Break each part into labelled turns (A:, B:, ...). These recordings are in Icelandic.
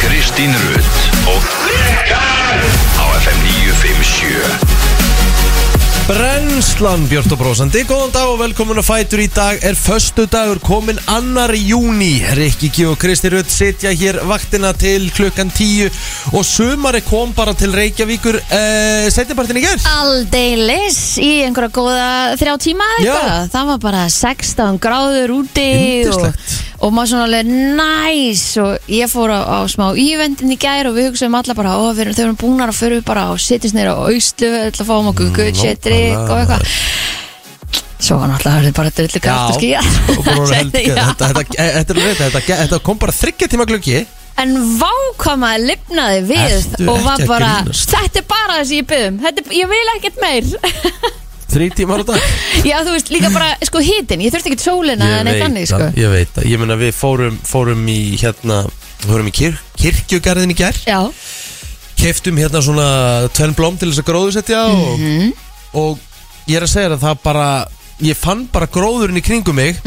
A: Kristín Rutt og Rikar á FM 957
B: Brennslan Björn og Brósandi, góðan dag og velkomin að fætur í dag er föstu dagur komin annar júni Rikki G og Kristi Rutt sitja hér vaktina til klukkan 10 og sumari kom bara til Reykjavíkur eh, setjapartin í gerð
C: Aldeilis í einhverja góða þrjá tíma eða
B: Já.
C: eitthvað Það var bara 16 gráður úti og,
B: Yndislegt.
C: og maður svona alveg næs og ég fór á, á smá íventin í gær og við hugsaðum alla bara ó, við erum, þau erum búnar að fyrir bara og sittist neyra á auslu til að fáum
B: Mm,
C: okkur gutsi, drikk og eitthvað Svo var náttúrulega hörðu bara drullu kraft og skýja
B: og bara voru held- þetta, þetta, þetta, þetta, þetta, þetta, þetta kom bara þryggja tíma glöggi
C: En vákamaði lifnaði við
B: Ertu
C: og var
B: ekki að
C: bara,
B: grínast?
C: þetta er bara það sem ég byggðum, ég vil ekkert meir
B: þrý tímar á dag
C: Já, þú veist, líka bara, sko, hitin Ég þurfti ekkert sólina en eitt annir, sko
B: það, ég veit það, ég meina við fórum, fórum í hérna, við fórum í kirk, kirkjugarðin í gerð
C: Já,
B: keftum hérna svona tvenn blóm til þess að gróðusetja og,
C: Mhm.
B: og ég er að segja þér að það bara ég fann bara gróðurinn í kringum mig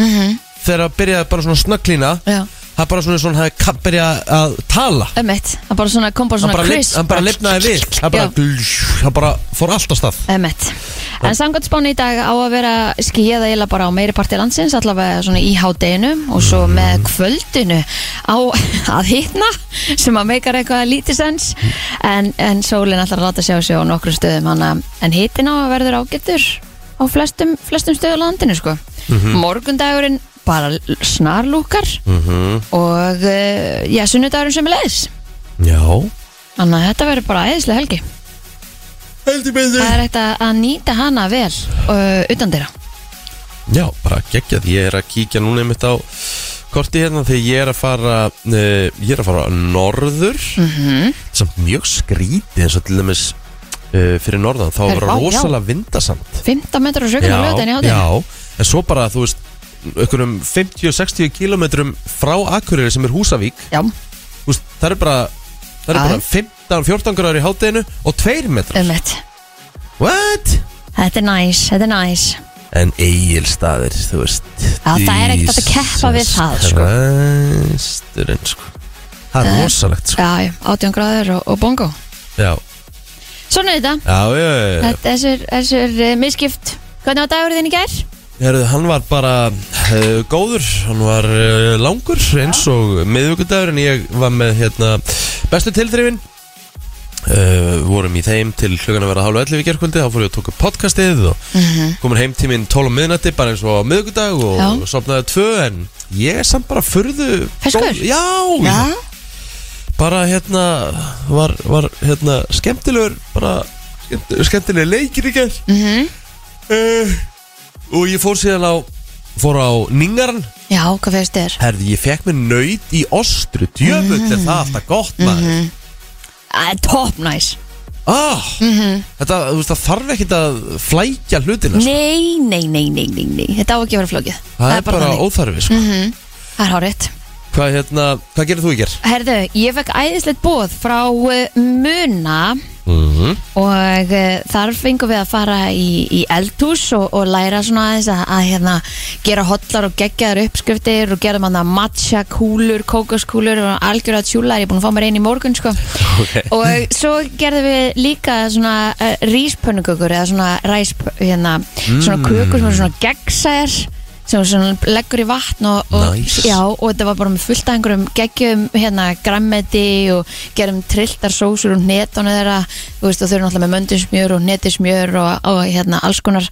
B: þegar að byrjaði bara svona snögglína
C: Mhm. já,
B: það bara svona svona hafði ka- byrjað að tala
C: ömmett Hann bara svona, kom bara
B: hann
C: svona
B: bara, lif,
C: crisp
B: hann bara lifnaði við hann bara,
C: Já.
B: hann bara fór allt á stað
C: Ömmett En samkvæmt spáni í dag á að vera skíða eila bara á meiri parti landsins allavega svona í hádeginu og svo
B: Mm.
C: með kvöldinu á að hitna sem að meikar eitthvað lítið sens en, en sólin ætlar að láta sjá sig á nokkrum stöðum hana, en hitin á að verður ágættur á flestum, flestum stöðu á landinu sko.
B: Mhm.
C: morgundagurinn bara l- snarlúkar
B: Mhm.
C: og uh, já, sunnudagurinn sem er leiðis
B: já
C: þannig að þetta verður bara eðislega helgi
B: heldur betur
C: Það er hægt að að nýta hana vel uh, utan þeirra
B: já, bara geggjað, ég er að kíkja núna einmitt á korti hérna þegar ég er að fara uh, ég er að fara norður
C: Mhm.
B: samt mjög skrítið eins og til dæmis uh, fyrir norðan þá
C: Herra,
B: var
C: vá, já.
B: rosalega vindasamt
C: 15 metrar á sökuna lögðan í hátinn
B: já, en svo bara þú veist einhverjum 50-60 kilometrum frá Akureyri sem er Húsavík
C: Já,
B: þú veist, það er bara það er
C: Aðeim.
B: bara 15-14 gráður í hátteginu og 2 metrar
C: um þetta
B: what?
C: Þetta er næs, þetta er næs
B: en eigilstaðir, þú veist
C: Já, það er ekkert hægt að keppa við það, sko.
B: Kristurinn, sko það er
C: Það-
B: rosalegt, sko
C: Uh, Já, já, 18 gráður og, og bongo
B: já,
C: Svona er þetta,
B: já, já, já, já.
C: þetta þessir, þessir uh, miskipt Hvernig var dagur þinn í gær?
B: Herðu, hann var bara uh, góður, hann var uh, langur eins og miðvíkudagur en ég var með hérna, bestu tilþrifin uh, vorum í þeim til klukkan að vera hálfa 11 í gerkvöldi, þá fór ég að tóka podcastið og komur heim tíminn 12 á miðnætti bara eins og á miðvíkudag og
C: Já.
B: sopnaði tvö en ég er samt bara furðu
C: Ferskur?
B: góð- Já, bara hérna var, var hérna skemmtilegur bara skemmt- skemmtilegur leikir í gerð
C: mm -hmm.
B: uh, Og ég fór síðan á Fór á Ningaran
C: Já, hvað fyrst þér?
B: Herði, ég fekk mér nöyt í ostru Djöfull er það alltaf gott maður
C: Það er top næs
B: ah, Þetta, þú veist, það þarf ekkert að flækja hlutina sko.
C: Nei, nei, nei, nei, nei, nei Þetta á ekki að vera flókið
B: Það er bara
C: þannig. Mhm.
B: óþarfi sko.
C: Það er hárétt
B: Hvað, hérna, hvað gerir þú í ger?
C: Herðu, ég fekk æðislegt bóð frá uh, Muna og uh, þar fengum við að fara í, í eldhús og, og læra svona aðeins að, að hérna, gera hotlar og geggjaðar uppskriftir og gera manna matcha kúlur, kókoskúlur og algjörða tjúlar, ég er búin að fá mér einn í morgun sko. og svo gerðum við líka svona uh, ríspönnukökur eða svona ræs hérna, svona kökur sem eru svona geggsæðar sem eru svona leggur í vatn og, og,
B: Nice.
C: já, og þetta var bara með fullt af einhverjum geggjum hérna grammeti og gerum trilltar sósur og netónu þeirra þú veist og þau eru náttúrulega með möndismjör og netismjör og, og hérna alls konar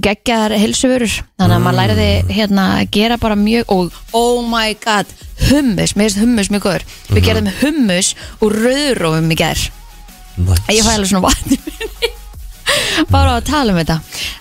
C: geggjaðar hilsuvörur þannig að maður læriði hérna að gera bara mjög og oh my god hummus, mér finnst hummus mjög góður
B: Mhm.
C: við gerðum hummus og rauðrófum í gerð
B: Nice.
C: ég fæ alveg svona vatn bara að tala um þetta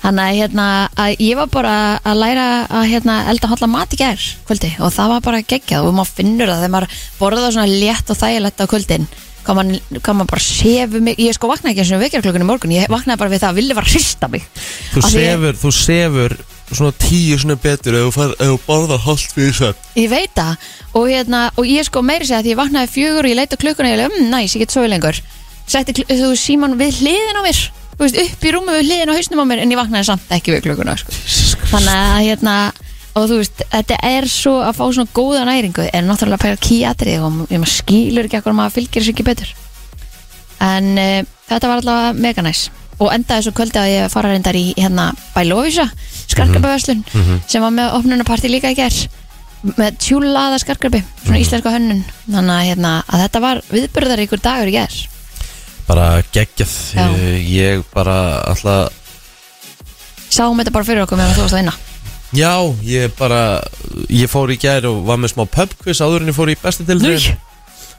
C: þannig að, hérna, að ég var bara að læra að hérna, elda hotla mat í gær kvöldi og það var bara geggjað og maður finnur það þegar maður borðar svona létt og þægilegt á kvöldin hvað maður hvað maður bara sefur mig ég sko vaknaði ekki eins og vekjar klukkan í morgun ég vaknaði bara við það að villi var að hrista mig
B: Þú
C: Af því ég-
B: sefur, þú sefur svona tíu svona betur ef þú fær- ef þú borðar hálft við þess
C: Ég veit það og, hérna, og ég sko meiri segja að því ég vaknaði fjögur og ég leita klukkuna og ég leita, um, næs, ég get svo lengur Setti kl- þú veist, síman við hliðin á mér Þú veist, upp í rúmi við hliðin á hausnum á mér en ég vaknaði samt ekki við klukkuna sko. Þannig að hérna og þú veist, þetta er svo að fá svona góða næringu er náttúrulega að pæla kýjatrið og ma- maður skilur ekki akkur maður fylgir sér ekki betur en uh, þetta var allavega mega næs og endaði svo kvöldi að ég fara reyndar í hérna Bælovisa, skarkrabaverslun sem var með opnunarparti líka í ger með tjúlaða skarkrabi svona
B: Mhm.
C: íslenska hönnun þannig að, hérna, að þetta var viðburðar ykkur dagur í ger
B: bara geggjað
C: Já.
B: Eh, ég bara alltaf
C: sáum þetta bara fyrir okkur meðan þú varst að vinna
B: já, ég bara ég fór í gær og var með smá pubquiz áður en ég fór í bestu tilþrifin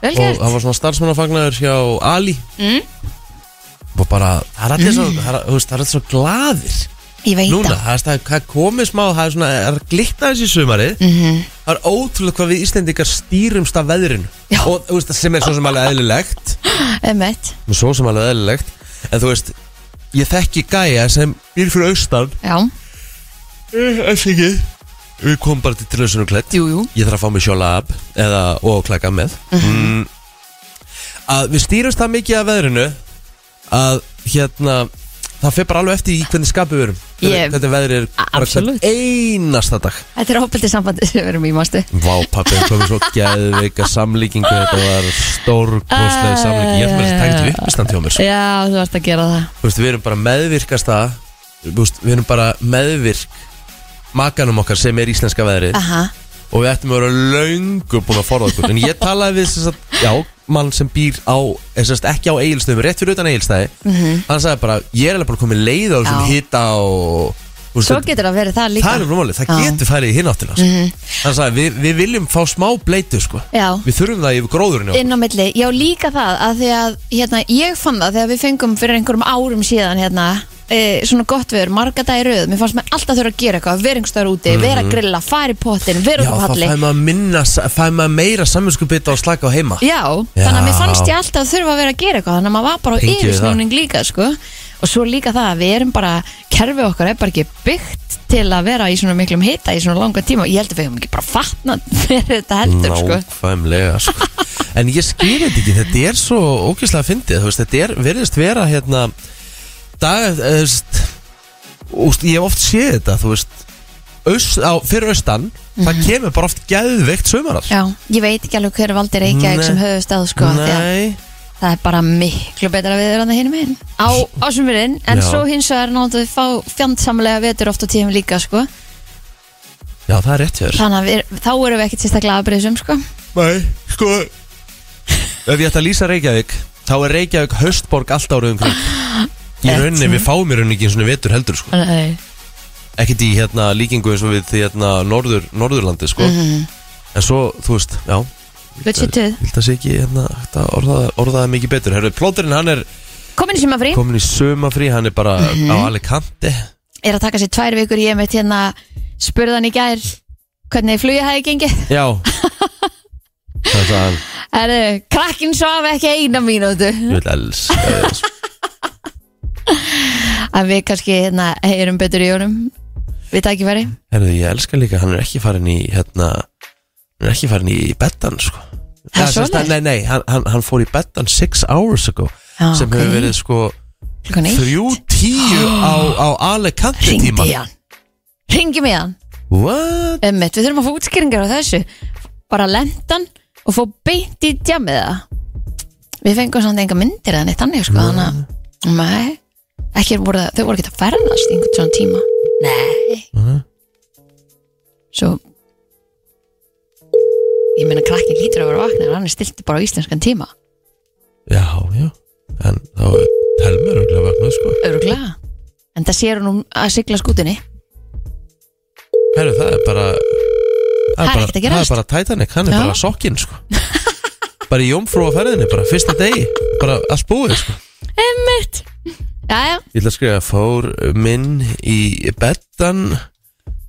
C: vel
B: og
C: gert
B: það var svona starfsmannafagnaður hjá Ali Mm.
C: Mm.
B: og bara, það er allir svo, það er- þú veist, það er allir svo glaðir
C: ég veit
B: núna,
C: það
B: það er, það er komið smá það er svona, það er glittað þessi sumarið
C: Mhm.
B: það er ótrúlega hvað við Íslendingar stýrumst af veðrinu
C: Já.
B: og þú veist, sem er svo sem alveg eðlilegt
C: Einmitt.
B: svo sem alveg eðlilegt en þú veist, ég þekki gæja sem býr fyrir austan
C: já,
B: eftir ekki við komum bara til tilhauðsunu klætt
C: jú, Mhm. jú
B: ég þarf að fá mig sjóla ab eða og klæka með mm, að við stýrumst það mikið af veðrinu að hérna það fer bara alveg eftir í hvernig skapi við erum
C: Ég-
B: þetta veðri er bara hvern
C: Absolutt.
B: einasta dag
C: Þetta er ábyrtið sambandi sem við erum í, mástu
B: Vá pappi, það komið svo geðveika samlíkingu Þetta var stórkostlega samlíking Ég ætlum að þetta tækja upp í stand hjá mér sko.
C: Já, þú varst að gera það
B: Þú veist, Við erum bara meðvirkasta þú veist, Við erum bara meðvirk Makanum okkar sem er íslenska veðrið
C: Aha,
B: Og við ættum að vera löngu búin að forða okkur En ég talaði við sess, að, já, mann sem býr á sess, Ekki á eigilstöðum, rétt fyrir utan eigilstæði
C: Mhm.
B: Hann sagði bara, ég er alveg bara komið leið á þessum
C: Já.
B: hita og þú veist,
C: svo
B: þetta-
C: getur það verið það líka
B: Það er umrúmálið, það
C: Já. Mhm.
B: getur farið í hináttina sko. Hann sagði, við, við viljum fá smá bleitu sko.
C: Já.
B: Við þurfum það yfir gróðurinn
C: inn á milli, já líka það að því að hérna, ég fann það þegar við fengum fyrir einhverjum árum síðan hérna, e, svona gott veður, marga dag í röð mér fannst maður alltaf þurfa að gera eitthvað, vera einhverstaðar úti vera að grilla, fara í pottin, vera
B: Mhm. Já,
C: út á
B: það
C: palli
B: fæði maður minna fæði maður meira samvinskupita og slaka á heima
C: Já,
B: Já.
C: þannig að mér fannst ég alltaf þurfa að vera að gera eitthvað þannig að maður var bara á
B: Tengjum við
C: yfirsnúning líka sko. og svo líka það að við erum bara kerfið okkar er bara ekki byggt til að vera í svona miklum hita í svona langa tíma og ég held að við hefum ekki bara fatnað fyrir þetta heldur sko.
B: Nákvæmlega sko. En ég skil þetta ekki, þetta er svo ógeðslega fyndið, þú veist, þetta er verðist vera hérna dag, þú veist, úst, ég hef oft séð þetta, þú veist Öst, á, fyrir austan, það kemur bara oft geðveikt sömarar
C: Já, ég veit ekki alveg hver valdi Reykjavík
B: Nei.
C: sem höfust að sko, af því að
B: Nei,
C: það er bara miklu betra við erum það hinum inn á, á sumurinn, en
B: Já.
C: svo hins vegar náttúrulega við fá fjandsamlega vetur oft á tíðum líka sko.
B: já það er rétt hjá þér
C: þannig að við, þá erum við ekkert sérstaklega aðbreyðsum sko.
B: Nei, sko Ef ég ætti að lýsa Reykjavík Þá er Reykjavík höstborg allt árið um kring Í rauninni, við fáum í rauninni ekki svona vetur heldur sko.
C: Nei.
B: Ekkert í hérna líkingu eins og við því hérna norður, Norðurlandi sko.
C: Mhm.
B: En svo, þú veist, já
C: Budgetuð.
B: Vilt það sé ekki hérna, hægt að orða, orða það mikið betur Herru, plóturinn hann er
C: komin í sumafrí
B: komin í sömafrí Hann er bara
C: Mhm.
B: á Alicante
C: er að taka sér tvær vikur ég mitt hérna spurðan í gær hvernig flugið hefði gengið
B: Já Það sagði hann
C: er, krakkin svaf ekki eina mínútu
B: Ég vil elska þig, sko.
C: en við kannski hérna heyrum betur í honum við tækifæri
B: Herðu, ég elska líka, hann er ekki farin í hérna, hann er ekki farin í bettan sko.
C: Það er
B: sem sagt,
C: svoleiðis?
B: Nei, nei, hann, hann, hann fór í bettan six hours ago
C: Já,
B: sem
C: ok.
B: hefur verið sko
C: klukkan eitt
B: þrjú tíu á, á Alicante tíma
C: ringdi í hann ringi mig hann
B: What?
C: Einmitt, við þurfum að fá útskýringar á þessu bara lendan og fó beint í djamið það við fengum samt enga myndir eða neitt annir sko, þannig að nei, ekki voru, þau voru ekki að ferðast í einhvern svona tíma nei svo ég meina krakkin lítur að vera vakna hann er stilti bara á íslenskan tíma
B: Já, já, en þá er Telmur örugglega vaknað sko
C: öruglega en það sér hún um að sigla skútinni
B: Herru, það er bara
C: Það er
B: bara,
C: ekkert að gerast.
B: það er bara Titanic, hann er
C: Já.
B: bara sokkinn sko bara í jómfrú á ferðinni, bara fyrsta degi bara allt búið sko
C: emmitt jæja,
B: Ég ætla að skrifa fór minn í bettan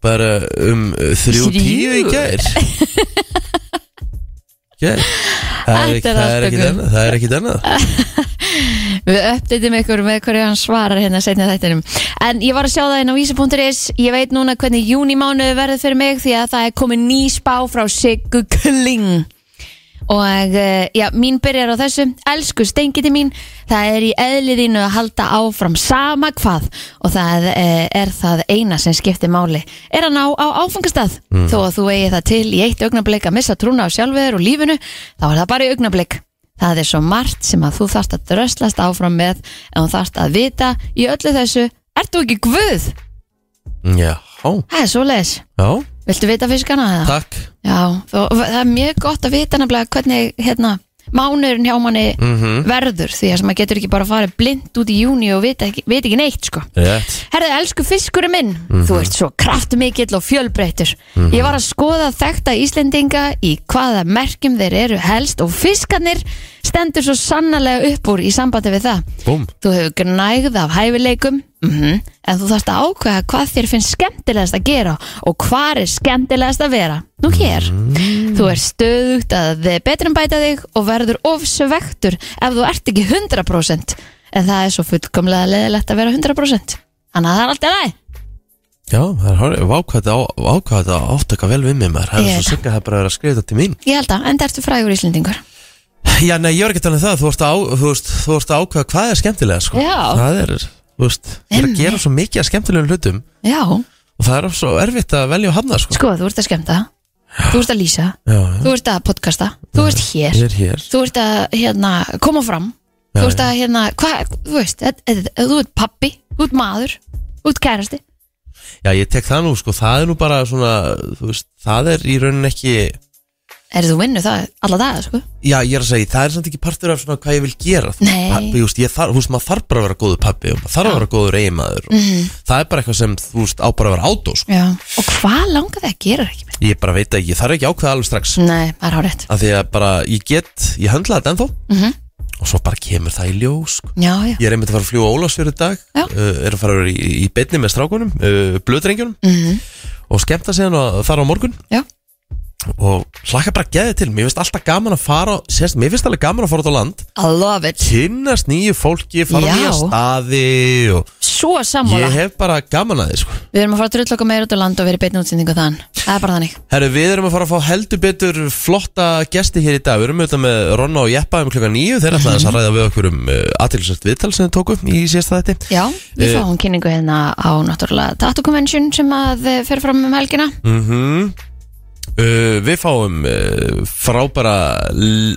B: bara um þrjú
C: Þrjú?
B: tíu í gær Gær Það er
C: Þetta
B: ekki-
C: er
B: það er
C: allt
B: ekkit
C: okkur.
B: annað Það er ekkit annað
C: Við uppdeitum ykkur með hverju hann svarar hérna setna þættinum. En ég var að sjá það inn á vísi.is, ég veit núna hvernig júnimánuði verður fyrir mig því að það er komið ný spá frá Siggu Kling. og eh, já, mín byrjar á þessu elsku stengiti mín, það er í eðliðinu að halda áfram sama hvað og það eh, er það eina sem skiptir máli, er að ná á áfangastað, þó að þú eigi það til í eitt augnablik að missa trúna á sjálfveður og lífinu, þá er það bara í augnablik það er svo margt sem að þú þarft að dröslast áfram með en þú þarft að vita í öllu þessu, ert þú ekki guð?
B: Já,
C: Það er svoleiðis,
B: já,
C: viltu vita fiskana eða?
B: takk
C: Já, þó, það er mjög gott að vita nefnilega hvernig hérna, mánuðurinn hjá manni
B: Mhm.
C: verður því að maður getur ekki bara að fara blind út í júni og vita ekki, vita ekki neitt sko.
B: Rétt
C: Herðu, elsku fiskurinn minn, þú ert svo kraftmikill og fjölbreytur. Ég var að skoða þekta Íslendinga í hvaða merkjum þeir eru helst og fiskarnir stendur svo sannarlega upp úr í sambandi við það.
B: Búm
C: Þú hefur gnægð af hæfileikum mm
D: Mhm.
C: en þú þarft að ákveða hvað þér finnst skemmtilegast að gera og hvað er skemmtilegast að vera. Nú hér.
B: Mm.
C: Þú er stöðugt að betrum bæta þig og verður ofsvektur ef þú ert ekki 100% en það er svo fullkomlega leðilegt að vera 100%. Þannig að það er alltaf læg.
B: Já, það er hárið Vákvæða ákvæða áttaka vel við mig maður Það er
C: Ég veit
B: svo sigga það er bara að vera að skrifa þetta til mín
C: Ég held að, enda ertu frægur Íslendingur.
B: Já, nei, ég var ekki að tala um það Þú vorst að, á- þú veist, þú vorst að ákvæða hvað er skemmtilega sko.
C: Já.
B: Það er, þú veist Ég er að gera svo mikið að skemmtilegum hlutum
C: Já,
B: Og það er svo erfitt að velja og hafna sko.
C: sko, þú ert að skemmta, þú ert að lýsa,
B: Já, já,
C: þú ert að podcasta, þú ert hér.
B: ég er hér
C: þú ert að hérna, koma fram
B: Já,
C: þú ert að hérna, hvað, þú veist þetta- þetta- þú ert pappi, þú ert maður þú ert kærasti,
B: Já, ég tek það nú, sko, það er nú bara svona Þú veist, það er í raunin ekki
C: er þú vinnu það alla daga, sko
B: Já, ég er að segja, það er samt ekki partur af svona hvað ég vil gera Þú-
C: Nei.
B: Pabbi, Þú veist, ég þarf, þú veist, maður þarf bara að vera góður pappi og maður þarf að vera góður eiginmaður
C: Mm.
B: og það er bara eitthvað sem, þú veist, á bara að vera átó sko.
C: Já. Mhm. og hvað langar það að gera ekki með?
B: Ég bara veit ekki, ég þarf ekki að ákveða alveg strax
C: Nei, það er hárétt
B: af því að bara, ég get, ég höndla þetta ennþá og svo bara kemur það í ljós sko.
C: Mhm. Já, já,
B: Ég er einmitt að fara að fljúa Ólafs fyrir dag
C: Já.
B: uh, er að fara að vera í, í beinni með strákunum uh, blöðdrengjunum
C: Mhm.
B: -hmm. og skemmta síðan að fara á morgun
C: já,
B: og hlakka bara að geða til, mér finnst alltaf gaman að fara sérst, mér finnst alveg gaman að fara út á land
C: I love it
B: kynnast nýju fólki, fara á
C: Já.
B: nýja staði og
C: Svo sammála,
B: ég hef bara gaman að þið sko.
C: við erum að fara að drull okkur meira út á land og verið beinni útsendingu þann Það er bara þannig
B: Herru, við erum að fara að fá heldur betur flotta gesti hér í dag, við erum auðvitað með Ronna og Jeppa um klukka nýju, þeir ætlaði þess að ræða við okkur um uh, aðtilsvært viðtal sem þið tóku í síðasta þetta
C: Já, við
B: Eh.
C: fáum kynningu hérna á náttúrulega Tattoo Convention sem að eh, fer fram um helgina
B: mm uh, Við fáum uh, frábæra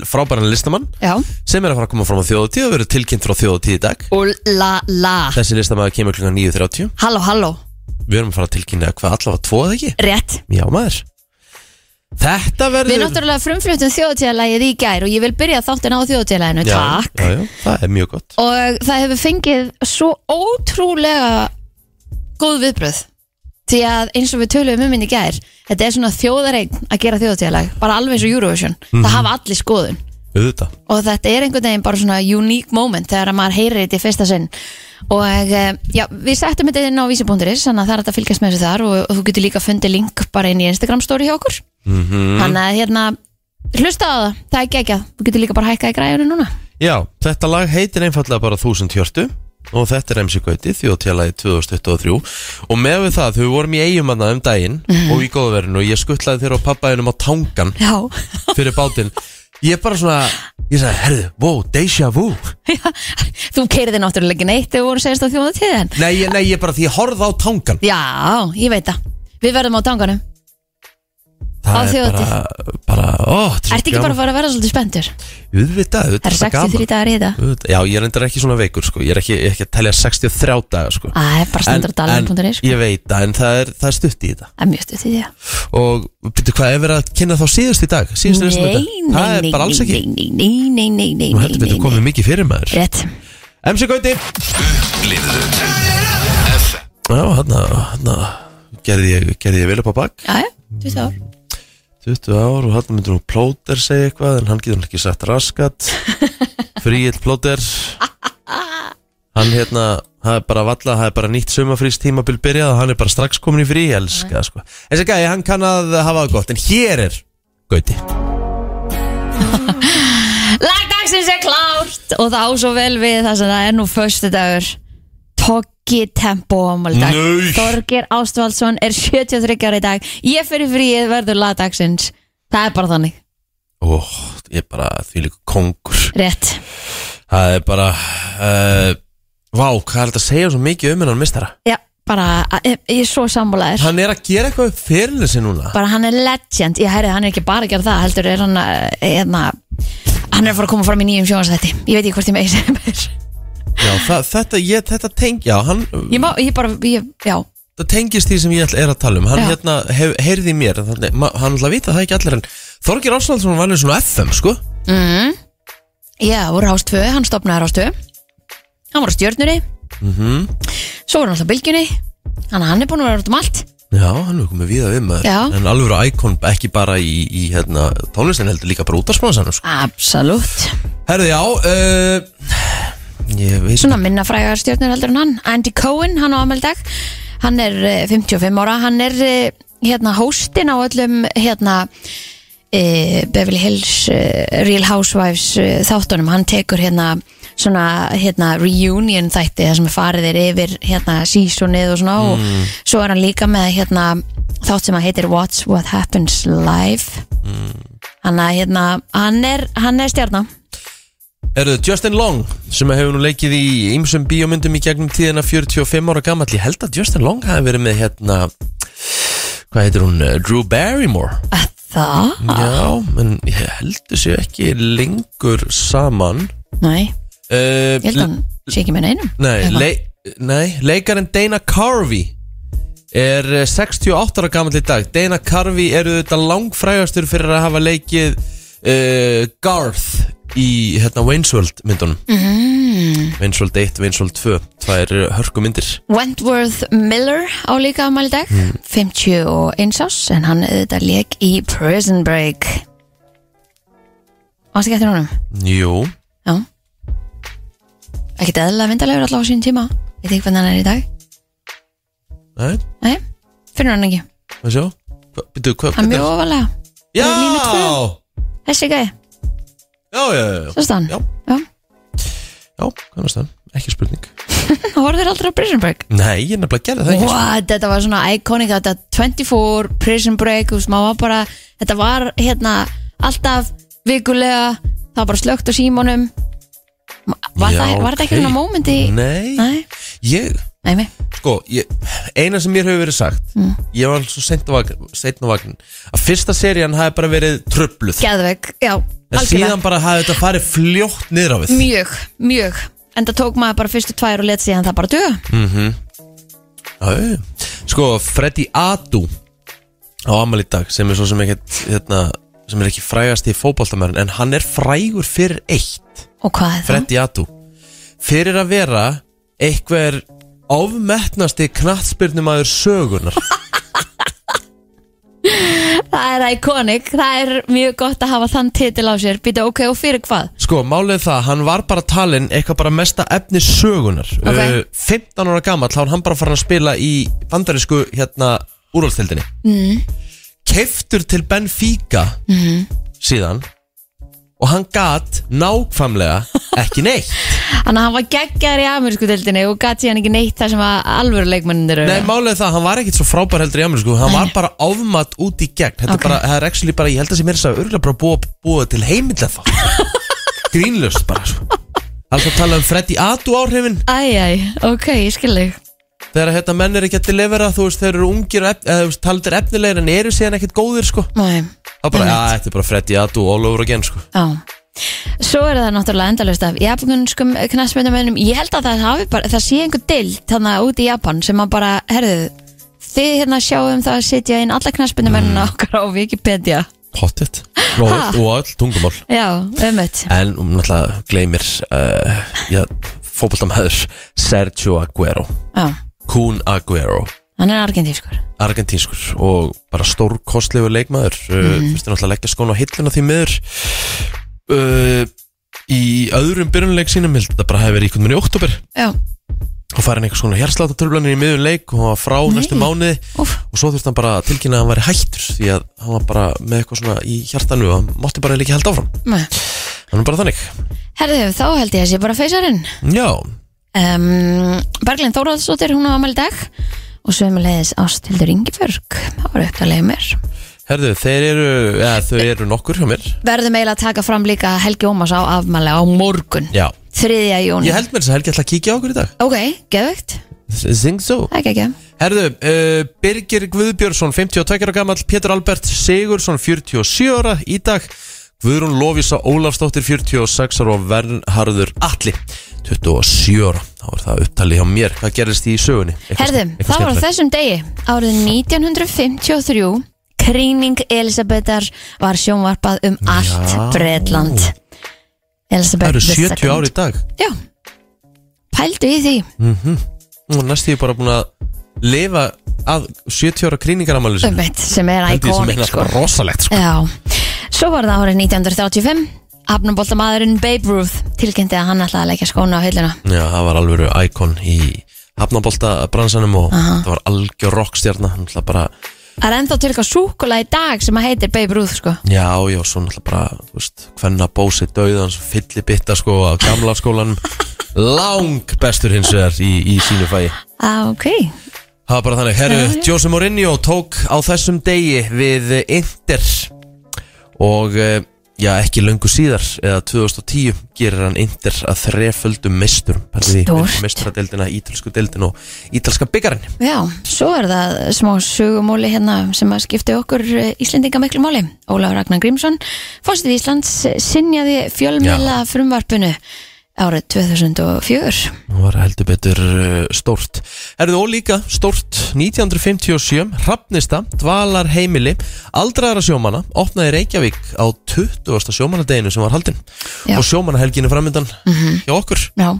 B: frábæran listamann
C: Já,
B: sem er að fara að koma fram á þjóðatíð og verður tilkynnt frá þjóðatíð í dag
C: og la la
B: Þessi listamann kemur klukka 9.30
C: Halló, halló,
B: Við erum að fara að tilkynna hvað allavega tvo eða ekki
C: rétt
B: Já maður Þetta verður
C: Við náttúrulega frumfluttum þjóðtíðalægið í gær og ég vil byrja þáttin á þjóðtíðalæginu,
B: já,
C: takk.
B: já, já, Það er mjög gott
C: Og það hefur fengið svo ótrúlega góð viðbröð. Því að eins og við töluðum um minn í gær, þetta er svona þjóðareign að gera þjóðtíðalæg, bara alveg eins og Eurovision.
B: Mhm.
C: Það hafa allir skoðun.
B: Auðvitað
C: Og þetta er einhvern veginn bara svona unique moment þegar að maður heyrir þetta í fyrsta sinn. Og eh, já, við settum þetta inn á vísi.is, þannig að það er hægt að fylgjast með þessu þar og, og þú getur líka fundið link bara inn í Instagram story hjá okkur.
B: mm
C: Þannig að hérna, hlusta á það, það er geggjað Þú getur líka bara hækkað í græjunni núna
B: Já, þetta lag heitir einfallega bara 1000 hjörtu og þetta er MC Gauti þjóðtjálagi 2023 og með við það, þau vorum í eigumanna um daginn og í góðverðinu og ég skuttlaði þeirra og pappaðinum á tangan
C: Mhm. Já,
B: fyrir bátinn Ég bara svona, ég sagði, herðu, wow, deja vu
C: þú keiriði náttúrulega ekki neitt Þegar við vorum segist á þjóða tíðin
B: Nei, ég- nei, ég bara því ég horfði á tangan
C: Já, ég veit það Við verðum á tanganum Á
B: Það er bara, bara, ó, þetta er svo
C: Ertu ekki bara
B: gaman.
C: að fara að vera svolítið spendur?
B: Auðvitað, auðvitað
C: Það er
B: svo gaman.
C: 63 dagar í þetta
B: Auðvitað, Já, ég er endur ekki svona veikur sko. Ég er ekki, ég er ekki að telja 63 daga sko.
C: Æ, Ah, bara
B: En,
C: stendur á
B: en
C: dalinn.is sko.
B: ég veit það, en það er, það er stutt í þetta
C: Það er mjög stutt í því að-
B: Og byrju, hvað er verið að kynna þá síðust í dag? Síðust í þessum
C: Nei,
B: þetta? Það
C: nei,
B: er
C: nei,
B: bara alls ekki
C: nei, nei, nei, nei, nei, nei,
B: Nú heldur
C: nei,
B: betur
C: nei,
B: komið mikið fyrir maður
C: Rétt
B: MC Gauti
A: Upplifðu FM
B: Já, hann að gerði ég, gerði ég vel upp á bakk
C: Já, já, 20 ár
B: 20 ár og hann myndur hún plóter segja eitthvað En hann getur hann ekki sagt raskat Fríill plóter Hann hérna, það er bara valla, það er bara nýtt sumafrýst tímabil byrjað og hann er bara strax komin í frí, ég elska það, sko. Þessi gæði, hann kann að hafa það gott, en hér er Gauti.
C: Lagdagsins er klárt og það á svo vel við það sem það er nú förstu dagur Toggi tempo ámali dag
B: Nei.
C: Þorgir Ástvaldsson er 73 ára í dag Ég fyrir fríið verður lagdagsins Það er bara þannig
B: Ó, veist, ég er bara því líka kongur
C: Rétt
B: Það er bara uh, Vá, hvað er þetta að segja svo mikið um hennan mistara?
C: Já, bara, ég, ég er svo sammálaður
B: Hann er að gera eitthvað upp fyrirlega sér núna
C: Bara hann er legend, ég hærið hann er ekki bara að gera það Heldur er hann að, hérna Hann er að fara að koma fram í nýjum sjónastætti Ég veit ekki hvort ég megi sem er
B: Já, það, þetta, ég, þetta teng, já, hann,
C: Ég má, ég bara, ég, já
B: það tengist því sem ég ætla- er að tala um Hann
C: Já.
B: hérna, hef, heyrði í mér en þannig, ma, Hann ætla að vita það ekki allir en Þorgir Áslandsson var eins og FM, sko
C: mm. Já, úr Rástfö, hann stopnaði Rástfö Hann var á stjörnunni
B: Mhm.
C: Svo var hann alltaf á bylgjunni Þannig að hann er búin að vera út um allt
B: Já, hann er komið víða við maður
C: Já.
B: En alveg á íkon, ekki bara í, í hérna, tónlistin heldur líka bara út af spónsanum, sko
C: Absolutt
B: Herði, já, uh, ég veit
C: Svona minna frægar stjörnur heldur en hann Andy Cohen, hann á ameldag Hann er eh, 55 ára Hann er eh, hérna hóstinn á öllum hérna e, Beverly Hills e, Real Housewives e, þáttunum Hann tekur hérna svona hérna reunion þætti þar sem farið er yfir hérna seasonið og svona og svo er hann líka með hérna þátt sem að heitir What's What Happens Live
B: Mm.
C: hann að hérna hann er, hann er stjarnan
B: Erðu, Justin Long sem hefur nú leikið í ýmsum bíómyndum í gegnum tíðina 45 ára gamall ég held að Justin Long hafi verið með hérna hvað heitir hún, eh, Drew Barrymore
C: það?
B: Mm. Ah. já, en ég heldur sér ekki lengur saman
C: Nei
B: uh,
C: Ég held að hann sé ekki með neinum
B: nei,
C: Eitthvað.
B: le nei, leikarinn Dana Carvey er eh, 68 ára gamall í dag Dana Carvey eru þetta langfrægastur fyrir að hafa leikið uh, Garth í hérna Wainsworld myndunum
C: mm.
B: Vinsvold 1, Vinsvold 2 Tvær hörkumyndir
C: Wentworth Miller á líka afmæli í dag
B: Mm.
C: 51 ás en hann auðvitað leik í Prison Break Varst ekki eftir honum?
B: Jú
C: Já Ekkert eðlilega myndalegur allavega á sín tíma Ég veit ekki hvernig hann er í dag
B: Nei,
C: Nei, finnur hann ekki
B: hvað sjá Hva- Býttu, hvað
C: Hann er mjög
B: hvernig-
C: ofalega
B: Já,
C: er línu tvö. Þessi gæði,
B: já, já, já, já
C: svo stann
B: Já.
C: Já.
B: Já, kannast það, ekki spurning
C: Hann horfður aldrei á Prison Break
B: Nei, ég nefnilega gerði það ekki sko.
C: What, þetta var svona iconic þetta 24, Prison Break þú veist, maður var bara, þetta var hérna alltaf vikulega það var bara slögt á símónum var,
B: Já,
C: það, var þetta ekki
B: ok.
C: svona moment í
B: Nei,
C: Nei,
B: ég,
C: nei, Mm. nei.
B: sko ég, Eina sem mér hefur verið sagt Ég var svo seint á vagn, seint á vagn Að fyrsta serían hafi bara verið tröfluð
C: Geðveg, já,
B: En
C: algjörlega
B: síðan bara hafi þetta farið fljótt niður á við
C: Mjög, mjög En það tók maður bara fyrstu tvær og let síðan það bara duga
B: Mhm. Já, já, já. Sko, Freddy Adu á amal í dag sem er svo sem ekkert hérna, sem er ekki frægast í fótboltamörn en hann er frægur fyrir eitt
C: Og hvað er það?
B: Freddy Adu fyrir að vera einhver ofmetnasti knattspyrnumæður sögunar
C: Það er iconic, það er mjög gott að hafa þann titil á sér Býta ok, og fyrir hvað?
B: Sko, málið er það, hann var bara talinn eitthvað bara mesta efni sögunar
C: Ok.
B: uh, 15 ára gamall, þá var hann bara farin að spila í bandarísku hérna úrvalstildinni mm. Keiftur til Benfica mm. síðan og hann gat nákvæmlega ekki neitt
C: Þannig að hann var geggjar í amerísku deildinni og gat síðan ekki neitt það sem að alvöru leikmennir eru
B: Nei, málið er það, hann var ekkit svo frábær heldur í amerísku hann var bara ofmat út í gegn Þetta
C: Ok.
B: er bara, það er actually bara, ég held að sem er þess að örgulega bara búa, búa til heimildlega þá Grínlöst bara svo Alltaf tala um Freddy Adu áhrifin
C: Æj, æj, ok, ég skil þig
B: þegar hérna menn er ekki að delivera þú veist, þeir eru ungir og ef- eða, þú veist, taldir efnilegir en eru síðan ekkert góðir sko
C: Nei,
B: þá bara, já, þetta er bara Freddy Adu all over again sko
C: já Svo er það náttúrulega endalaust af japanskum knastmyndamönnum Ég held að það, hafi bara, það sé einhver dild þannig úti í Japan sem að bara, herðu Þið hérna sjáum það að setja inn alla knastmyndamönnuna okkar á Wikipedia
B: pottet og,
C: Ha?
B: og all tungumál
C: Já, ömmut
B: en um náttúrulega gleymir uh, já, fótboltamæður Sergio Aguero
C: Já,
B: Kun Aguero
C: hann er argentískur
B: argentínskur og bara stórkostlegu leikmaður mm.
C: Mhm.
B: uh, fyrst er náttúrulega að leggja skóna á hilluna því miður uh, í öðrum byrjunleik sínum held að þetta bara hefur verið í einhvern veginn í oktober
C: Já,
B: og farin einhvers konar hjarsláttartöflanir í miðun leik og hann var frá næstu mánuði
C: úf,
B: og svo þurfti hann bara að tilkynna að hann væri hættur því að hann var bara með eitthvað svona í hjartanu og hann mátti bara líka held áfram
C: með
B: hann er bara þannig
C: Herðu, þá held ég að sé bara feysarinn
B: já,
C: um, Berglind Þórhaldsdóttir, hún á amal dag og sömulegis Ástildur Ingiförg það var upptalið mér
B: Herðu, þeir eru, eða þau eru nokkur hjá mér
C: Verðum eiginlega að taka fram líka að Helgi Ómars á afmæli á morgun
B: Já
C: 3. júni
B: Ég held mér þess að Helgi ætla að kíkja á okkur í dag
C: Ok, geðvögt
B: I think so
C: Það er ekki ekki
B: Herðu, uh, Birgir Guðbjörnsson, 52 ára gamall Pétur Albert Sigursson, 47 ára í dag Guðrún Lofísa Ólafsdóttir, 46 ára og Vernharður Atli 27 ára, þá er það upptalið hjá mér Hvað gerist í sögunni?
C: Herðu, það var á þessum degi árið 1953 Kríning Elisabetar var sjónvarpað um allt
B: Já.
C: Breitland
B: Það
C: Elisabeth
B: eru
C: the
B: 70
C: second.
B: ára í dag
C: Já, pældu í því
B: og næst ég bara búin að lifa að 70 ára kríningaramæli sinni
C: Ömmit, sem er
B: Held ég sem er
C: íkónik sko.
B: náttúrulega rosalegt sko.
C: Já, svo var það árið 1935 Hafnaboltamaðurinn Babe Ruth tilkynnti að hann ætlaði að leggja skóna á hilluna
B: Já, það var alveg íkon í hafnabolta bransanum og það var algjör rockstjarna hann ætla bara,
C: Það er ennþá til eitthvað súkula í dag sem að heitir Babe Ruth sko
B: já, já, svo náttúrulega bara þú veist, hvenna bósi döðans fyllibitta sko á gamla skólanum lang bestur hins vegar í, í sínu fæi
C: ah, Ok,
B: Það var bara þannig, herru, Jose Mourinho tók á þessum degi við Inter og eh, já, ekki löngu síðar eða 2010 gerir hann Inter að þreföldum meistur
C: Stórt.
B: mesturadeldina, ítalsku deildin og ítalska byggarinn
C: já, svo er það smá sögumóli hérna sem að skipti okkur eh, Íslendinga miklu móli Ólafur Ragnar Grímsson, fórstið Íslands sinjaði fjölmjöla frumvarpinu árið 2004
B: Það var heldur betur eh, stórt Herðu og líka stórt 1957, Hrafnista dvalar heimili, aldraðara sjómana opnaði Reykjavík á 20. sjómanadeginu sem var haldin
C: Já. Mhm.
B: og sjómanahelginu framöndan hjá okkur
C: Já,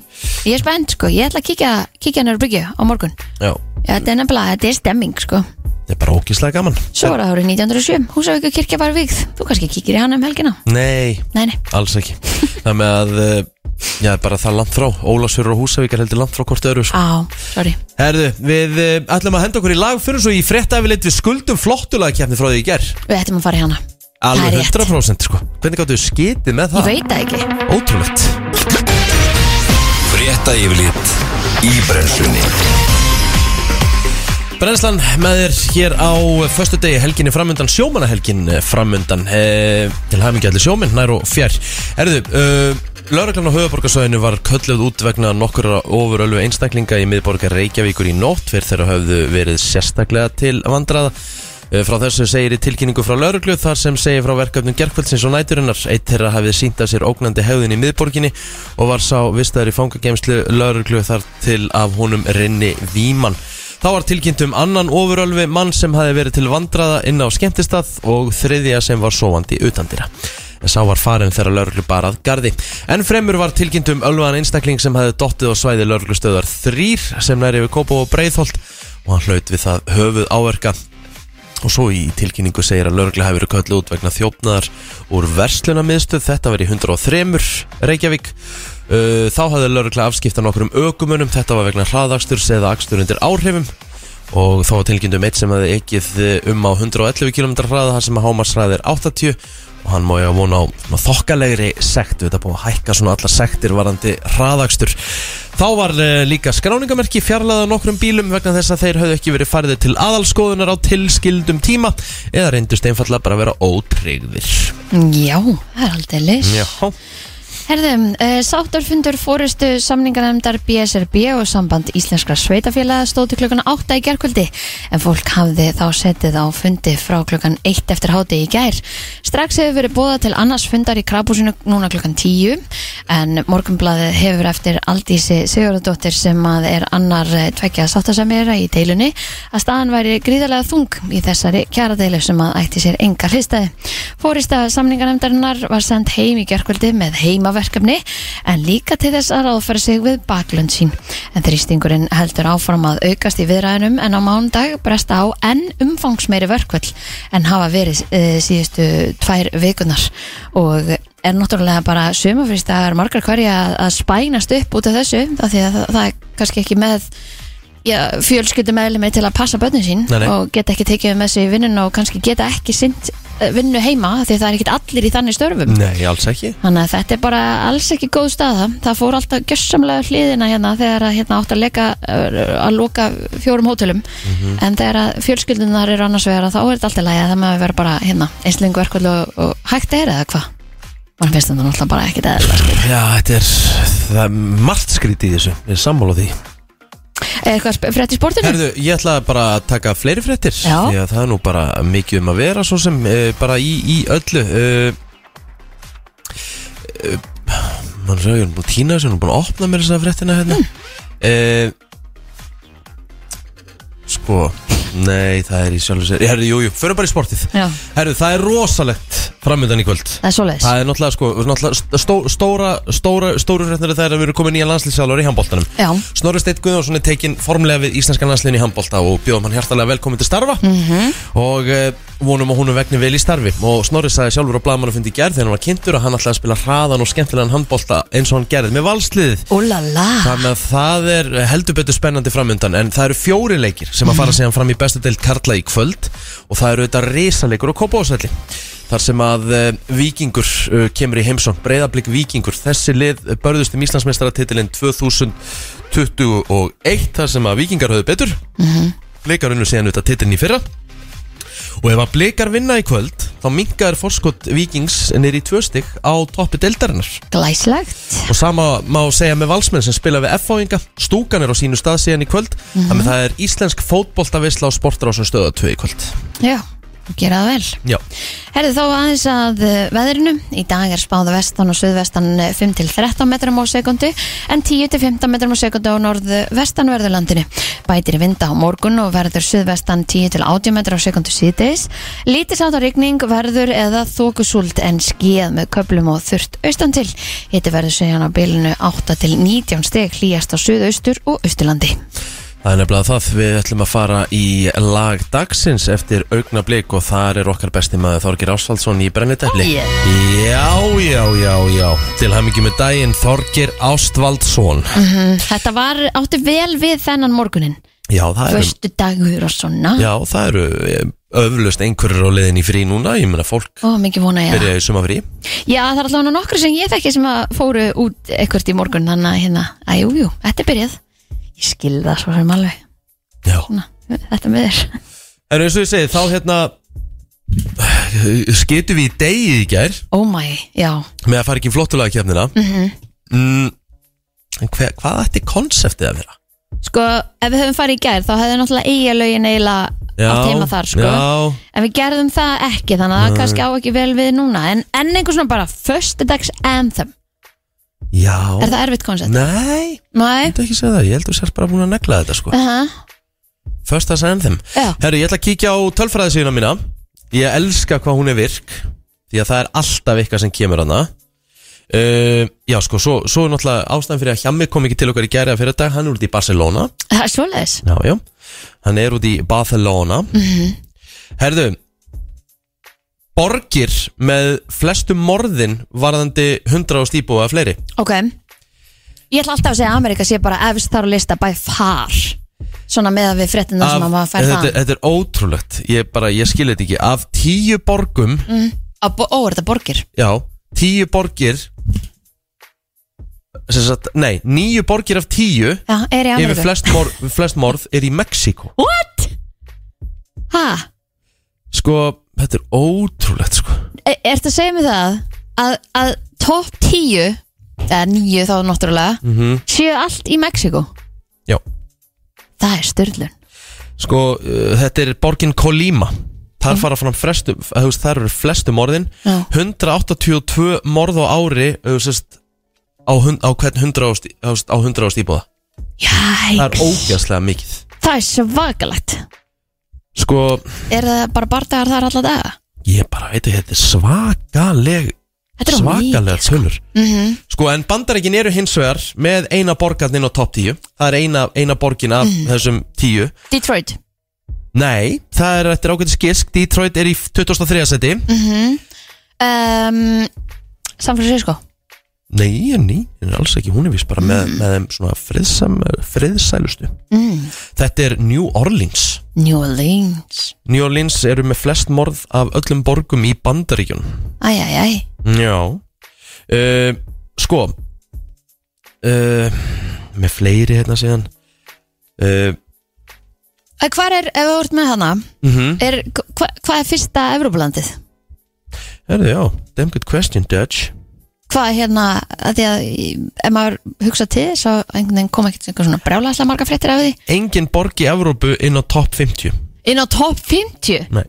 C: ég er spennt sko, ég ætla að kíkja, kíkja nörður byggju á morgun
B: Já,
C: Já, þetta er nefnilega, þetta er stemming sko
B: þetta er bara ógislega gaman
C: Svo var það árið 1907, Húsavíku kirkja var vigð Þú kannski kíkir í hann um helgina
B: Nei,
C: Nei, nei,
B: alls ekki Það með að, eh, já, bara það langt frá Ólafsfjörur og Húsavík er heldur langt frá hvort öðru sko.
C: á, sorry
B: Herðu, við eh, ætlum að henda okkur í lag fyrir svo í fréttafilit við skuldum flottulagkeppni frá því í ger
C: Við ættum að fara í hana Það
B: Alveg
C: er rétt.
B: 100% sko Hvernig gáttu við skitið með
C: Ég
B: það?
C: veit það ekki
B: Ótrúlegt
A: Frétta yfirlit í brennslunni
B: Brennslan með þér hér á Föstu degi helginni framundan Sjómanahelgin framundan e, Til hamingi allir sjóminn nær og fjær Erðu, e, lauraglan á höfuborgarsvæðinu var kölluð út vegna nokkur ofurölu einstaklinga í miðborgar Reykjavíkur í nótt fyrir þeirra höfðu verið sérstaklega til vandraða Eh, Frá þessu segir í tilkynningu frá lauruglu þar sem segir frá verkefnum gerkvöldsins og næturinnar eitt þeirra hafið sínt að sér ógnandi hefðin í miðborginni og var sá vistaður í fangagemslu lauruglu þar til af honum rinni Víman. Þá var tilkynnt um annan ofurölvi mann sem hafi verið til vandraða inn á skemmtistað og þriðja sem var sovandi utandira. Sá var farin þegar lauruglu barað gardi. En fremur var tilkynnt um ölvaðan einstakling sem hafi dottið á svæði lauruglustöðar þrýr sem næri við Kópó og Breiðholt og hann hlaut við það höfuð áverka og svo í tilkynningu segir að lögregla hefur verið köllu út vegna þjófnaðar úr verslunamiðstöð, þetta var í 103 Reykjavík Uh, þá hafði lögregla afskipta nokkrum ökumunum þetta var vegna hraðaksturs eða akstur undir áhrifum og þá var tilkynnt um eitt sem hefði ekið uh, um á 111 km hraða þar sem að hámarsræði er 80 og hann má ég að vona á svona þokkalegri sekt við þetta búið að hækka svona alla sektir varandi hraðakstur þá var uh, líka skráningamerki fjarlæða nokkrum bílum vegna þess að þeir hafði ekki verið færði til aðalskoðunar á tilskildum tíma eða reyndust einfallega bara að vera ótryggðir
C: Já, það er aldrei lis Herðum, uh, sáttarfundur fórustu samningarnefndar BSRB og samband Íslenskra sveitafélaga stóti klukkan 8 í gerkvöldi en fólk hafði þá setið á fundi frá klukkan 1 eftir háti í gær. Strax hefur verið bóða til annars fundar í krabúsinu núna klukkan 10 en morgunblaðið hefur eftir Aldísi Sigurðardóttir sem að er annar eh, tveggja sáttasemjara í deilunni að staðan væri gríðarlega þung í þessari kjaradeilu sem að ætti sér engar hlistaði. Fórista samningarnefndarinnar var sendt heim í gerkvöldi með heimaverkefni en líka til þess að ráðfæra sig við baklönd sín. En þrýstingurinn heldur áfram að aukast í viðræðunum en á mándag bresta á enn umfangsmeiri verkvöld en hafa verið e, síðustu tvær vikunar og er náttúrulega bara sumafrýstagar margar hverja að spænast upp út af þessu af því að það, það er kannski ekki með já, fjölskyldum meðlemi til að passa börnin sín
B: Nei, nei.
C: og geta ekki tekið með sig í vinnuna og kannski geta ekki sint vinnu heima af því það er ekkit allir í þannig störfum
B: Nei, alls ekki
C: Þannig að þetta er bara alls ekki góð staða. Það fór alltaf gjössamlega hliðina hérna þegar að hérna átt að leika uh, að loka fjórum hótelum
B: Mhm.
C: en þegar að fjölskyldunar eru annars vegar að þá er þetta alltaf lægið það maður vera bara hérna einslingu verkvöld og, og hægt er eða hvað. Man finnst þetta náttúrulega bara ekkit eða.
B: Já, þetta er, það er margt skrítið í þessu, ég er sammála því
C: Eh, Eitthvað sp- frétt í sportinu?
B: Herðu, ég ætla bara að taka fleiri fréttir
C: Já.
B: Því að það er nú bara mikið um að vera Svo sem uh, bara í, í öllu uh, uh, Man svo, ég er nú búin að týna þessu Ég er nú búin að opna mér þessa fréttina hérna
C: Mm,
B: uh, Sko Nei, það er í sjálfur sér Herðu, jú, jú, förum bara í sportið
C: Já,
B: Herðu, það er rosalegt framöndan í kvöld
C: það er svoleiðis.
B: Það er náttúrulega, sko, náttúrulega stó, stóra, stóra, stóra, stóru fréttina Það er að við erum komin nýja landslýsjálfur í handbóltanum
C: Já,
B: Snorri Steinn Guðjónsson er tekinn formlega við Íslenskan landsliðin í handbólta og bjóðum hann hjartalega velkomin til starfa
C: Mhm.
B: -hmm. og uh, vonum að hún er vegni vel í starfi og Snorri sagði sjálfur á blaman og fyndi gerð þegar hann var kynntur að hann ætlaði að spila hraðan og skemmtilegan handbólta eins og hann gerði með valsliðið
C: úlala.
B: Þannig að það er heldur betur spennandi framundan En það eru fjóri leikir sem að fara síðan fram í bestu deild Karla í kvöld Og það eru auðvitað risaleikur og kópásvelli Þar sem að uh, vikingur uh, kemur í heimsóng Breiðablík vikingur Þessi lið eh, börðust um Íslandsmeistaratitilinn 2021 Þar sem að vikingar höfðu betur mm -hmm. Blikar unnu síðan auðvitað titilinn í fyrra Og ef að blikar vinna í kvöld Þá minkaður forskot vikings nýri í tvö stygg á toppi deildarinnar
C: Glæslegt.
B: Og sama má segja með valsmenn sem spila við F-fáinga Stúkan er á sínu stað síðan í kvöld Þannig það er íslensk fótboltavisla á sportarásum stöða 2 í kvöld
C: Já, gera það vel.
B: Já,
C: Herðu þá aðeins að eh, veðrinu. Í dag er spáða vestan og suðvestan eh, 5-13 metrum á sekundi en 10-15 metrum á sekundi á norðvestanverðurlandinu. Bætir í vinda á morgun og verður suðvestan 10-80 metrum á sekundi síðdeis. Lítið sátt á rigning verður eða þókusúld en skíð með köplum og þurft austan til. Hiti verður segjan á bilinu 8-19 steg hlýjast á suðaustur og austurlandi.
B: það er nefnilega það Við ætlum að fara í lag dagsins eftir augnablik Og þar er okkar besti maður Þorgir Ásvaldsson í brennitefli
C: Oh, yeah.
B: Já, já, já, já Til hamingi með daginn Þorgir Ásvaldsson Mhm.
C: Þetta var átti vel við þennan morgunin.
B: Já, það eru
C: Föstu dagur og svona.
B: Já, það eru eh, öflust einhverjur á leiðin í frí núna Ég meina fólk
C: Ó, mikið vona ég það.
B: byrja í sumafrí
C: Já, það er allavega nokkru sem ég þekki sem að fóru út ekkert í morgun þannig að hérna, að jú, jú, þetta er byrjað ég skil það svo sem alveg
B: Já
C: Ná, þetta með þér
B: En eins og ég segi, þá hérna skytum við í degi í gær
C: Oh my, já,
B: með að fara ekki í flottulega kefnina mm
C: Mhm.
B: En hver, hvað ætti konseptið að vera?
C: sko, ef við höfum farið í gær þá hefði náttúrulega eiga lögin eiginlega átt heima þar, sko
B: Já,
C: en við gerðum það ekki, þannig að það kannski á ekki vel við núna, en enn einhver svona bara föstudags anthem,
B: já
C: er það erfitt koncept?
B: Nei,
C: Nei,
B: þetta ekki segja það, ég held að þú sérst bara búin að negla þetta sko
C: uh -huh.
B: First as anthem
C: já,
B: Herru, ég ætla að kíkja á tölfræðisíðuna mína Ég elska hvað hún er virk Því að það er alltaf eitthvað sem kemur hana uh, Já, sko, svo, svo er náttúrulega ástæðan fyrir að Hjammi kom ekki til okkar í gæri að fyrir dag Hann er út í Barcelona
C: það er svoleiðis Mhm.
B: Já, já, hann er út í Barcelona Herðu Borgir með flestum morðin varðandi 100 ást íbúa fleiri
C: Ok Ég ætla alltaf að segja að Amerika sé bara efst þar á lista by far Svona með að við fréttina sem að maður fær
B: þetta,
C: það
B: þetta er ótrúlegt, ég bara, ég skil þetta ekki Af tíu borgum,
C: Mm. Á bo- Ó, er þetta borgir?
B: já, tíu borgir sem sagt, Nei, níu borgir af tíu
C: Já, er í
B: Yfir
C: Ameriku
B: flest morð, flest morð er í Mexiko
C: What? Ha?
B: Sko, þetta er ótrúlegt sko
C: Er, er þetta E- að segja mig það? Að, að top 10 eða 9 þá náttúrulega séu allt í Mexiko
B: Mhm. Já,
C: Það er styrlun
B: Sko, uh, þetta er borgin Kolíma Þar fara fram flestu, þú veist, þar eru flestu morðin
C: Já.
B: 182 morð á ári þú veist, á, hun- á hvern 100 ást, á á 100 ást íbúða Það er
C: Jæks
B: ógæslega mikið
C: Það er svakalegt
B: Sko,
C: Er það bara bardagar þar alla daga?
B: ég bara veit að þetta er svakaleg
C: Þetta er of
B: svakalega tölur
C: mm -hmm.
B: Sko, en bandarækin eru hins vegar með eina borgarninn á topp 10 Það er eina, eina borgin af
C: Mhm.
B: þessum 10
C: Detroit
B: Nei, það er eftir ágætis gisk Detroit er í 2003 seti
C: um, San Mhm. Ehm, Francisco
B: Nei, ný, hún er alls ekki, hún er vist bara með, með þeim svona friðsam, friðsælustu
C: Mm.
B: Þetta er New Orleans
C: New Orleans
B: New Orleans eru með flest morð af öllum borgum í Bandaríkjun
C: Æj, æj, æj
B: Já uh, Sko uh, Með fleiri hérna síðan uh,
C: Eh, Hvar er, ef þú ert með hana
B: mm
C: er, hva, Hvað er fyrsta Evrópulandið?
B: Herðu, já, damn good question, Dutch
C: Hvað er hérna, að því að í- ef maður hugsa til þess að einhvern veginn kom ekkert einhver svona brjálæslega marga fréttir af því
B: Engin borg í Evrópu inn á topp 50
C: Inn á topp 50?
B: Nei.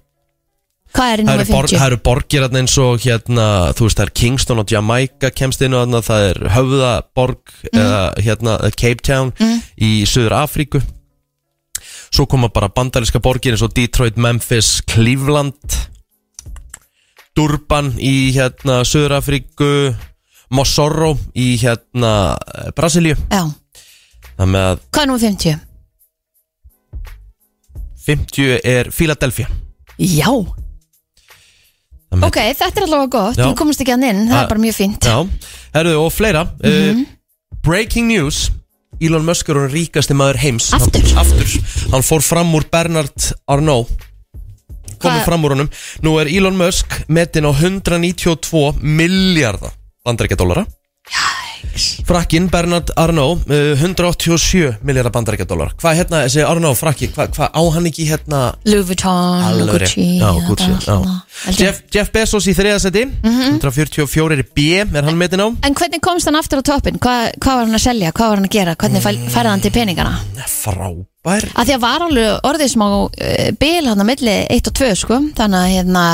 C: Hvað er í
B: Það
C: númer
B: eru, borg,
C: 50?
B: það eru borgir hérna eins og hérna, þú veist, það er Kingston og Jamaica kemst inn og þarna, það er Höfðaborg eða hérna eða Cape Town í Suður Afríku Svo koma bara bandaríska borgir eins og Detroit, Memphis, Cleveland Durban í hérna Suður Afríku Mossoró í hérna eh, Brasilíu
C: Já,
B: Það með að
C: hvað er númer 50?
B: 50 er Philadelphia
C: Já
B: Það með-
C: Ok, þetta er allavega gott,
B: Já.
C: þú komast ekki hann inn, það
B: Ah.
C: er bara mjög fínt Mhm.
B: Já, herruðu og fleira uh, Breaking news Elon Musk er hún ríkasti maður heims
C: Aftur?
B: hann, Aftur, hann fór fram úr Bernard Arnault Komið
C: Hvað-
B: fram úr honum Nú er Elon Musk metin á 192 miljardar bandaríkjadólara
C: Jæks.
B: Frakkin Bernard Arnault uh, 187 miljardar bandaríkjadólara Hvað hérna, þessi Arnault frakki Hvað hva, á hann ekki hérna
C: Louis Vuitton,
B: Alveg rétt.
C: Gucci
B: Já,
C: og
B: Gucci,
C: bara
B: já.
C: svona, held ég. Mhm.
B: Jeff, Jeff Bezos í þriðasetti 144 er í B Er hann metin á?
C: En hvernig komst hann aftur á toppin? Hva, hvað var hann að selja? Hvað var hann að gera? Hvernig fæ- færði hann til peningana?
B: Eh, Frábær
C: Að því að var alveg orðið smá uh, bil hann að milli 1 og 2 sko þannig að, hérna,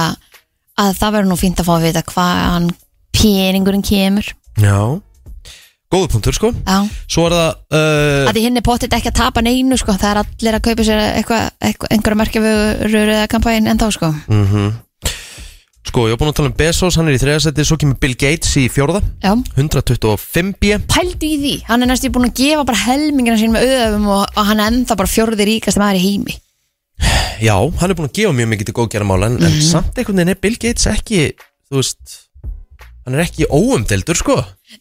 C: að það verður nú fínt að fá að vita hvaðan peningurinn kemur
B: Já Góðu punktur sko
C: Já.
B: Svo er það
C: að
B: uh,
C: því hinn er pottit ekki að tapa neinu sko það er allir að kaupa sér eitthvað eitthva, einhverja merkjavörur eða kampæn en þá sko
B: mhm. Sko, ég var búin að tala um Bezos, hann er í þriðasetti Svo kemur Bill Gates í fjórða
C: Já.
B: 125 B
C: pældu í því, hann er næstu búin að gefa bara helmingina sín með auðöfum og, og hann er ennþá bara fjórði ríkast maður í heimi
B: Já, hann er búin að gefa mjög mikið til góðgerðamála en,
C: Mhm.
B: en samt einhvern veginn er Bill Gates ekki Þú veist Hann er ekki óumdeldur sko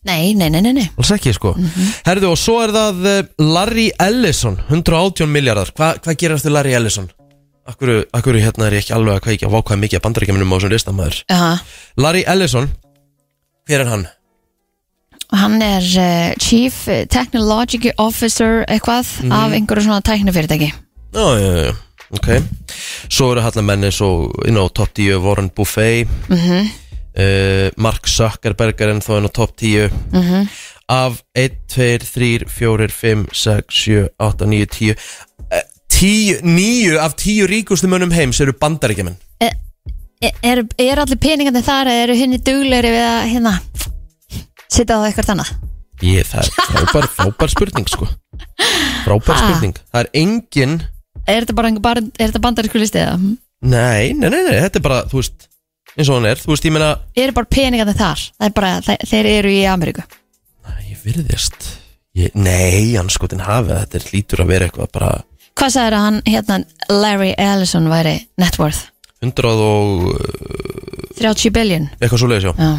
C: Nei, nei, nei, nei, nei.
B: Alls ekki sko Herðu og svo er það uh, Larry Ellison 118 miljardar Hva, Hvað gerir þetta Larry Ellison? Akkur, akkur hérna er ég ekki alveg að kveikja Vá hvað er mikið að bandaríkjaminum á þessum listamæður
C: Uh,
B: Larry Ellison Hver er hann?
C: hann er uh, Chief Technology Officer eitthvað af einhverju svona tæknifyrirtæki
B: Já, já, já, já, ok Svo eru hallar menni svo inn á top 10 Warren Buffet mm Mark Zuckerberg er ennþá inn á top 10 Af 1, 2, 3, 4, 5, 6, 7, 8, 9, 10 Eh, 10, 9 af 10 ríkustu mönnum heims eru bandaríkjumenn
C: E-, er, er allir peningandi þar eða eru henni duglegri við að hérna setja það á eitthvað annað
B: Ég, það er frábær, frábær spurning sko Frábær
C: Ha.
B: spurning Það er engin
C: er þetta bara, einhver bara er þetta bandarísku listi eða Mhm.
B: Nei, nei, nei, nei, þetta er bara, þú veist eins og hann er, þú veist, ég meina
C: eru bara peningandi þar það er bara, þe þeir eru í Ameríku
B: Ég virðist ég, Nei, anskotin hafið Þetta er lítur að vera eitthvað bara
C: hvað sagður að hann hérna Larry Ellison væri net worth
B: 100 og uh,
C: 30 billion
B: eitthvað svo leiðis já
C: já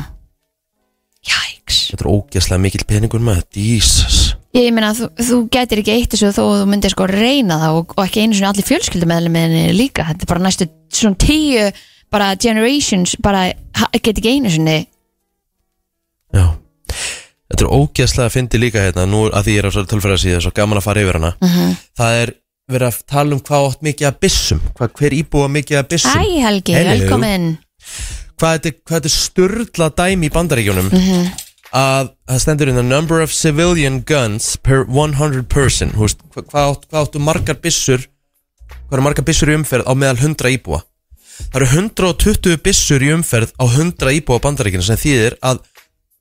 C: jæks
B: Þetta er ógeðslega mikill peningur maður Jesus
C: ég, ég meina þú, þú gætir ekki eitt þessu þó að þú myndir sko reyna það og, og ekki einu svona allir fjölskyldum meðlum líka þetta er bara næstu svona tíu bara generations bara ha- get ekki einu svona
B: Já Þetta er ógeðslega að fyndi líka hérna Nú að því ég er á svo tölfæra síða Svo gaman að fara yfir hana
C: Mhm.
B: -hmm. Það er verið að tala um hvað átt mikið að byssum hvað, Hver íbúa mikið að byssum
C: Æ Helgi,
B: Hello.
C: velkomin
B: hvað þetta, hvað þetta er sturla dæmi í bandaríkjunum að það stendur in the number of civilian guns per 100 person Þú veist, hva, hvað, átt, hvað áttu margar byssur hvað eru margar byssur í umferð á meðal 100 íbúa það eru 120 byssur í umferð á 100 íbúa bandaríkjunum sem þýðir að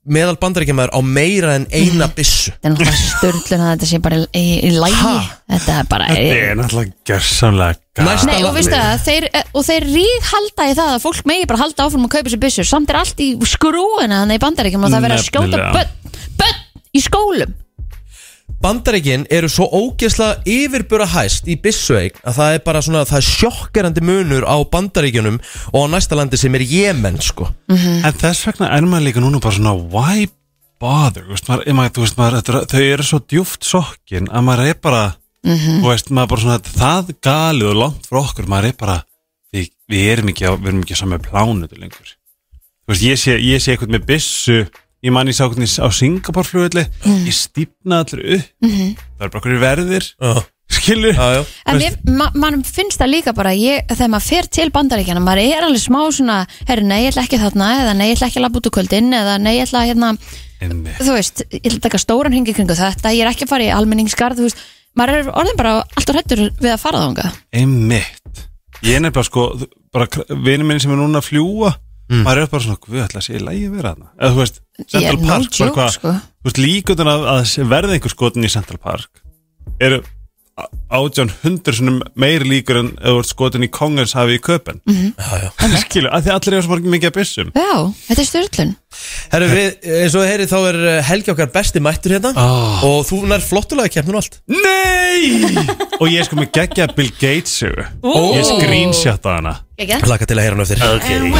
B: meðal bandaríkjamaður á meira en eina byssu
C: Þetta er náttúrulega störlun að þetta sé bara í, í, í lægi
B: Ha?
C: Þetta er bara
E: Þetta er náttúrulega gersamlega
B: Næsta
C: Nei, og
B: lag-
C: veistu það, þeir, eh, og þeir ríð halda í það að fólk megi bara halda áfram að kaupa sér byssur samt er allt í skrúina þannig í bandaríkjum og það verður að skjóta
E: Nefnilega.
C: bönn, bönn í skólum
B: Bandaríkin eru svo ógeðslega yfirbura hæst í byssueig að það er bara svona, það er sjokkerandi munur á bandaríkinum og á næsta landi sem er Jemen sko.
E: En þess vegna er maður líka núna bara svona Why bother þú veist, maður, ég maður, þú veist, maður, þetta er- þau eru svo djúft sokkin að maður er bara
B: Mhm.
E: þú veist, maður bara svona, það galið og langt frá okkur, maður er bara við, við erum ekki á, við erum ekki á saman plánutu lengur þú veist, ég sé, ég sé eitthvað með byssu ég man ég sá eitthvað á Singaporflugulli ég stífna allir upp
C: Mhm.
E: það er bara okkur verðir
B: Já,
E: skilur,
B: já, já
C: En mér, ma mann finnst það líka bara ég, þegar maður fer til bandaríkjana maður er alveg smá svona, herri nei, ég ætla ekki þarna eða nei, ég ætla ekki að labba út úr kvöldin eða nei, ég ætla að hérna,
E: Einmitt.
C: þú veist ég ætla að taka stóran hengi kringu þetta, ég er ekki að fara í almenningsgarð, þú veist, maður er orðin bara alltaf hrættur við að fara þánga
E: Einmitt Ég er nefnilega sko, þú- bara vinið minni sem er núna að fljúa
C: Mm.
E: maður er bara svona, við ætla að sé í lægi vera hana eða þú veist, Central Park
C: no
E: bara
C: joke, sko.
E: þú veist, líkundin að, að sé- verði einhver skotin í Central Park eru átján hundur svona meir líkur en eða þú ert skotin í Kongens hafi í köpen mm -hmm. skilu, að því allir eru svo margir mikið að byssum
C: Já, þetta er styrlun
B: Herru, við, eins og þið heyrið þá er eh, Helgi okkar besti mættur hérna
E: Ah.
B: Og þú nær flottulega keppnum allt
E: Nei! og ég er sko með geggja Bill Gates sögu.
C: Ó.
E: ég screenshotta hana
C: Ekki?
B: Laka til að heyra hann eftir okay.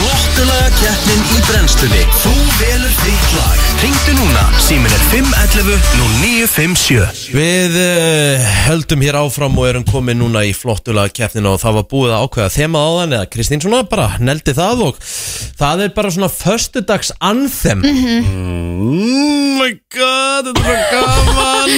F: Flottulega keppnin í brennslunni Þú velur þitt lag Ringdu núna, símin er 511 0957
B: Við uh, höldum hér áfram og erum komin núna í flottulega keppnina og það var búið að ákveða þema áðan eða Kristín svona bara neldi það og það er bara svona föstudags anthem Mm,
E: Oh my god, þetta er svo gaman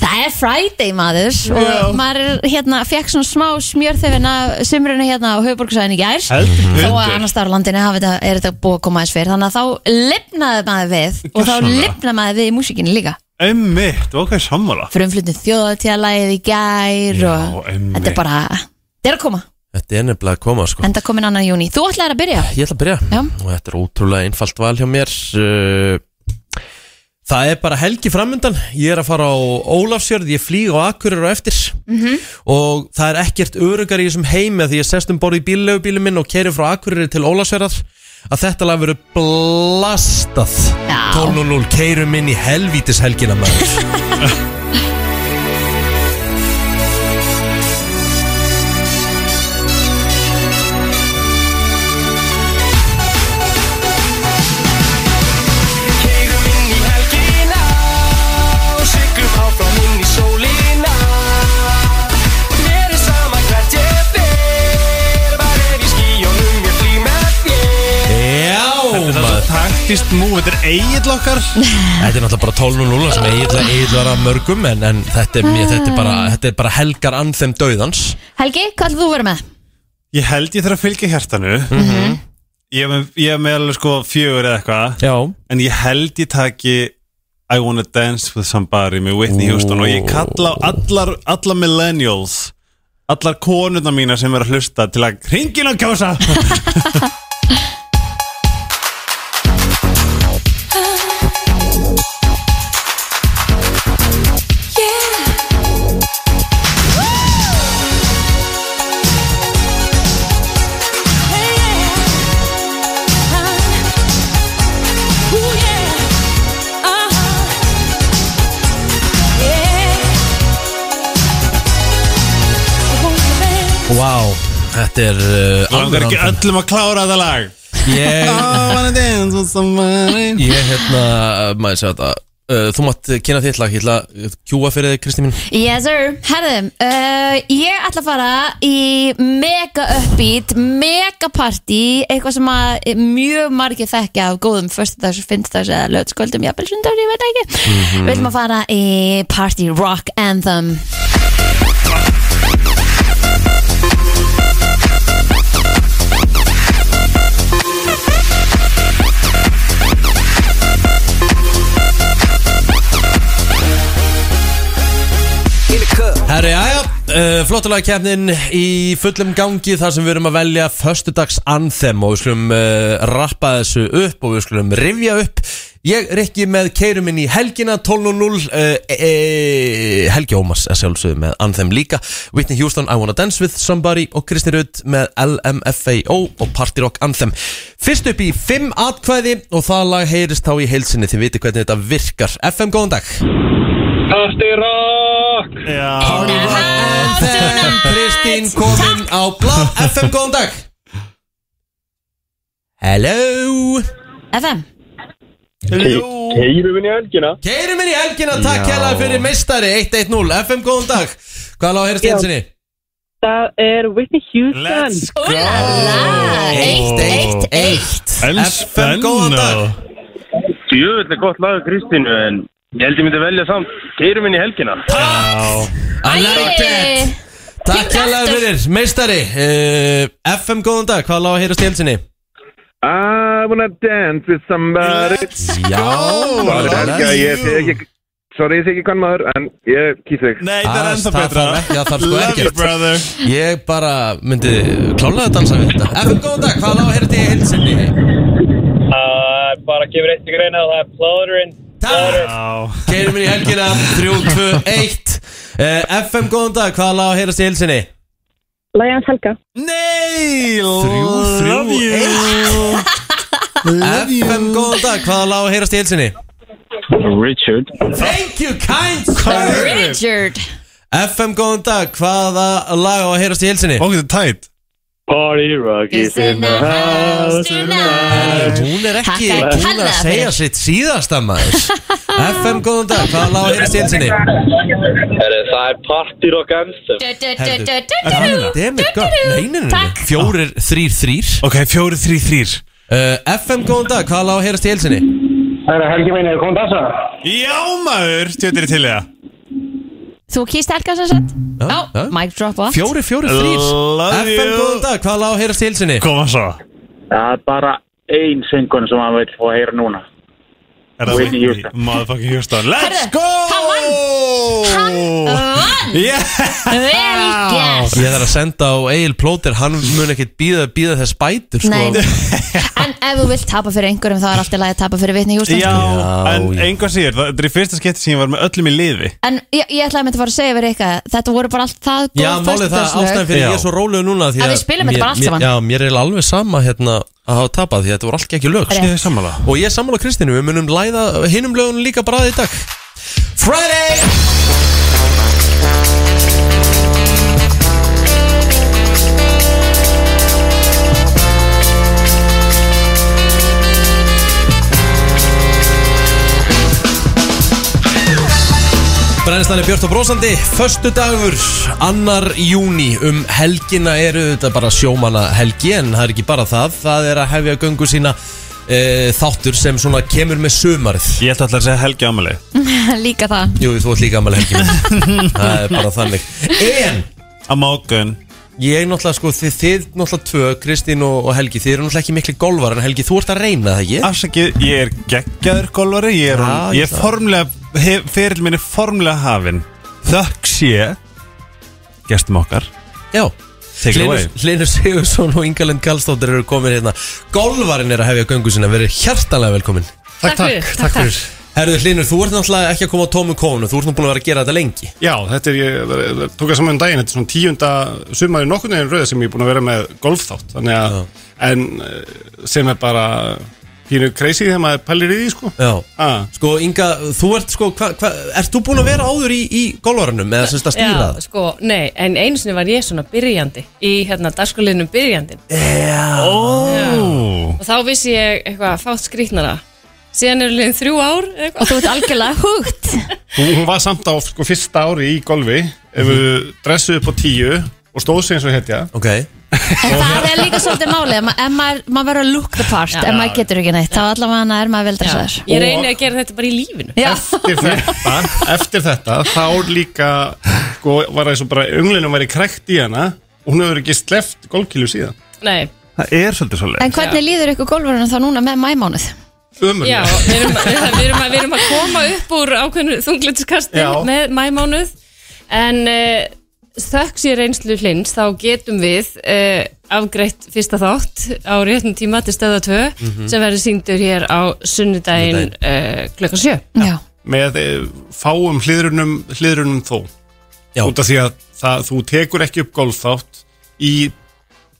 C: Það er Friday maður og maður er, hérna, fekk svona smá smjörþefina sumruna hérna á höfuborgsæðin í gær
E: Heldur
C: þó að
E: betur.
C: annars staðar á landinu hafi þetta, er þetta búið að koma aðeins fyrir þannig að þá lifnaði maður við og þá
E: Gjörsamlega.
C: lifnaði maður við í músikinni líka
E: Einmitt, ok, sammála
C: frumflutin þjóðatíðalæðið í gær
E: Já,
C: og
E: einmitt.
C: þetta er bara þetta er að koma,
B: Þetta er nefnilega að koma sko
C: enda komin annan júni þú ætlaðir að byrja
B: Ég ætla að byrja
C: Já.
B: og þetta er ótrúlega einfalt val hjá mér Eh, Það er bara helgi framundan Ég er að fara á Ólafsjörð Ég flýg á Akurur og eftir -hmm. Og það er ekkert örugar í þessum heimi að Því ég sest um borð í bíllegubílum minn Og keri frá Akurur til Ólafsjörðar Að þetta lag verður blastað
C: Já.
B: 12.00 keirum inn í helvítis helgina maður
F: Keirum inn í helgina Og siglum áfram inn í sólina Mér er sama hvert ég fer Var er í skíjónum, ég flý með þér
B: Já maður
E: Taktist mú, þetta er eigiðl okkar
B: Þetta er náttúrulega bara 12.00 sem eiginlega eiginlega mörgum en, en þetta, er, mér, þetta, er bara, þetta er bara helgar anþem dauðans
C: Helgi, hvað ætlaðu þú að vera með?
E: Ég held ég þarf að fylgja hjartanu
B: Mhm.
E: Ég er með- ég er með alveg sko fjögur eða eitthvað
B: Já
E: En ég held ég taki I wanna dance with somebody með Whitney Houston Og ég kalla á allar, allar millennials Allar konurna mína sem er að hlusta til að hringin og kjósa
D: Ah.
B: Vá, þetta er uh,
E: Langar ekki
B: anthem.
E: öllum að klára þetta lag Oh,
B: Ég,
E: I wanna dance with somebody
B: ég hérna, uh, maður segja þetta uh, Þú mátt uh, kynna þitt lag, ég ætla að kjúa fyrir þig Kristi mín
C: Yes sir, herðum uh, Ég ætla að fara í mega uppbeat, mega party eitthvað sem að mjög margir þekkja af góðum föstudags, finnstags eða lögskvöldum, jafnvel sundags, ég veit ekki mm
B: Mhm.
C: -hmm. Við ætlum að fara í party rock anthem
B: Herri, jæja, uh, flottulega kefnin í fullum gangi þar sem við erum að velja Föstudags anthem og við skulum uh, rappa þessu upp og við skulum rifja upp Ég rikki með keiruminn í helgina 12.00 uh, e, Helgi Ómars er sjálfsögðu með anthem líka Whitney Houston, I Wanna Dance With Somebody og Kristi Rudd með LMFAO og Party Rock Anthem Fyrst upp í 5 atkvæði og það lag heyrist þá í heilsinni þið viti hvernig þetta virkar FM, góðan dag
G: Party Rock
E: Já,
B: FM Kristín komin á blá FM, góðan dag Hello
C: FM
G: Keirum inn í helgina
B: Keirum inn í helgina, takk hérna fyrir meistari 110, FM góðan dag Hvað lág að heyra steinsinni?
H: Það er Whitney Houston
E: Let's go
C: Úlala, eitt, eitt, eitt
E: En
B: FM góðan dag
E: spenna
G: Jöfell er gott lagu Kristínu en ég held ég myndi velja samt Keirum inn í helgina
B: I like it Takk hérna
C: aftur.
B: fyrir meistari uh, FM góðan dag, hvað lág að heyra steinsinni?
I: I wanna dance with
B: eh,
I: somebody
B: Já
I: Það er
B: let's-
I: helga, ég sé ekki Sorry, ég sé ekki hvern maður, en ég kýr þig
E: Nei, það er
B: Ah,
E: ennþá
B: það
E: betra
B: þarf ekki- það þarf sko
E: Love you
B: ekkert.
E: brother
B: Ég bara myndi klálega að dansa við þetta FM góðan dag, hvað lág að heyra steinsinni?
G: Það er bara að gefa eitt í greina og það er plóðurinn
B: Takk
E: Já
B: Keirum inn í helgina 3, 2, 1 uh, FM, góðan dag, hvað lág að heyrast í hilsinni?
H: Læjans Helga
E: Nei,
B: þrjú,
E: love you
B: FM, góðan dag, hvað lág að heyrast í hilsinni?
G: Richard
B: Thank you, kind sir
C: Richard
B: FM, góðan dag, hvaða lag á að heyrast í hilsinni?
E: Ok, þetta er tætt
G: Party rock is in the house
C: tonight
B: Hún er ekki
C: Takk
B: búin
C: að
B: að
C: kærlega
B: segja
C: fyrir.
B: sitt síðasta maður FM, góðan dag, hvaða lág að heyrast í hilsinni?
G: Herri, Það er party rock anthem
C: Du, du, du, du, du,
E: Er það
C: du,
E: hérna?
B: Demir, góð, neinin
C: Takk.
B: Fjórir, þrýr, þrýr
E: Ok, fjóri, þrý, þrýr
B: uh, FM, góðan dag, hvaða lág að heyrast í hilsinni?
G: Það er helgi meina, er komið þessa?
E: Já maður, tjóttir til í það
C: Þú kýrst Helga sem sagt
B: Já, já.
C: Já, mic drop off
B: Fjórir, fjórir, þrýr
E: Love
B: FM,
E: you.
B: góðan dag, hvaða lág að heyrast í hilsinni?
E: Koma svo
J: Það er bara ein syngun sem hann vil fá að heyra núna.
E: Er það
J: Whitney Houston.
E: Motherfucking Houston Let's
C: Herðu,
E: go
C: hann vann. Hann vann
E: Yeah
C: Vel gert
B: Ég þarf að senda á Egil Plóter Hann mun ekkit býða, býða þess bætur sko.
C: Nei En ef þú vilt tapa fyrir einhverjum þá er alltaf lægi að tapa fyrir vitni Hjúsland
E: Já,
B: Já,
E: en
B: já.
E: einhvað sér, þetta er í fyrsta skipti sem ég var með öllum í liði
C: En ég, ég ætlaði að mynda að fara að segja fyrir eitthvað Þetta voru bara allt það góð
B: Já, málið það ástæðan fyrir ég er svo rólegur núna því
C: Að við spilum þetta
B: mér-
C: bara allt
B: mér-
C: saman.
B: Já, mér er alveg sama hérna að hafa tapað því að þetta voru alltaf ekki lög sko.
E: Ég er sammála
B: Og ég er sammála Kristínu, við munum læða hinnum lögun líka bara í dag Friday! Brennstan er björt og brósandi, förstu dagur, annar júni um helgina eru þetta bara sjómanna helgi en það er ekki bara það, það er að hefja göngu sína e, þáttur sem svona kemur með sumarið.
E: Ég ætla alltaf að segja Helgi Amali
C: Líka það
B: Jú, þú ert líka ammali helgi minn, það er bara þannig. En
E: Á mógun
B: ég náttúrulega sko, þið, þið náttúrulega tvö, Kristín og, og Helgi, þið eru náttúrulega ekki mikli golvar en Helgi, þú ert að reyna það ekki?
E: Afsakið, ég er geggjaður golvari Ég er,
B: Já,
E: ég
B: ég
E: er
B: það.
E: formlega hef, Feril minn er formlega hafin Þökk sé Gestum okkar
B: Já.
E: Take it away
B: Linur Sigursson og Ingalind Kallstóttir eru komin hérna Golvarinn er að hefja göngu sinna, verið hjartanlega velkomin
D: Takk, takk, takk fyrir
B: Herðu Linur, þú ert náttúrulega ekki að koma á tómu kónu Þú ert nú búin að vera að gera þetta lengi
D: Já, þetta er, ég það er- það tók að saman um daginn, þetta er svona tíunda sumari nokkurnu en rauða sem ég er búin að vera með golfþátt þannig að, en eh, sem er bara pínu crazy þegar maður pælir í því, sko
B: Já
D: ah,
B: Sko Inga, þú ert sko, hva, hva, ert þú búin að vera áður í, í golvarannum eða semst að stýra
D: Já, sko, nei, en einu sinni var ég svona byrjandi í hérna dagskólinum byrjandin
K: Oh.
E: Ó,
D: og þá vissi ég eitthvað fátt skrýtnara síðan eru liðin þrjú ár eða eitthvað.
C: Og þú ert algjörlega hugt
D: hún, hún var samt á sko, fyrsta ári í golfi ef
B: Mhm.
D: við dressuð upp á tíu og stóð sig eins og hetja
B: Ok
C: En það er líka svolítið málið ef ma- Ef maður ma verður að look the part Ef maður getur ekki neitt Þá allavega er maður veldræsar
D: ég
E: reyni
D: að gera þetta bara í lífinu
C: Já
D: eftir þetta, eftir þetta þá líka sko, var það svo bara unglinum væri krekt í hana og hún hefur ekki sleft golfkílu síðan
L: Nei,
E: það er svolítið svolítið
C: En hvernig líður ykkur golfurinn þá núna með mæmánuð?
D: ömurlega
L: já, við erum, við, erum að, við erum að koma upp úr ákveðnu
D: Já.
L: þunglitiskastin með mæmánuð en uh, þökk sér einslu hlins þá getum við uh, afgreitt fyrsta þátt á réttum tíma til stöða 2
D: Mhm.
L: sem verður sýndur hér á sunnudaginn uh, klukkan 7
C: Já
D: með eh, fáum hliðrunum, hliðrunum þó
B: Já.
D: út af því að það, þú tekur ekki upp golfþátt í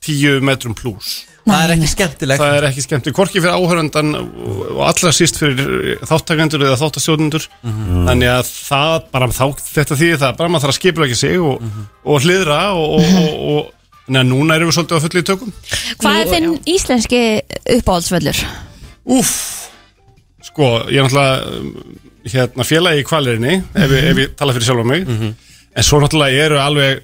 D: 10 metrum pluss
B: Það er ekki skemmtilegt
D: það er ekki skemmt, hvorki fyrir áhörandan og allra síst fyrir þáttakendur eða þáttastjóðnendur
B: Mhm.
D: þannig að það bara þá, þetta þýðir það bara maður þarf að skipla ekki sig og, og hliðra og, og, og, og Þannig að núna erum við svolítið á fullu í tökum.
C: Hvað er þinn íslenski uppáhaldsvöllur?
D: Úff, sko, ég er náttúrulega um, hérna, félagi í kvalirinni ef, mm ef ég tala fyrir sjálf mig en svo náttúrulega eru alveg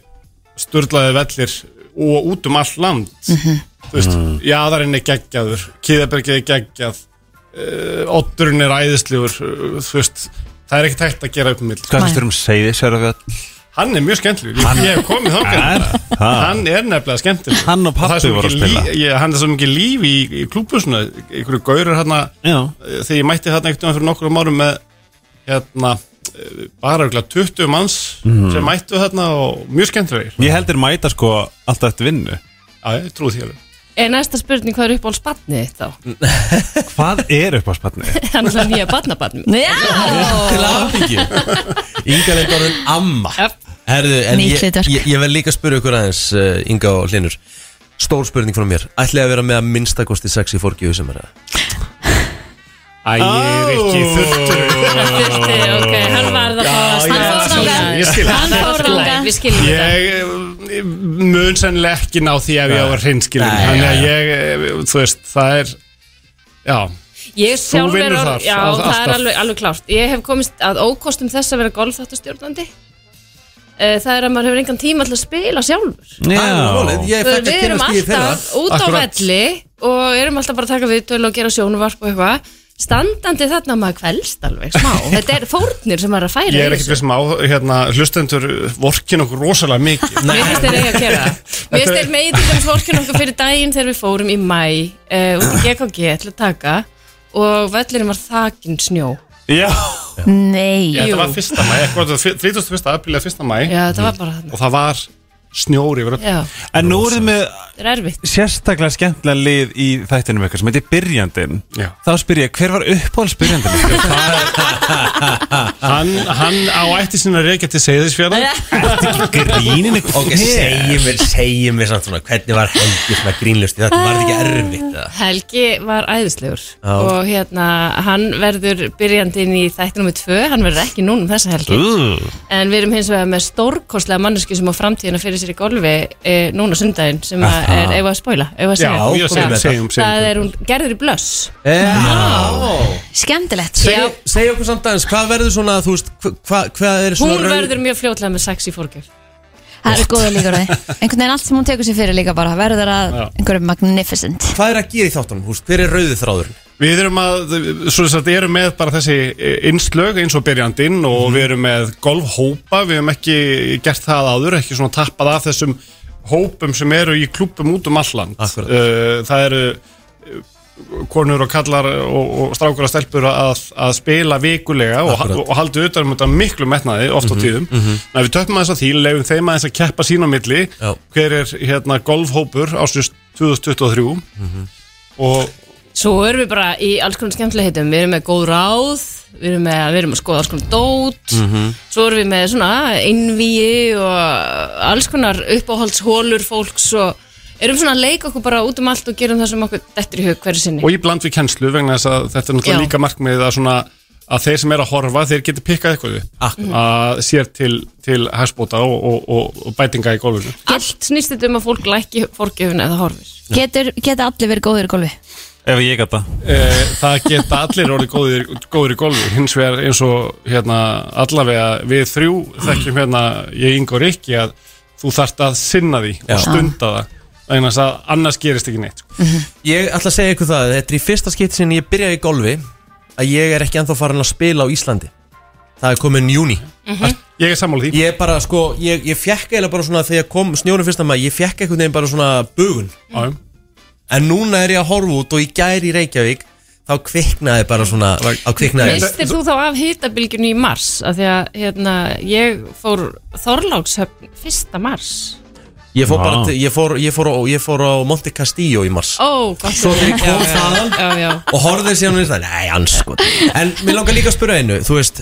D: sturlaði vellir og út um allt land
F: Mhm.
D: þú veist,
F: Mhm.
D: jaðarinn er geggjaður kýðabergið er geggjað uh, oddurinn er æðislegur uh, þú veist, það er ekkert hægt að gera upp um mill
E: Hvað finnst þér um Seyðisverðafjall?
D: Hann er mjög skemmtilegur,
E: Hann-
D: ég, ég hef komið
E: Er
D: þangað
E: það?
D: Hann er nefnilega skemmtilegur
E: Hann og
D: Það er
E: pabbi
D: svo
E: voru að
D: mikið
E: spila.
D: líf- ég, Hann er svo mikið líf í, í klúbusuna einhverju gaurur hérna eh, þegar ég mætti þarna einhvern veginn fyrir nokkrum árum með hérna eh, bara örugglega 20 manns
E: Mhm.
D: sem mættu þarna og mjög skemmtilegir
E: Ég heldur mæta sko alltaf eftir vinnu
D: Já, ég trú því alveg
L: Er næsta spurning hvað er upp á spannið þitt þá?
E: Hvað er upp á spanni?
L: Það er náttúrulega nýja barnabarn mitt.
B: Til aðbyggju Inga leik orðin amma Herðu, en
L: Nýtt
B: ég,
L: hlutverk.
B: ég, ég vel líka að spyrja ykkur aðeins uh, Inga og Hlinur Stór spurning frá mér Ætli að vera með að minnstakosti sex í fórgjöðu sem er það
D: Æ, ég er ekki þurftur
L: Þurfti, ok, hann varð að fá að
D: Já,
L: standa
D: ég- ég skil það.
L: Hann fór þangað, við skiljum þetta
D: Ég eh, mun sennilega ekki ná því ef ég á að reynskilin
B: Nei,
D: Þannig að
B: já,
D: ég, eh, þú veist, það er Já, Þú
L: Ég sjálf er
D: vinnur
L: orð,
D: þar,
L: já,
D: all-
L: það er
D: alltaf.
L: alveg, alveg klárt Ég hef komist að ókostum þess að vera golfþáttastjórnandi Eh, Það er að maður hefur engan tíma til að spila sjálfur
B: Ég
L: Þú
B: fekk
L: veist,
B: að
L: Við erum
B: kynast því í fyrra.
L: alltaf út á
B: Akkúrat.
L: velli og erum alltaf bara að taka viðtöl og gera sjónuvarp og eitthvað Standandi þarna maður kvelst alveg smá Þetta er fórnir sem maður er að færa
D: ég er
L: í
D: ekkert
L: þessu.
D: vissum á, hérna, hlustendur vorkin okkur rosalega mikið
L: Mér finnst þeir eiga að gera það. Mér finnst þeir megi til dæmis vorkjörn okkur fyrir daginn þegar við fórum í mæ uh, út í GKG til að taka og völlurinn var þakinn snjó
D: Já
C: Nei
D: Þetta var fyrsta mæ, eitthvað, 31. apríl eða fyrsta mæ
L: Já, þetta var bara þarna.
D: Og það var snjóri yfir öllu.
L: Já.
E: En nú erum við
L: Þetta er erfitt
E: sérstaklega skemmtilega lið í þættinum ykkar sem heitir Byrjandinn Þá spyr ég, hver var uppáhaldsbyrjandinn? ykkar?
D: Hann, hann á ætti sinna reykja til segðisfjörðan
B: gríninu Ok, segjum við, segjum við samt svona Hvernig var helgi svona grínlust í þetta? Var þetta ekki erfitt? eða?
L: Helgi var æðislegur
B: Já.
L: og hérna, hann verður byrjandi inn í þætti nummið tvö, hann verður ekki núna um þessa helgi En við erum hins vegar með stórkostlega manneski sem á framtíðina fyrir sér í golfi e, núna sundaginn sem að
B: Aha.
L: er eigum að spóila, eigum að
B: Já,
L: segja.
B: já, segjum þetta. Segjum, segjum
L: Það er hún gerður í blöss.
B: Já
C: Skemmtilegt
B: Segja seg okkur samt aðeins, hvað verður svona, þú veist, hva- hvað hva er svona
L: Hún
B: raun-
L: verður mjög fljótlega með sex í fórgjöf.
C: Það eru góða líkur á því Einhvern veginn allt sem hún tekur sér fyrir líka bara verður að
B: Já.
C: einhverju magnificent
B: Hvað er að gera í þáttunum, húst? Hver er rauðið þráður?
D: Við erum að, svo þess að erum með bara þessi innslög eins og byrjandinn
B: Mhm.
D: og við erum með golfhópa, við hefum ekki gert það áður, ekki svona tappað af þessum hópum sem eru í klúppum út um alland. Uh, það eru eh, konur og kallar og, og strákur og stelpur að, að spila vikulega og,
B: Akkurat.
D: og haldi utan um þetta miklu metnaði oft á
B: Mhm,
D: tíðum. Mm
B: mhm.
D: Við töpum aðeins að því, leifum þeim aðeins að keppa sín á milli,
B: Já.
D: hver er hérna golfhópur ásins 2023
B: Mhm.
D: og
L: Svo erum við bara í alls konar skemmtilega heitum. Við erum með góð ráð, við erum með, við erum að skoða alls konar dót,
K: Mhm.
L: svo erum við með svona innvíi og alls konar uppáhaldshólur fólks og erum svona að leika okkur bara út um allt og gerum það sem okkur dettur í hug hverju sinni.
D: og í bland við kennslu vegna þess að þetta er náttúrulega
L: Já.
D: líka markmið að svona að þeir sem er að horfa, þeir geti pikkað eitthvað upp að sér til, til hæsbóta og, og, og, og bætinga í golfinu
L: Allt snýst þetta um að fólk lækki fórgjöfuna eða horfir.
C: Getur, geta allir verið góður í golfi
E: Ef ég geta
D: Eh, Það geta allir orðið góðir, góðir í golfi hins vegar eins og hérna, allavega við þrjú þekkjum hérna ég yngur ekki að þú þarft að sinna því
B: Já.
D: og stunda það vegna þess að annars gerist ekki neitt sko.
B: Ég ætla að segja ykkur það, þetta er í fyrsta skipti sinni ég byrjaði í golfi að ég er ekki ennþá farin að spila á Íslandi Það er komin júni
L: Mhm.
D: Ég er sammála því
B: Ég er bara sko, ég, ég fekk eiginlega bara svona þegar kom snjónum fyrsta maður, ég fekk eitthvað neginn bara svona bugun
D: Já.
B: En núna er ég að horfa út og í gæri í Reykjavík þá kviknaði bara svona á kviknaði
L: Mistir þú þá af hitabilgjunni í mars? Af því að hérna, ég fór Þorlákshöfn fyrsta mars.
B: Ég fór bara,
E: Vá.
B: til- ég fór, ég fór, á- ég fór á Monte Castillo í mars
L: Ó, gott.
B: Svo þegar ég kom þaðan
L: Já, já.
B: og horfði síðan og ég sagði, nei, anskot en mér langar líka að spura einu, þú veist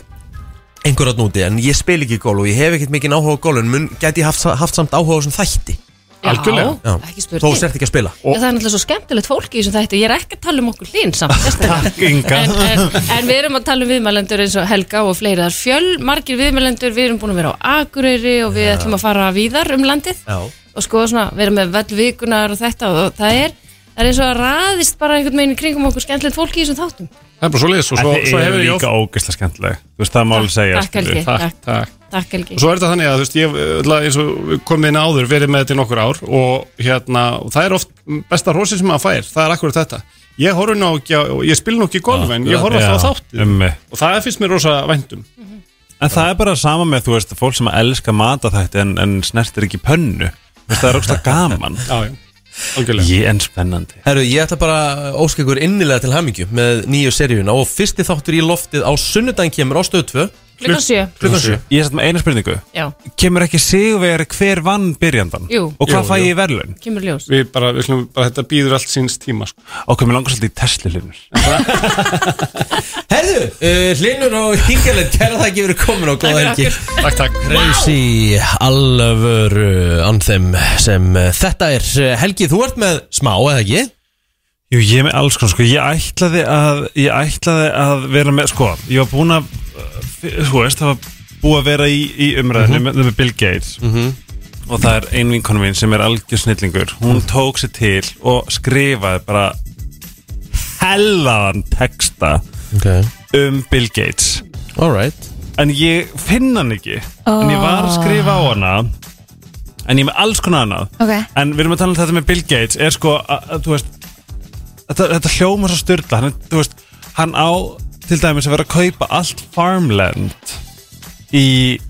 B: einhver átt núti, en ég spil ekki gól og ég hef ekkert mikinn áhuga á gól, en mun gæti ég haft, haft samt áhuga á þessum þætti
L: Já, Algjörlega. ekki spurning.
B: Þó sért ekki að spila
L: Já, það er náttúrulega svo skemmtilegt fólki í þessum þætti Ég er ekki að tala um okkur hlýn samt sérstaklega.
B: Inga.
L: en, en, en við erum að tala um viðmælendur eins og Helga og fleiri Það er fjöl, margir viðmælendur Við erum búin að vera á Akureyri og við
M: Já.
L: ætlum að fara víðar um landið
B: Já.
L: og sko svona, við erum með vell vikunar og þetta og það er það er eins og að raðist bara einhvern veginn í kringum okkur skemmtilegt fólk í þessum þáttum
D: Það er bara svo leiðis og svo,
E: En þið
D: svo
E: eru
D: hefur ég
E: líka ógeðslega skemmtileg Þú veist, það máli segja
L: takk, Helgi,
D: takk, takk.
L: Takk Helgi
D: Og svo er þetta þannig að, þú veist, ég ætla, eins og við komum inn áður, verið með þetta í nokkur ár og hérna, og það er oft besta hrósið sem maður fær, það er akkurat þetta. Ég horfði nú ekki á, og ég spil nú ekki í golf, en ég horfði alltaf á þáttið.
E: Ummi
D: Og það finnst mér um. rosa væntum.
E: En það er bara sama með, þú veist, fólk sem elskar mataþætti en, en snertir ekki pönnu Þú veist, Það er ógstlega gaman
D: Já, já, algjörlega
E: Ég en spennandi
B: Herru, ég ætla bara að óska ykkur innilega til hamingju með nýju seríuna og fyrsti þáttur í loftið á sunnudaginn kemur á stöð 2
L: Klukkan sjö.
B: Klukkan 7
E: Ég er satt með eina spurningu
L: Já,
E: Kemur ekki sigurvegari hver vann byrjandan?
L: Jú.
E: Og hvað
L: Jú,
E: fæ
L: jú.
E: ég í verðlaun?
L: kemur ljós
D: Við bara, við slum, bara þetta býður allt síns tíma, sko.
E: Ok, mér langar svolítið í Tesla-linur
B: Herru, uh, Linur og Hingalinn, kæra það ekki verið komin og góða helgi
D: Takk, takk.
B: Crazy alvöru anþem sem eh, þetta er eh, Helgi, þú ert með smá eða ekki?
E: Jú, ég er með alls konar, sko, ég ætlaði að, ég ætlaði að vera með, sko, ég var búin að, uh, f- þú veist, það var búið að vera í, í umræðinu með, með Bill Gates og það er ein vinkonu mín sem er algjör snillingur, hún tók sér til og skrifaði bara hellaðan texta
B: Ok,
E: um Bill Gates
B: alright
E: en ég finn hann ekki, en ég var að skrifa á hana, en ég er með alls konar annað
C: Ok,
E: En við erum að tala um þetta með Bill Gates er sko, að, að, þú veist þetta, þetta hljóma svo styrla hann, er- þú veist, hann á til dæmis að vera að kaupa allt farmland í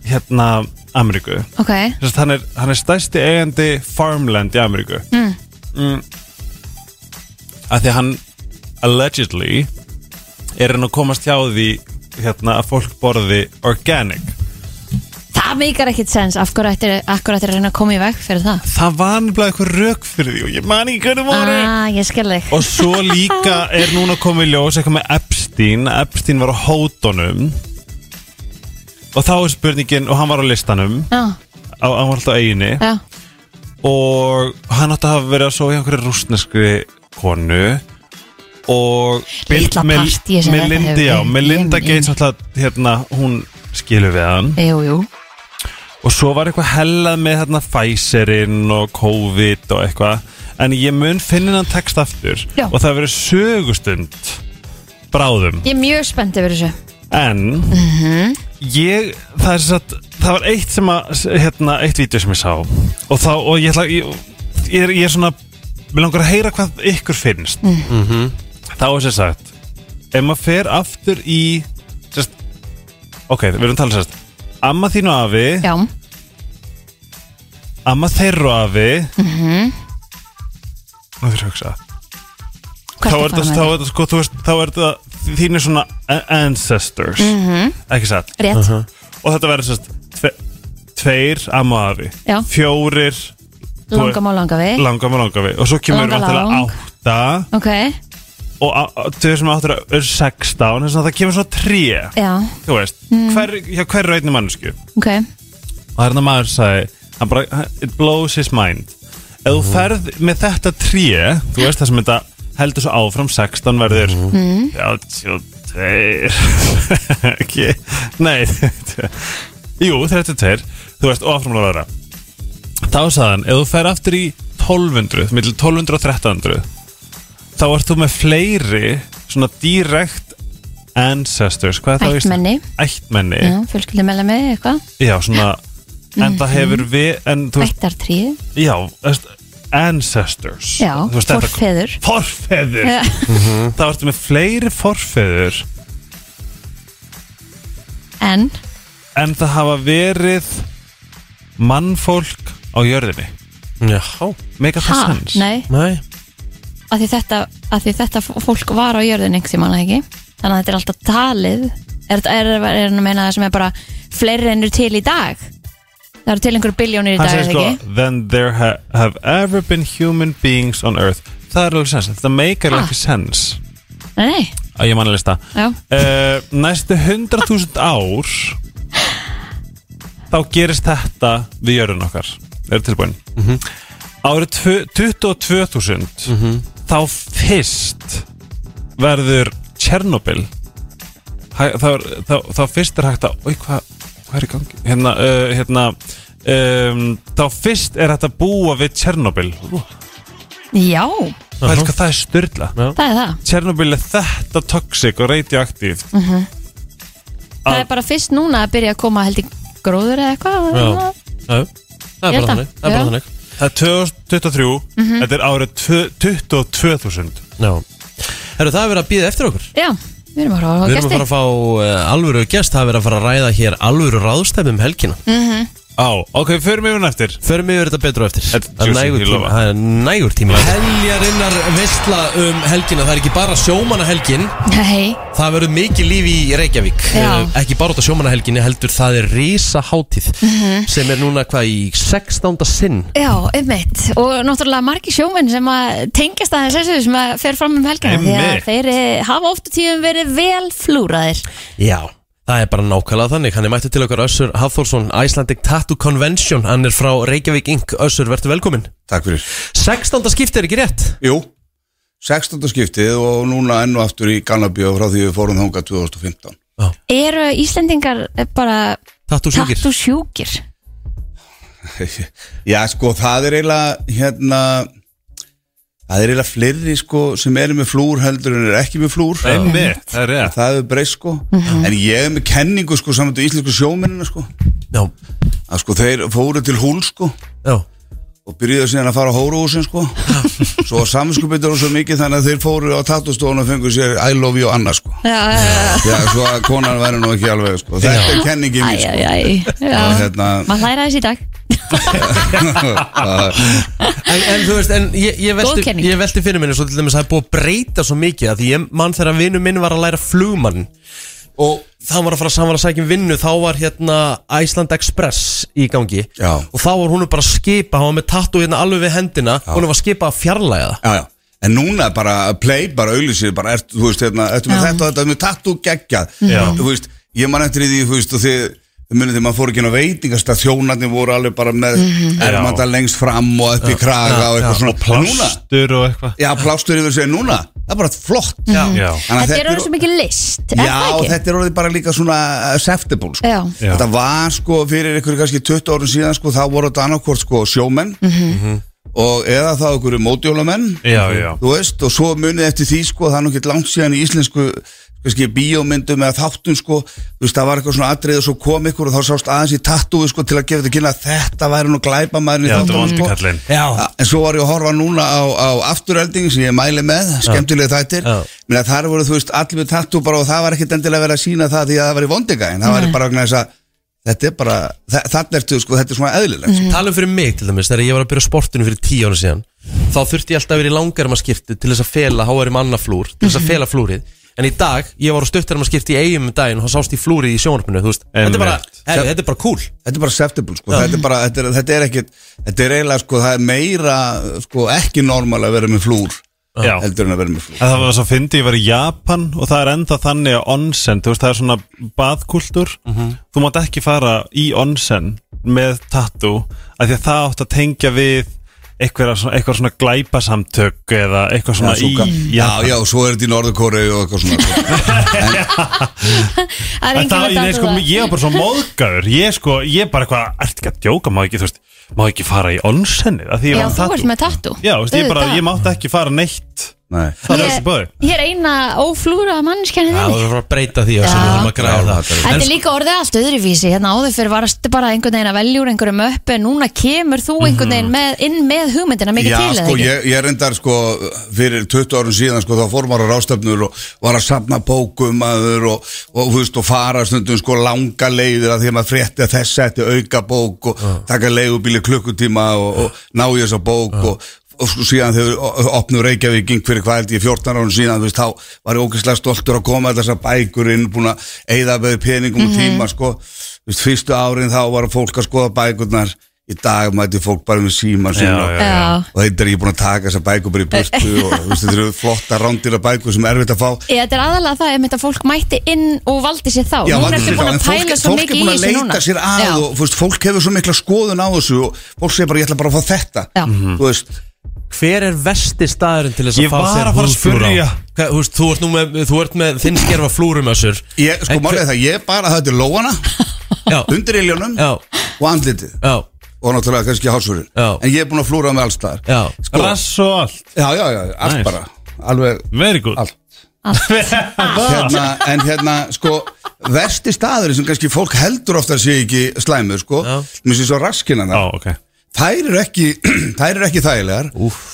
E: hérna Ameríku
C: ok
E: Þess, hann, er, hann er stærsti eigandi farmland í Ameríku
C: mm.
E: mm. að því að hann allegedly er hann að komast hjá því hérna að fólk borði organic
C: Það meikar ekkit sens, af hverju ættir, af hverju ættir að reyna að koma í veg fyrir það
E: það var nefnilega eitthvað rök fyrir því og ég man ekki hvernig voru
C: Ah, ég skil þig
E: Og svo líka er núna komið í ljós eitthvað með Epstein Epstein var á hótonum Og þá er spurningin Og hann var á listanum
C: Já,
E: á, Hann var alltaf á eiginni
C: já,
E: Og hann átti að hafa verið að sofa hjá einhverju rúsneskri konu Og
C: Litla
E: Mel-
C: partíið sem þetta
E: Melinda,
C: hefur
E: já,
C: verið.
E: Melinda
C: Ég-
E: Gates alltaf, hérna, hún skilur við hann
C: jú, jú
E: Og svo var eitthvað hellað með hérna Pfizerinn og COVID og eitthvað En ég mun finna hann text aftur
C: Já.
E: Og það verið sögustund Bráðum
C: Ég er mjög spennt yfir þessu
E: En ég, það er satt Það var eitt sem að, hérna, eitt vídeo sem ég sá Og þá, og ég ætla Ég, ég, er, ég er svona Mér langar að heyra hvað ykkur finnst
N: Mm.
B: Mhm.
E: Þá er sér sagt Ef maður fer aftur í sérst, Ok, við erum að tala sérst Amma þín og afi
C: Já,
E: Amma þeirra og afi
C: mhm
E: Nú þurfum við að hugsa
C: Hvað
E: Þá er
C: ertu að fara
E: þetta-
C: með
E: þá er þetta sko, þú veist Þá er þetta þínir svona a- ancestors
C: Mhm.
E: Ekki satt?
C: Rétt. Mhm.
E: Og þetta verður sérst tve, Tveir amma og afi
C: Já.
E: Fjórir þú veist,
C: Langam og langavi
E: Langam og langafi Og svo kemur
C: Langa
E: vantilega
C: lang.
E: átta
C: Ok,
E: Og á- á- tveir sem áttur er sextán þess að Það kemur svona tré
C: já,
E: Þú veist,
C: Mm.
E: hver, hjá hverju einni mannsku
C: ok
E: og það er hann maður sagði hann bara, it blows his mind ef þú ferð með þetta tríu þú veist það sem þetta heldur svo áfram 16 verður
F: Mhm.
E: 32 ekki, nei jú, 32 þú veist, og áfram lára þá sagði hann, ef þú ferð aftur í 1200, millir 1200 og 1300 þá ert þú með fleiri svona direct ancestors, hvað er það á íslensku?
C: Ættmenni. Mhm.
E: ættmenni
C: Já, fjölskyldum meðlega með eitthvað
E: Já, svona En það
C: Mhm.
E: hefur við en, þú veist,
C: Ættartríð
E: Já, þú veist, ancestors
C: Já,
E: Þú veist, þetta-
C: forfeður.
E: Forfeður
C: Já.
E: Það varstu með fleiri forfeður
C: En,
E: En það hafa verið Mannfólk á jörðinni
B: Já
E: Mega það
C: Ha,
E: sens
C: nei.
B: Nei
C: að því þetta, að því þetta fólk var á jörðin einhverjum manna ekki þannig að þetta er alltaf talið er þetta er, er, er að meina það sem er bara fleiri ennur til í dag það eru til einhverjum biljónir í
E: Hann
C: dag
E: segir
C: eða
E: sko
C: ekki
E: Then there ha have ever been human beings on earth Það er alveg sens Það meikar
C: Ha.
E: ekki sens
C: nei, nei,
E: að ég mannilegst það
C: Já.
E: uh, næstu 100.000 ár þá gerist þetta við jörðun okkar er tilbúin árið tvö- 22.000 þá fyrst verður Tjernobyl Hæ- þá, er- þá, þá fyrst er hægt að oi, hva, hvað er í gangi hérna, uh, hérna um, þá fyrst er hægt að búa við Tjernobyl
C: já
E: Pældu hvað það er styrla
C: Það er það.
E: Tjernobyl er þetta toxic og radioaktív
C: Mhm. Það
E: Að-
C: er bara fyrst núna að byrja að koma held í gróður eða eitthvað
E: Já. Já.
C: Það er Ég bara held að, þannig, það er bara já. þannig.
E: Það er 2023
C: Mhm.
E: Þetta er árið tvö- 22.000
B: Já Herru, það er verið að býða eftir okkur
C: Já, við erum að fara
B: Við erum
C: að hafa
B: að
C: gæsti
B: fara að fá uh, alvöru gest Það er verið að fara að ræða hér alvöru ráðstæmi um helgina
C: Mhm.
E: Á, ok, förum yfir hún eftir
B: Förum yfir þetta betur á eftir Það er
E: juicy,
B: nægur
E: ég
B: tími
E: lofa.
B: Það er nægur tími Heljarinnar veistla um helgina Það er ekki bara sjómanna
C: Nei,
B: Það verður mikið líf í Reykjavík
C: Já.
B: Eh, Ekki bara út á sjómannahelginni heldur það er rísa hátíð
C: Mhm.
B: sem er núna hvað í 16. sinn
C: já, einmitt Og náttúrulega margi sjómenn sem að tengjast að þessu sem að fer fram um helgina Því að
B: Einmitt.
C: þeir eh, hafa oft og tíðum verið vel flúraðir
B: Já Það er bara nákvæmlega þannig, hann er mættu til okkar Össur Hafþórsson, Icelandic Tattoo Convention hann er frá Reykjavík Inc. Össur, verður velkominn
M: Takk fyrir
B: 16. skipti er ekki rétt?
M: Jú, 16. skiptið og núna enn og aftur í Galnabíu frá því við fórum þangað 2015
C: Eru Íslendingar eh, bara
B: Tattusjúkir
C: Tattusjúkir
M: Já, sko, það er eiginlega hérna það er eiginlega fleiri sko sem eru með flúr heldur en eru ekki með flúr
E: Einmitt,
M: það er það er breyst sko
E: Mhm.
M: en ég er með kenningu sko saman til íslensku sjómennina sko
B: Já.
M: að sko þeir fóru til húl sko
B: Já.
M: og byrjuðu síðan að fara á hóruhúsin sko svo saminskupið er svo mikið þannig að þeir fóru á tattustofun og fengu sér I love you Anna sko
C: Já, já, já
M: Já, svo að konan væri nú ekki alveg sko. Þetta er kenningin mín
C: Æ,
M: sko.
C: æ, æ, já.
M: Og hérna
C: Maður hlæra þessi í dag
B: en, en þú veist, en ég, ég,
C: Góð
B: velti,
C: kenning.
B: ég velti fyrir minni svo til dæmis að það er búið að breyta svo mikið að því ég mann þegar vinnu minn var að læra flugmann og það var að fara saman að sækja um vinnu þá var hérna Iceland Express í gangi
M: já.
B: og þá var hún bara að skipa hann var með tattu hérna alveg við hendina já. hún var að skipa að fjarlæga það
M: já, já. En núna bara play, bara auðlýsir bara, ert, þú veist, hérna, ertu með
B: Já.
M: þetta og þetta með tattoo geggjað,
B: Já.
M: þú veist ég man eftir í því, þú veist, og þið munið þegar maður fór ekki inn á veitingast að þjónarnir voru alveg bara með
E: Mhm.
M: ermanda
E: Já.
M: lengst fram og upp í
E: Já.
M: kraga
E: Já,
M: og eitthvað
E: já.
M: svona
E: Og plástur
M: og eitthvað Já, plástur yfir sig núna, það er bara flott
C: Já. Já.
M: Þannig að
C: Mhm. Þetta er orðið svo mikið list er
M: Já,
C: það ekki?
M: þetta er orðið bara líka svona acceptable sko.
C: Já. Já.
M: Þetta var sko fyrir ykkur kannski 20 árum síðan sko, þá voru þetta annarkvort sko sjómenn
E: Mhm.
M: og eða þá ykkur mótjólamenn
E: Já, já.
M: þú veist, og svo munið eftir því sko, það er nú ekki langt síðan í íslensku kannski bíómyndum eða þáttum sko þú veist, það var eitthvað svona atrið og svo kom ykkur og þá sást aðeins í tattúi sko til að gefa þetta kynna að þetta væri nú glæpamaðurinn í
E: Já, þetta var
M: þáttunum,
E: vondi kallinn.
M: Já. en svo var ég að horfa núna á, á afturölding sem ég mæli með, skemmtilega þættir menn að þar voru þú veist allir með tattoo bara og það var ekkit endilega verið að sína það því að það var í vondiga en það var
B: Nei.
M: bara vegna þess að þetta er bara, þa- þarna ertu sko þetta er svona eðlilegt sko.
B: Talum fyrir mig til dæmis, þegar ég var að byrja á sportinu fyrir tíu ára síðan Þá þurfti ég alltaf að vera í langarma skipti til þess að fela háarum annað flúr Til þess að fela flúrið En í dag, ég var á stuttarma skipti í eigum um daginn og þá sást ég flúrið í sjónarpinu Þetta er bara, herri, þetta er bara cool
M: Þetta er bara acceptable sko, þetta er bara, þetta er, þetta er ekkit þetta er eiginlega sko, það er meira sko ekki normal að vera með flúr
E: Já.
M: heldur en að vera með flúr
E: En það var svo fyndi, ég var í Japan og það er enda þannig að onsen, þú veist, það er svona baðkultúr,
M: Mhm.
E: þú mátt ekki fara í onsen með tattoo af því að það átt að tengja við eitthvað svona, eitthvað svona glæpasamtök eða eitthvað svona
M: já,
E: í
M: í, já, já, svo er þetta í Norðurkóri og eitthvað svona sko.
C: Það er
E: En
C: enginn
E: það,
C: að
E: nei,
C: data
E: sko,
C: það.
E: ég var bara svo móðgæður Ég sko, ég bara eitthvað, ert ekki að djóka Má ekki, þú veist, má ekki fara í onsenni
C: Já, þú ert með tattoo
E: Já, þú veist, ég bara,
C: Auðvitað.
E: ég mátti ekki fara neitt
M: Nei
E: Það er þessi bæði
C: Ég er eina óflúra mannskjarni
B: Já,
C: þinni
B: það var að breyta því að
C: Já.
B: við þurfum að græða það
C: Þetta er líka orðið allt öðruvísi hérna áður fyrir varstu bara einhvern veginn að velja úr einhverjum upp en núna kemur þú einhvern veginn með, inn með hugmyndina mikið
M: Mhm. Já,
C: til eða
M: sko,
C: ekki?
M: ég, ég reyndar sko fyrir 20 árum síðan sko þá fór maður á rástefnur og var að safna bókum aður og, og, þú veist, og fara stundum sko langa leiðir að því að maður frétti að þess setti auka bók og taka leiðubíli klukkutíma og, og ná í þessa bók og, og sko síðan þegar opnur Reykjavík inn fyrir hvað held ég 14 árum síðan þú veist, þá var ég ógeðslega stoltur að koma þessar bækur inn búin að eyða með peningum
O: Mhm.
M: og tíma sko Þú veist, fyrstu árin þá var fólk að skoða bækurnar í dag mæti fólk bara með síma
O: Já, já, já. Já.
M: og þetta er ekki búin að taka þessar bækur bara í burtu og þú veist, þetta eru flotta rándýra bækur sem er erfitt að fá
C: Ég, þetta er aðalega það, einmitt að fólk mætti inn og valdi sér þá
M: Já,
C: Núna
M: vandinn
C: ertu
M: er
C: búin
M: en
C: að
M: fólk,
C: pæla svo
M: fólk er
C: mikið í
M: búin að
C: þessu
M: leita
C: núna
M: sér að
C: Já.
M: og þú veist, fólk hefur svo mikla skoðun á þessu og fólk segir bara ég ætla bara að fá þetta
C: Já.
M: þú veist
B: Hver er vesti staðurinn til þess að
M: Ég
B: fá
M: var
B: þér
M: að fara að
B: húðflúr á?
M: spyrja.
B: Hvað, Þú veist, þú ert nú með, þú ert með þinn skerfa flúrum össur
M: Ég, sko, málið er það, ég bara, þetta er lóana
B: Já.
M: undir iljónum og andlitið
B: Já.
M: og náttúrulega kannski hásfurinn en ég er búin að flúra með alls staðar sko,
E: Rass og allt
M: já, já, já, allt
E: Nice.
M: bara alveg,
E: Very good
M: allt. hérna, en hérna, sko versti staður sem kannski fólk heldur ofta sé ekki slæmur, sko mér sé svo raskinan
E: Já, ok
M: Þær eru ekki, þær eru ekki þægilegar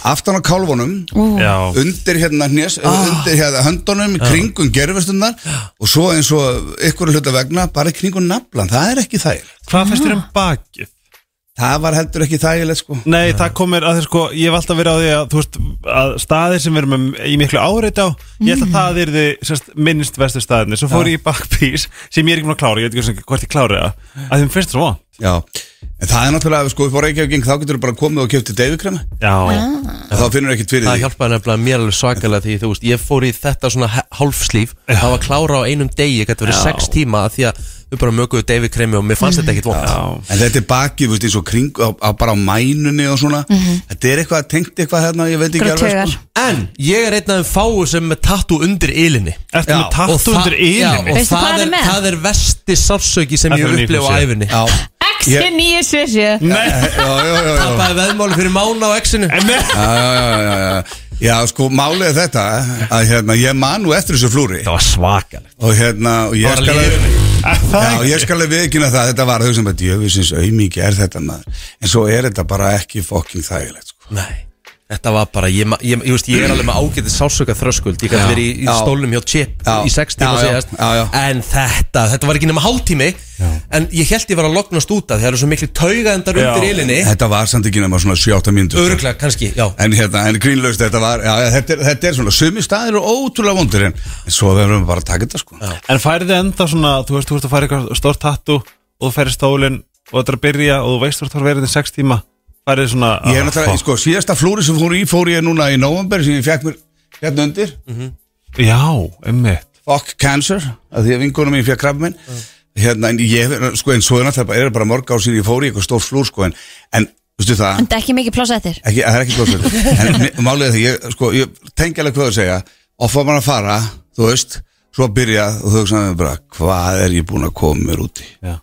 M: Aftan á kálfunum
E: Úff. Já.
M: Undir hérna hnés
E: Ah.
M: Undir hérna höndunum, í kringum gerfustunnar Og svo eins og ykkur hluta vegna Bara í kringum naflan, það er ekki þægileg
E: Hvað fannst þér um bakið?
M: Það var heldur ekki þægilegt sko
E: Nei, það komir að þér sko, ég hef alltaf verið á því að, þú veist, að staðir sem við erum með- í miklu áreitt á, ég held að það er því minnst vestu staðinni, svo
M: Mhm.
E: fór
M: Já.
E: ég í bakpís sem ég er ekki búin að klára, ég veit ekki hversu- hvort ég klára það að þeim finnst það svo vant
M: Já, en það er náttúrulega sko upp á Reykjavíking Þá getur þú bara komið og kjöptið deyfikrema
E: Já
C: Ah.
M: Þá finnur ekki tvirið
B: Það hjálpaði nefnilega mér alveg svakalega því þú veist Ég fór í þetta svona he- hálfslíf Það var klára á einum degi, ég gæti verið
M: Já.
B: sex tíma af Því að við bara möguðu David Kremi og mér fannst þetta ekkit vond
M: En þetta er bakið, þú veist, eins og kring á, á, Bara á mænunni og svona
B: Mhm.
M: Þetta er eitthvað, tengt eitthvað hérna, ég veit ekki alveg sko.
B: En ég er einn af þeim fáu sem er með tattu undir ylinni
E: Ertu með
B: Já,
E: tattoo
B: og það-
E: undir ilinni?
B: Já, og
C: Veistu hvað
B: það
C: hann er
B: er,
C: með?
B: það er vesti sársöki sem
E: Það
B: ég
E: þarf að
B: upplifa á
E: nýta sér.
B: æfinni
C: Exi 977
B: Tappaði veðmáli fyrir mána á exinu
M: já, já, já, já, já. já, sko, málið er þetta að hérna, ég man nú eftir þessu flúri Það
E: var svakalegt
M: Og hérna, og ég
E: Það var
M: skal að
E: lífið.
M: Já, ég skal að viðkynna það, þetta var hugsaðum að djöfisins aumingi er þetta maður En svo er þetta bara ekki fokking þægilegt sko.
B: Nei Þetta var bara, ég, ma- ég, ég, veist, ég er alveg með ágætið sásöka þröskuld Ég gæti
M: Já.
B: verið í, í
M: Já.
B: stólnum hjá Chip
M: Já.
B: í sex tíma
M: Já, já.
B: síðast En þetta, þetta var ekki nema hálftími En ég held ég var að lognast út að það eru svo miklu taugaðendar undir ilinni
M: Þetta var samt ekki nema svona 7-8 mínútur
B: Öruglega, kannski, já
M: En hérna, en grínlaust þetta var já, já, þetta, er, þetta er svona, sumi staðir og ótrúlega vondur En, en svo verðum við bara að taka þetta sko já.
E: En færði enda svona, þú veist, þú veist að færa eitthvað stórt tattu og þú færi stólinn og þetta er að byrja og þú veist þú ert að fara að vera þetta í sex tíma færði svona
M: Ég er
E: ah,
M: náttúrulega,
E: fuck.
M: sko, síðasta flúri sem fór í fór ég núna í november sem ég fekk mér hérna undir
E: Mhm. Já, emmitt
M: Fuck cancer, að því að vingunum mín fekk krabba minn
E: Mm.
M: Hérna, en ég, sko, en svo er náttúrulega bara- er bara mörg á sín ég fór í eitthvað stór flúr, sko En, en veistu það
C: En það er ekki mikið pláss eftir
M: ekki, það er ekki blóðsvöld en mi- málið er það, ég, sko, ég tengi alveg hvað að segja og fá mann að fara, þú veist svo byrja og þú hugsaðum bara hvað er ég búin að koma mér úti
E: Já.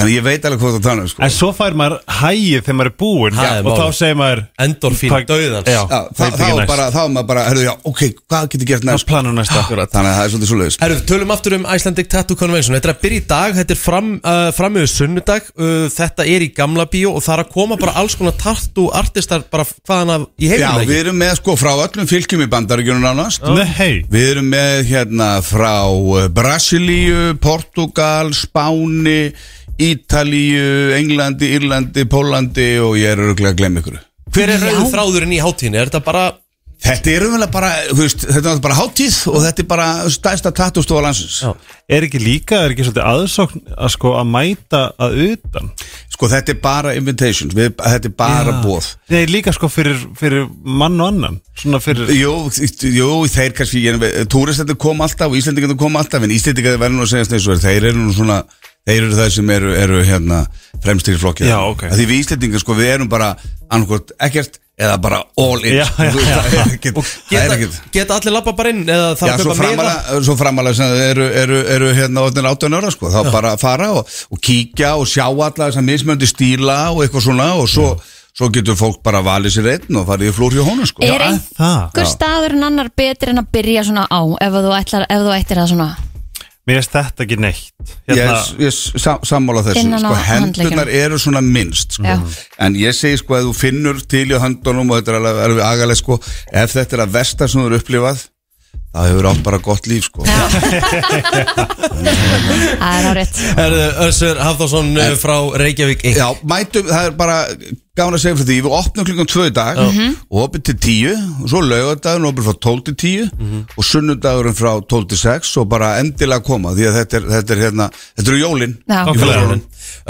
M: þannig ég veit alveg hvað það þannig sko.
E: En svo fær maður hægið þegar maður er búinn
M: Það er
E: og
M: málið.
E: þá segir maður
B: Endorfín
E: Hvað-
B: dauðans.
E: Já,
M: Já, þá, þá, er bara, þá er maður bara, herrðu, já, ok, hvað getur gert næst?
E: Hvað planum næst?
M: Akkurat, þannig að það er svolítið svoleiðis
B: Herru, tölum aftur um Icelandic Tattoo Convention Þetta er að byrja í dag, þetta er fram, uh, framöðu sunnudag uh, Þetta er í gamla bíó og það er að koma bara alls konar tattoo artistar bara hvaðan af í
M: Já,
B: heiminum
M: við erum með sko frá öllum fylgjum í bandaríkjunum nánast
E: Nei.
M: Við erum með hérna frá eh, Brasilíu, Portugal, Spáni, Ítalíu, Englandi, Írlandi, Pólandi og ég er örgulega að glemma ykkur
B: Hver er rauðu þráðurinn í hátíðinni? Er þetta bara
M: Þetta er umvel bara, þú veist, þetta er náttúrulega bara hátíð og þetta er bara stæsta tattustofa landsins
E: Er ekki líka, er ekki svolítið aðsókn að sko að mæta að utan
M: Sko þetta er bara invitations, við, þetta er bara
E: Já.
M: bóð
E: Nei, líka sko fyrir, fyrir mann og annan Svona fyrir
M: Jú, jú, þeir kannski, túristendur kom alltaf og Íslendingarnir kom alltaf en Íslendingarnir verður nú að segja þess að þeir eru nú svona, þeir eru það sem eru, eru hérna fremstir í flokkið
E: Já, ok.
M: Af Því við Íslendingar, sko, við erum bara annarkvort ekkert eða bara all in
E: Já, já,
M: Þú veist,
E: já.
M: Það er ekkert, það er ekkert
B: Geta allir lappa bara inn eða það
M: Já, svo framalega, svo framalega sem þau eru, eru, eru hérna orðin 18 ára sko, þá bara að fara og, og kíkja og sjá alla þess að mismöndi stíla og eitthvað svona og svo, svo getur fólk bara valið sér einn og farið í flúr hjá honum sko.
C: Er einhver staður en annar betur en að byrja svona á ef að þú, ætlar, ef þú ættir það svona
E: Mér veist þetta ekki neitt Hérna-
M: Ég, ég sam, sammála þessu,
C: Innan á
M: sko, hendunar
C: handleggjunum.
M: eru svona minnst sko.
C: Já.
M: en ég segi sko að þú finnur til í höndunum og þetta er alveg, alveg agaleg sko, ef þetta er að versta sem þú eru upplifað þá hefur átt bara gott líf sko.
C: Það er árið
B: Herðu, Össur Hafþórsson uh, frá Reykjavík 1
M: Já, mætum, það er bara gáðan að segja fyrir því, við opnum klukkan 2 í dag
B: Já.
M: og opið til 10 og svo laugardagurinn opið frá 12 til 10
B: Mhm.
M: og sunnudagurinn frá 12 til 6 og bara endilega koma því að þetta er, þetta er hérna, þetta eru jólin
C: Já.
M: Í fyrrarúllun.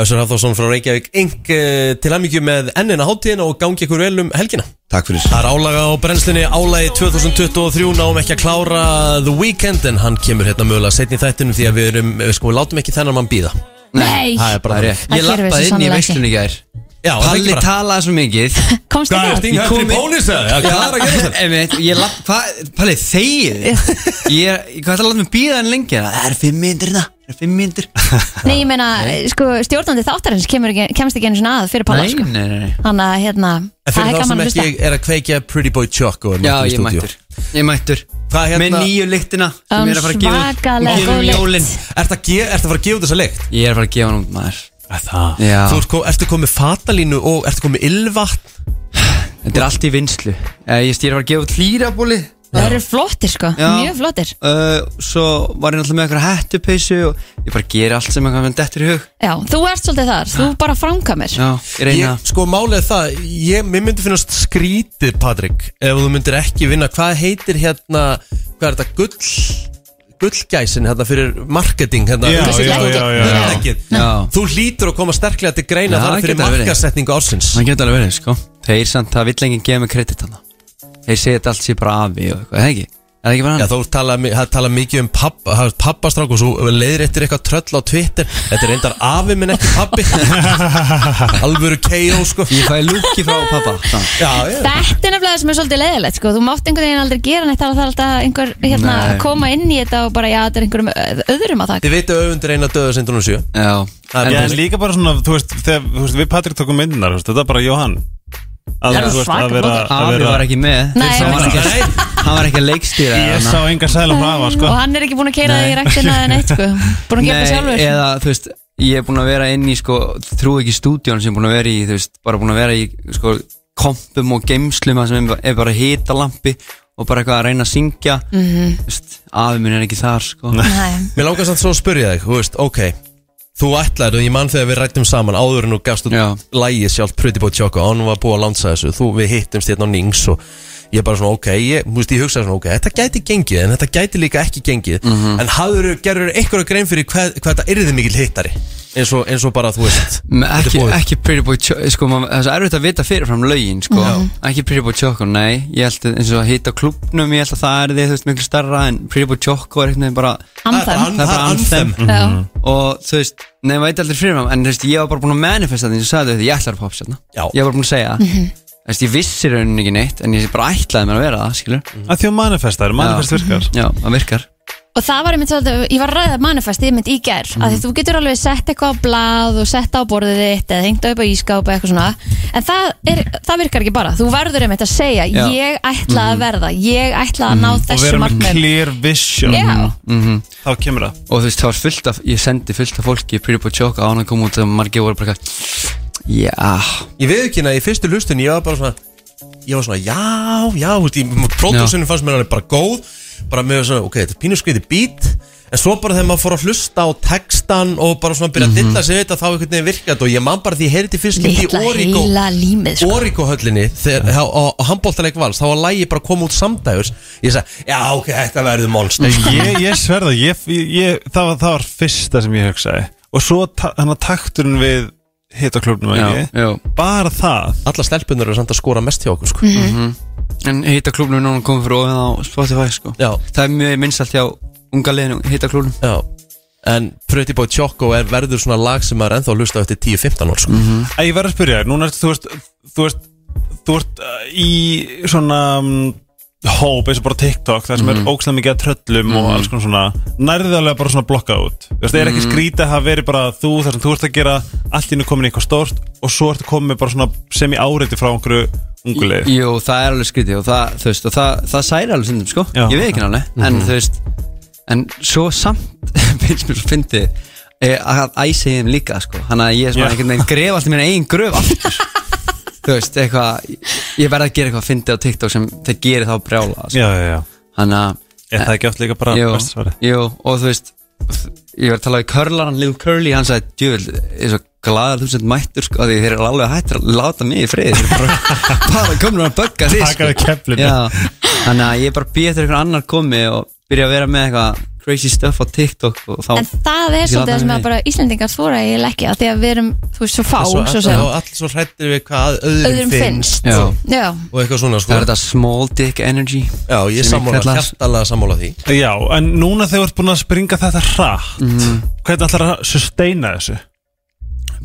B: Össur Hafþórsson frá Reykjavík Inc. eh, Til ammyggju með ennina hátíðina og gangi ykkur vel um helgina
M: Takk fyrir
B: Það er álaga á brennslunni, álagi 2023, náum ekki að klára The Weeknd en hann kemur hérna mögulega setni í þættinum því að við erum, við sko, við látum ekki þennan mann býða
C: Nei,
B: Það er bara
O: Það er
B: þannig.
O: rétt. Ég lappaði inn í veislunni í gær
B: Já, það er ekki
O: Palli
B: bara-
O: talaði svo mikið
C: Komst
B: Hvað, ertu í
O: Ég
B: höfðri
O: kom inn-
B: bónus eða? Já, hvað er að gera þetta?
O: Einmitt, ég lapp, hvað, Palli, þegið þið. Ég, er- hvað ætlaði að láta mig býða hann lengi? Það er fimm myndir það
P: hérna. er fimm mínútur
C: Nei, ég meina, sko, stjórnandi þáttarins kemur, ekki- kemst ekki einu svona að fyrir Palla, sko
P: nei, nei
C: Þannig að, hérna,
B: En
C: það
B: fyrir
C: er
B: þá
C: gaman
B: sem
C: að hlusta
B: ekki er að kveikja Pretty Boy Choco er
P: Já,
B: mættur í
P: ég
B: stúdíó.
P: mættur. Ég mættur
B: Hvað hérna?
P: Með nýju lyktina sem ég er að fara að gefa út.
C: Svakalega
P: Og gefa
C: góð
P: um
C: lykt.
P: jólin.
B: Ertu að, ge- ertu að fara að gefa út þessa lykt?
P: Ég er að fara að gefa hann út maður
E: Það
P: Já
B: Þú sko, ert, kom- ertu komið fatalínu og ertu komið ylvatn
P: Þetta er allt í vinslu Eh, Ég ég er að fara að gefa út hlýrabóli
C: Það eru flottir, sko,
P: Já.
C: mjög flottir
P: Uh, svo var ég náttúrulega með eitthvað hættupeysu og ég bara gera allt sem eitthvað með dettur í hug
C: Já, þú ert svolítið þar, þú bara framkamir
P: Já, ég reyna
B: Ég- Sko málið er það, ég, mér myndi finnast skrítið Patrik Ef þú myndir ekki vinna, hvað heitir hérna, hvað er þetta, gull, gullgæsin hérna fyrir marketing hérna
E: Já,
B: Gullgæsin-
E: já, já, já, já.
B: Gullgæsin.
P: Já.
B: Þú hlýtur að koma sterklega til greina
P: Já,
B: þar
P: það
B: fyrir
P: getur verið.
B: markasetningu ársins
P: Það getur alveg verið, sko Þeir samt, það vill enginn gefa mig kredit hana Þeir segja þetta allt sé bara afi og eitthvað, eða ekki? Er það ekki bara hann?
B: Já, þú tala, tala mikið um pappa, það er pappastráku og svo leiðir eftir eitthvað tröll á Twitter Þetta er reyndar afi minn ekki pappi Alvöru KO sko
P: Ég fæ lúki frá pappa
B: Já, já
C: Þetta er nefnilega það sem er svolítið leiðilegt sko. Þú mátt einhvern veginn aldrei gera neitt Það er alltaf einhver hérna,
B: Nei.
C: koma inn í þetta og bara, já, þetta er einhverjum ö- öðrum að það
B: Þið veitu auðvendur eina döðu sem drónu sjö
P: Já
E: En, en líka bara svona, þú veist, þegar, þú veist við Patrik tókum myndinar, þetta var bara Jóhann að,
P: Já,
E: þú veist, að
P: svaka
E: vera,
P: flottur.
E: að vera
P: Afi var ekki með. Nei,
E: Hann var
P: hann var
E: ekki-
P: Hann var ekki að leikstýra
E: Ég
P: þarna.
E: sá enga sæla frá afa, sko
C: Og hann er ekki búin að keira
P: Nei.
C: það í rektina en eitt sko. Búin að gera það sjálfur
P: eða þú veist ég er búin að vera inn í sko þrú ekki stúdjón sem ég er búin að vera í þú veist bara búin að vera í sko kompum og geimslum þar sem er bara hitalampi og bara eitthvað að reyna að syngja
C: Mhm.
P: þú veist afi minn er ekki þar sko
B: Mér langar samt svo að spyrja þig, þú veist, ok Þú ætlaðir, og ég mann þegar við rættum saman áður en þú gafst út lægið sjálf Pretty Boy Choco og hann var búið að lansa þessu, þú, við hittumst hérna á Nings og ég bara svona, ok, ég, þú veist, ég hugsaði svona, ok, þetta gæti gengið en þetta gæti líka ekki gengið
P: Mhm.
B: en hafður, gerður einhverja grein fyrir hvað, hvað þetta yrði mikil hittari eins og, eins og bara, þú veist
P: Me-
B: þetta er
P: ekki,
B: búið.
P: ekki Pretty Boy Choco sko, maður- það er svo erfitt að vita fyrirfram lögin sko.
B: Já.
P: ekki Pretty Boy Choco, nei ég held að eins og að hitta klubnum, ég held að það er því þú veist miklu starra en Pretty Boy Choco er eitthvað bara
C: Anthem.
P: það er bara anthem
C: Anthem. Já. Mhm.
P: og þú veist, nei maður veit aldrei fyrirfram en þú veist, ég var bara búin að manifesta því ég sagði þetta, ég ætlar að popsa þetta ég var bara búin að segja það
E: Mhm.
P: Þú veist, ég vissi rauninni ekki neitt en ég bara ætlaði mér að vera það, skilur
E: Að því að manifesta er, manifest
P: Já.
E: virkar
P: Já, það virkar
C: Og það var einmitt svolítið, ég var að ræða manifest einmitt í gær, mm. að þú getur alveg sett eitthvað á blað og sett á borðið þitt eða hengt upp á ískápa eitthvað svona en það, er, það virkar ekki bara, þú verður einmitt að segja
E: Já. Mhm.
C: ég ætla að verða, ég ætla að ná
E: og
C: þessu
E: vera með
C: markmið
E: clear vision
C: Já.
P: -hmm.
E: þá kemur það
P: og þú veist, það var fullt af, ég sendi fullt af fólki í Pretty Boy Choco án að koma út og margir voru bara eitthvað, já
B: Ég veið ekki að í fyrstu hlustun ég var bara svona Ég var svona, já, já, þú veist, pródúsinu fannst mér alveg bara góð Bara með svona, ok, þetta er pínu skriði bít En svo bara þegar maður fór að hlusta á textan Og bara svona byrja að dilla sig við þetta Þá einhvern veginn virkaði og ég man bara því ég heyrði fyrst skipti
C: Litla
B: í Origo
C: heila límið sko.
B: Origo höllinni Þegar á, á, á handbóltaleik vals Þá var lægi bara að koma út samdægurs Ég sagði, já, ok, þetta verður monster
E: ég, ég sverða, ég, ég, það, var, það var fyrsta sem ég hugsaði og svo ta- hann að takturinn við hitaklubnum
P: Já,
E: ekki,
P: já.
E: bara það
B: Alla stelpunar eru samt að skora mest hjá okkur sko.
P: mm En hitta klubnum er núna komið fyrir ofið á Spotify sko
B: Já.
P: Það er mjög minnstalt hjá unga liðinu hitta klubnum
B: Já En Pretty Boy Choco er verður svona lag sem maður er ennþá að hlusta á eftir 10-15 ár sko.
E: Æ, ég verður að spyrja þér, núna ertu, þú veist þú veist, þú veist uh, í svona um, hóp eins og bara TikTok, það sem
P: Mhm.
E: er ógstæð mikið að tröllum og
P: Mhm.
E: alls konar svona nærðarlega bara svona blokkað út þú veist, það er ekki
P: Mhm.
E: skrítið að hafa verið bara þú þar sem þú ert að gera allt í innu komin í eitthvað stórt og svo ertu komin með bara svona sem í áreiti frá einhverju unguleg
P: Jú, það er alveg skrítið og það, þú veist, og það, það særi alveg sindum sko
E: Já.
P: Ég veit ekki nálega, en
E: Mhm.
P: þú veist En svo samt, finnst mér svo fyndið eh, að æsi þeim líka sko Þannig að ég er svona
E: Já.
P: einhvern veginn gref alltaf mér eigin gröf aftur Þú veist, eitthvað, ég verð að gera eitthvað fyndið á TikTok sem þeir gerir þá brjála sko.
E: Já, já, já
P: Þannig að eh,
E: Er það ekki oft líka bara
P: jú,
E: besta svarið?
P: jú, og þú veist Ég var að tala við Curlaran, Lil Curly Hann sagði, djövel, ég er svo glaður þú sent mættur sko, af Því þeir eru alveg hættir að láta mig í frið Þeir eru bara, bara komnur að bögga því
E: Taka við keflinu.
P: Já, Þannig að ég bara býð eftir einhvern annar komi Og byrja að vera með eitthvað crazy stuff á TikTok og þá,
C: En það er svolítið það sem að bara Íslendingar þóra ég ekki að því að við erum, þú veist, svo fá
B: Svo-
C: svo sem.
B: og allir svo hrættir við hvað öðrum,
C: Öðrum finnst.
P: Já.
C: Já.
B: og eitthvað svona sko
P: Það er þetta small dick energy
B: Já, ég sammála, hjartalega sammála því
E: Já, en
P: Mhm.
E: núna þegar þú ert búin að springa þetta hratt hvernig ætlar að sustaina þessu?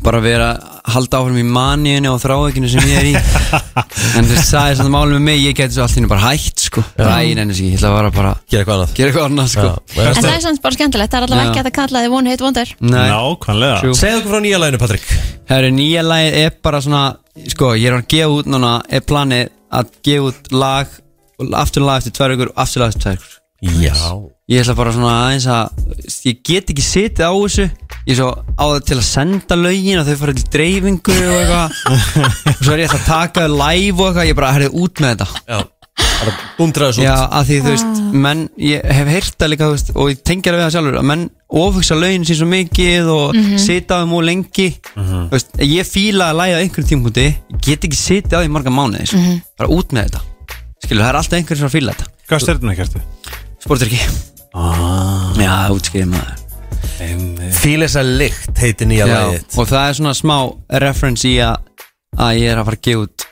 P: bara vera halda áfram í maníunni og þráveikinu sem ég er í en þess að þess að málum með mig ég geti svo allt hérna bara hætt sko ræðin enn ég ætla að vara bara
B: gera eitthvað annað
P: gera eitthvað annað sko
C: En það er samt bara skemmtilegt, það er allavega
P: Já.
C: ekki hægt að það kalla þið One Hit Wonder
P: Nei.
E: Nákvæmlega
B: Segðu okkur frá nýja læginu Patrik
P: Herru, nýja lagið er bara svona Sko, ég er að gefa út núna Er planið að gefa út lag Aftur lag eftir tvær ykkur Aftur lag eftir tvær ykkur
B: Já.
P: Ég ætla bara svona aðeins að Ég get ekki setið á þessu Ég er svo á það til að senda lögin Og þau fara til dreifingu og eitthvað Og svo er ég ætla að taka þau live og eitthvað Ég er bara herrið út með þetta
B: Já Undraðu svo
P: Já, að því þú veist, menn, ég hef heyrt það líka, þú veist, og ég tengja það við það sjálfur að menn ofugsa laun sín svo mikið og mm
Q: Mhm.
P: sita á þeim og lengi
Q: Mhm.
P: þú veist, ég fíla að læða einhverjum tímpunkti ég get ekki sitið á því marga mánuði sko.
Q: Mhm.
P: bara út með þetta, skilur, það er alltaf einhverjum sem að fíla þetta
E: Hvað styrnum það kertu?
P: Sportrykki
E: ah.
P: Já, útskýrði maður
B: Fíla þessa lykt heiti nýja
P: Já,
B: lagið
P: og það er svona smá reference í að, að ég er að fara að gefa út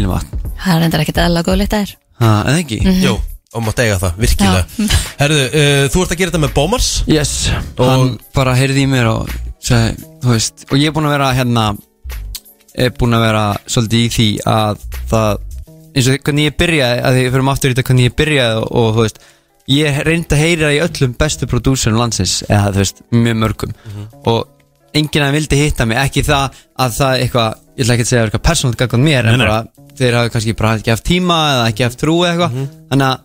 P: ilmvatn,
C: Það er reyndar ekkert eðalega góð lykt að þér
P: Ha, er það ekki?
C: Mhm.
B: Jó, og mátt eiga það, virkilega Herðu, uh, þú ert að gera þetta með Bómars
P: Yes, og hann bara heyrði í mér og sagði, þú veist, og ég er búinn að vera hérna, er búinn að vera svolítið í því að það, eins og hvernig ég byrjaði, að því við fyrir aftur í þetta hvernig ég byrjaði og, og þú veist, ég reyndi að heyra í öllum bestu prodúsurum landsins, eða þú veist, mjög mörgum
B: Mhm.
P: og enginn að vildi hitta mig, ekki það að það eitthvað, ég ætla ekki að segja eitthvað persónalt gaggan mér,
E: Nei,
P: en
E: nei.
P: bara þeir hafi kannski bara ekki haft tíma eða ekki haft trú eða eitthvað,
B: Mhm.
P: þannig að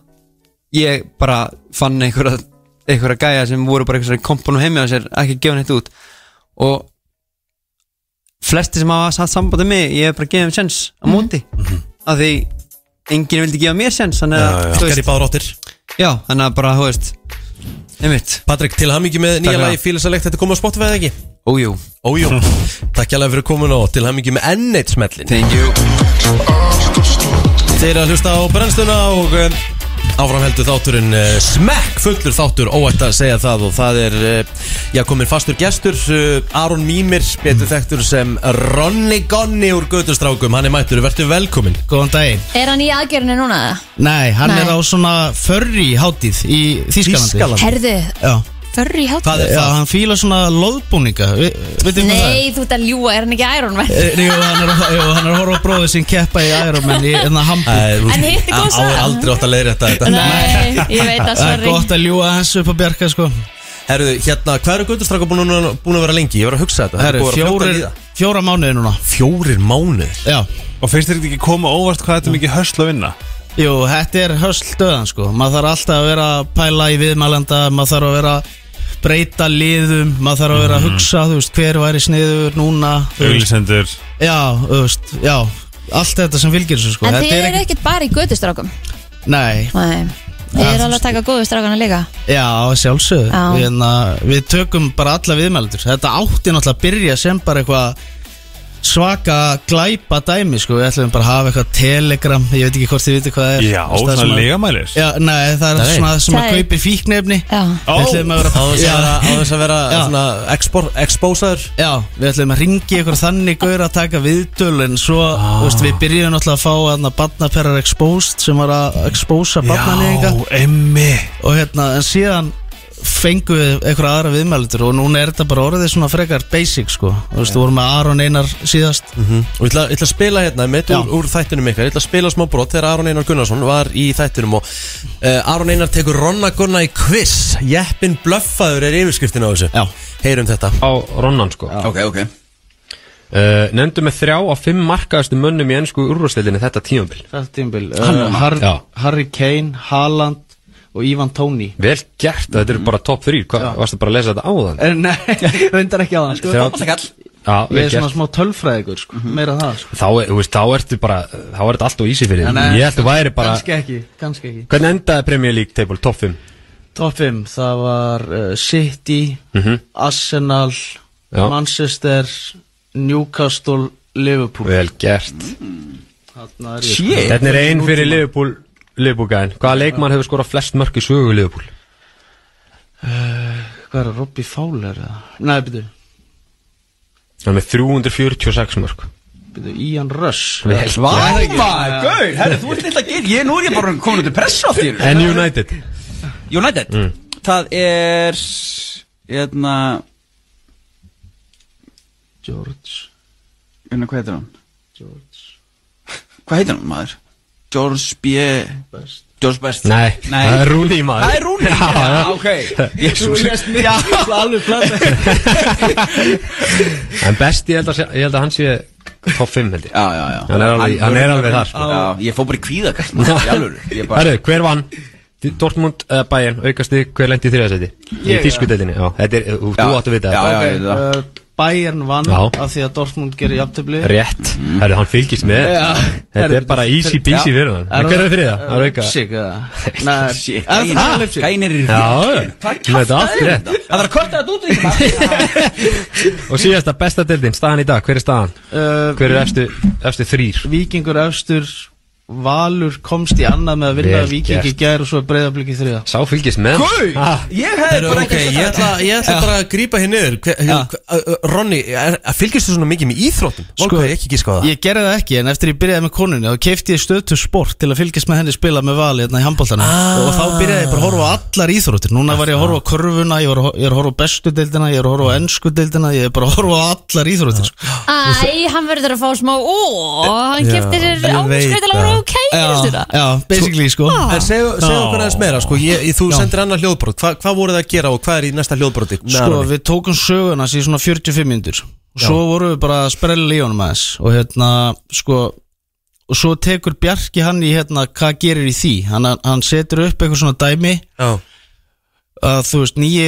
P: ég bara fann einhverja einhverja gæja sem voru bara einhverja kompunum heimi á sér, ekki gefa neitt út og flesti sem hafa satt sambandið mig, ég hef bara gefið þeim sjens á móti, af því enginn vildi gefa mér sjens, þannig að þú
B: Takkar í
P: veist,
B: báður áttir
P: já, þannig að bara, þú veist einmitt
B: Patrik, til hamingi með
P: Takk
B: nýja
P: fyrir
B: lagi Fíla þessa lykt, þetta kom á Spotify eða ekki?
P: Ójú
B: Ójú Takk alveg fyrir komin og til hamingi með enn eitt smellin
P: Thank you
B: Þeir eru að hlusta á brennstuna og eh, áfram heldur þátturinn uh, smekk fullur þáttur, óætt að segja það og það er, uh, já komin fastur gestur uh, Aron Mímir, betur þekktur sem Ronni Gonni úr Götustrákum, hann er mættur, verður velkomin
K: Góðan daginn
C: Er hann í aðgerinu núna? eða?
K: Nei, hann
C: Nei.
K: er á svona förri hátíð í Þískalandi
C: Þýskalandi? Herðu.
K: Já
C: Förri hátíð
K: Já, hann fílar svona loðbúninga Vi- Veitum hvað það er?
C: Nei, þú ert að ljúa, er hann ekki Iron Man?
K: Eh, Jú, hann er, jú, hann er að horfa á bróðu sem keppa í Ironman í hérna, enna hambu
C: En hitt er góð Á- á- saga. aldrei
B: átt að leiðri þetta
C: Nei, ég veit að
K: Það er
C: sorry
K: gott að ljúa hans upp að bjarga sko
B: Herru, hérna, hvað eru Götustrákum búin, að- búin að vera lengi? Ég var að hugsa þetta
K: Það eru fjórir, fjóra mánuði núna
B: Fjórir mánuði?
K: Já
E: Og finnst þér ekki koma óvart hvað þetta er mikið hösl að vinna?
K: Jú, þetta er hösl döðan sko Maður þarf alltaf að vera að pæla í viðmælanda Maður þarf að vera að breyta liðum Maður þarf að vera að
E: Mhm.
K: hugsa Þú veist, hver væri sniður núna þú veist.
E: Auglisendur
K: Já, þú veist, já Allt þetta sem fylgir þessu sko
C: En
K: Þetta
C: þið
K: er
C: eru ekkert bara í gödustrákum
K: Nei,
C: Nei, þið
K: Já,
C: eru
K: þú
C: alveg að taka góðu strákana líka
K: já, að sjálfsögðu
C: Já.
K: Við, hérna, við tökum bara alla viðmælendur Þetta átti náttúrulega að byrja sem bara eitthvað svaka glæpa dæmi sko, við ætlum bara að hafa eitthvað telegram, ég veit ekki hvort þið viti hvað það er
E: Já,
K: Þú veist, það er
E: svona
K: sem að-
E: lygamælir.
K: Já, nei, það er
E: Nei.
K: svona sem að
E: Það er-
K: kaupi fíknefni
C: Já
B: Á
K: Við ætlum að vera
B: þess að vera- á þess að vera
K: Já.
B: svona expor, expósaður
K: Já, við ætlum að ringi ykkur þannig gaur að taka viðtöl en svo,
B: Ah.
K: þú veist, við byrjum náttúrulega að fá aðna badnaperrar exposed sem var að expósa badnalýðinga
E: emmi
K: og hérna, en síðan fengum við einhverja aðra viðmælutur og núna er þetta bara orðið svona frekar basic sko, þú veist, við vorum með Aron Einar síðast
B: Mhm. Og ég ætla, ég ætla að spila hérna mitt úr, úr þættinum ykkar Ég ætla að spila smá brot þegar Aron Einar Gunnarsson var í þættinum og uh, Aron Einar tekur Ronna Gunna í quiz Jeppin blöffaður er yfirskriftin á þessu
K: Já
B: Heyrum þetta
N: Á Ronnan sko Já.
M: Ok, ok
N: Uh, nefndu með þrjá á fimm markaðastu mönnum í ennsku úrvarsleitinni þetta tímabil
K: Þetta tímbil,
N: Hann er
K: uh,
N: hann.
K: Har
N: Já.
K: Harry Kane, Haaland og Ivan Tóni
N: Vel gert, þetta eru bara top 3 Hvað, varstu bara að lesa þetta áðan?
K: Eh, Nei, reyndar ekki á það sko
N: Já,
K: Ég
N: vel
K: er svona
N: gert
K: smá tölfræðigur sko,
B: Mhm.
K: meira það sko
N: Þá, er- þú veist, þá ertu bara, þá er þetta allt og ísi fyrir
K: En,
N: þig
K: eh,
N: Ég held þú væri bara
K: Kannski ekki, kannski ekki
N: Hvernig endaði Premier League table, top 5?
K: Top 5, það var uh, City,
N: Mhm.
K: Arsenal,
N: Já.
K: Manchester, Newcastle, Liverpool
N: Vel gert
K: Þarna er ég- sko.
N: Þetta er ein fyrir Liverpool Liverpool gæðin Hvaða leikmann hefur skorað flest mörg í sögu Liverpool?
K: Eh, Hvað er það, Robbie Fowler eða? Nei, byrju,
N: Það er með 346 mörg
K: byrju, Ian Rush
N: Vel
R: Oh
K: Eða-
N: gert.
K: Var það ekki?
M: Æma,
K: Já.
M: gaur, herru, þú ert litla gil Ég, nú er ég bara komin út í pressa á þér
N: En United
M: United
N: Mm.
M: Það er Hérna
Q: George
R: Unna, hvað heitir hann?
Q: George
R: Hvað heitir hann maður? George B. Best George Best
N: Nei, það er Rooney, maður.
R: Það er Rúni,
N: Já, já.
R: ok Jésús
N: Þú lést mig
R: Já, alveg flata
N: En best ég held að, sé- ég held að hann sé top 5 held ég
R: Já, já, já
N: Hann er alveg, hann er alveg þar sko.
R: Já, ég fór bara í kvíðakast maður, í alvöru. Ég bara-
N: Herru, hver vann? Dortmund eða Bayern, aukasti, hver lendi í þriðasæti? Í
K: Ég,
N: tískudetinni, já, þetta er, þú þú áttu að vita þetta.
K: uh, Bayern vann
N: Já.
K: af því að Dortmund gerir jafntöfli
N: Rétt, herru, hann fylgist með
K: Já.
N: Þetta er bara easy peasy fyrir hann En Hver er þriða? Það er auka
K: Leipzig eða
R: Shit,
K: Er það
R: Gæinn-
K: Leipzig?
R: Gæinn er í
N: Já, þú veit allt rétt
R: Það þarf að korta þetta út í
N: Og síðasta besta deildin, staðan í dag, hver er staðan?
K: Uh,
N: Hver er efstu, efstu þrýr?
K: Víkingur efstur Valur komst í annað með að vinna
N: Vel
K: Víking í
N: gert.
K: gær og svo er breyðablík í þriða
N: Sá fylgist með
K: Guð,
R: ég
B: Heru, ok, ég ætla, ég ætla bara að grípa hér niður hver, hver, uh, Ronni, er, fylgist þú svona mikið með íþróttum? Sko, ég ekki gíska á það
K: Ég gerði það ekki en eftir ég byrjaði með konunni þá keifti ég stöðtu sport til að fylgjast með henni spila með vali hérna í handbóltanum og þá byrjaði ég bara að horfa á allar íþróttir núna var ég að horfa á körfuna, ég var að hor- ég er að horfa á bestu deildina, ég er að horfa á ennsku deildina ég er bara að horfa á allar íþróttir sko.
C: Æ, hann verður að fá smá Ó, hann
K: Já,
C: kefti sér
K: ég veit
C: ámskveitilega
K: það.
C: voru ok
K: Já, já, basically sko
B: En segðu segðu okkur aðeins meira, sko, ég, ég, þú
K: Já.
B: sendir annað hljóðbrot Hva, Hvað voru það að gera og hvað er í næsta hljóðbroti?
K: Sko, við tókum söguna sér svona 45 minnur og svo vorum við bara að sprella í honum aðeins og hérna, sko og svo tekur Bjarki hann í hérna hvað gerir í því, hann, hann setur upp eitthvað svona dæmi
B: Já.
K: að þú veist, nýji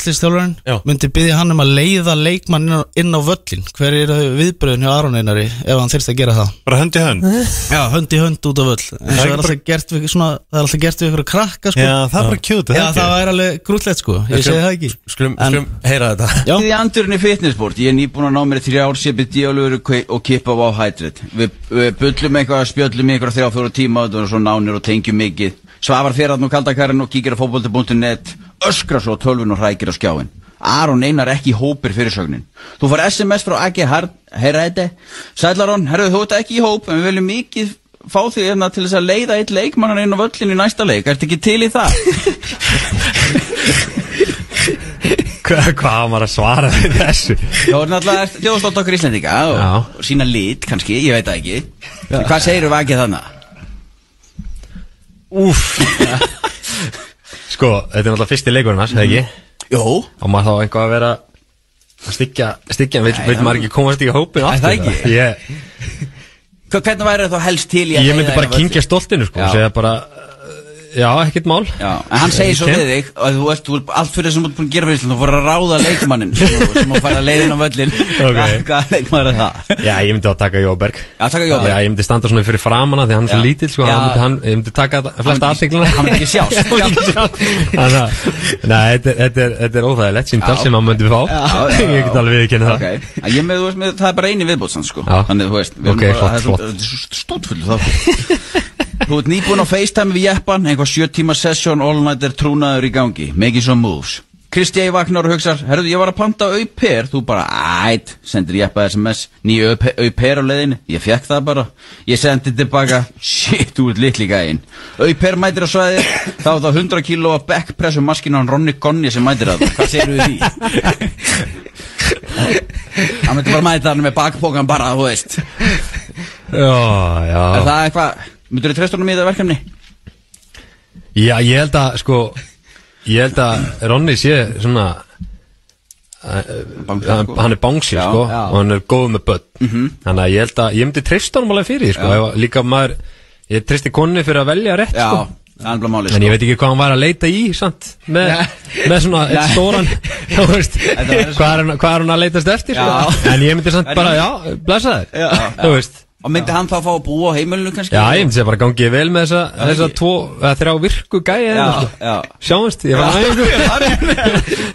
K: landslýstjálfarinn myndi byggja hann um að leiða leikmann inn á, inn á völlin, hver er viðbröðin hjá Aron Einari ef hann þyrst að gera það
E: Bara hönd í hönd
K: Já, hönd í hönd út á völl En
E: Það
K: svo
E: er
K: er alltaf gert við svona, það er alltaf gert við ykkur krakka sko.
E: Já, það er bara cute, það
K: Já,
E: er ekki.
K: það er alveg grútlegt sko, ég segi það ekki
B: Skulum,
K: En-
B: skulum, heyra þetta
R: Já. Í andurinn í fitnessport, ég er nýbúin að ná mér þrjá ár sépi díalögur og kippa á háhætrið. Við, við bullum eitthvað, spjöllum eitthvað þrjá fjóra tíma og það er svo nánir og tengjum mikið. Svafar fyrir að nú um kaldakarinn og kíkir á fótbolti.net, öskra svo á tölvun og hrækir á skjáin. Aron einar ekki í hópir fyrirsögnin. Þú far SMS frá AG Herræti. Sælaron, herðu þú ert ekki í hóp, en við viljum mikið fá þig hérna til þess að leiða eitt leikmannan inn á völlin í næsta leik. Ertu ekki til í það?
N: Hvað hvað á maður að svara við þessu?
R: Já, náttúrulega er þjóðstótt okkur Íslendinga og, og sína lit kannski, ég veit það ekki Hvað segirðu vakið þannig?
N: Úf Sko, þetta er náttúrulega fyrsti leikurinn hans, eða ekki?
R: Mm-hmm. Jó
N: Og maður þá eitthvað að vera að styggja, styggja, veit,
R: Nei,
N: veit
R: það-
N: maður ekki komast í hópin
R: Nei,
N: aftur
R: það ekki.
N: Ég,
R: Hva- Hvernig væri þá helst til í að
N: ég
R: leiða
N: myndi
R: þig á
N: bara
R: völlinn?
N: kingja stoltinu, sko,
R: Já.
N: og segja bara Já, ekkert mál
R: Já, En hann segir svo við þig að þú ert, þú ert allt fyrir það sem þú ert búin að gera fyrir Ísland þú fór að ráða leikmannin sem þú fær að leiðin á völlin
N: Ok.
R: Hvað leikmann er það?
N: Já, ég myndi að taka Jóberg
R: Já, taka Jóberg.
N: Já, ég myndi standa svona fyrir framan hann, því hann er svo
R: Já.
N: lítill, sko
R: Já.
N: hann myndi, hann, Ég myndi taka flesta aðteglina
R: Hann myndi ekki sjást.
N: Þannig að, nei, þetta er- þetta er- þetta er óþægilegt síntal
R: Já.
N: sem hann myndi fá
R: Já, já, já.
N: Ég get alveg viðkynna það
R: okay. Að Ég með, þú veist, með, það er bara eini viðbótsan sko. Þannig, þú veist, við erum
N: Ok,
R: bara- það
N: flott,
R: er
N: flott.
R: svo- þetta er svo Stútfullu þá Þú ert nýbúin á FaceTime við jeppan einhvað sjö tíma session, all night er trúnaður í gangi Making some moves Kristi ég vaknar og hugsar, herruðu ég var að panta au-pair Þú bara, ætt, sendir jeppa SMS Ný au-pair á leiðin Ég fekk það bara Ég sendi tilbaka, shit, þú ert litli gæinn Au-pair mætir á svæði Þá er það 100 kilo að backpressu maskinu hann Ronny Gonja sem mætir að það Hvað segirðu við því? Hann myndi bara mæta hann með bakpókan bara, þú veist
N: Já, já
R: Er það eitthvað, myndur þú treysta honum í þetta verkefni?
N: Já, ég held að, sko Ég held að Ronni sé svona Bangsi, hann,
R: sko.
N: hann er bangsi,
R: Já,
N: sko
R: já.
N: og hann er góð með börn
R: Mhm.
N: þannig að ég held að, ég myndi treysta honum alveg fyrir því, sko,
R: Já.
N: ef, líka maður ég treysti konni fyrir að velja rétt,
R: Já,
N: sko
R: það er bara máli
N: en ég veit ekki hvað hann var að leita í, sant með, með svona einn
R: Nei.
N: stóran þú veist,
R: Þetta var
N: hvað er, hann- hvað er hann að leitast eftir,
R: Já.
N: sko en ég myndi samt bara, já, blessa þér þú veist
R: Og myndi hann þá fá að búa á heimilinu kannski?
N: Já, ég myndi segja bara gangið vel með þessa,
R: Já,
N: þessa
R: ekki.
N: tvo, eða þrjá virku gæja
R: Já,
N: hérna, sko.
R: já.
N: Sjáumst, ég var aðeins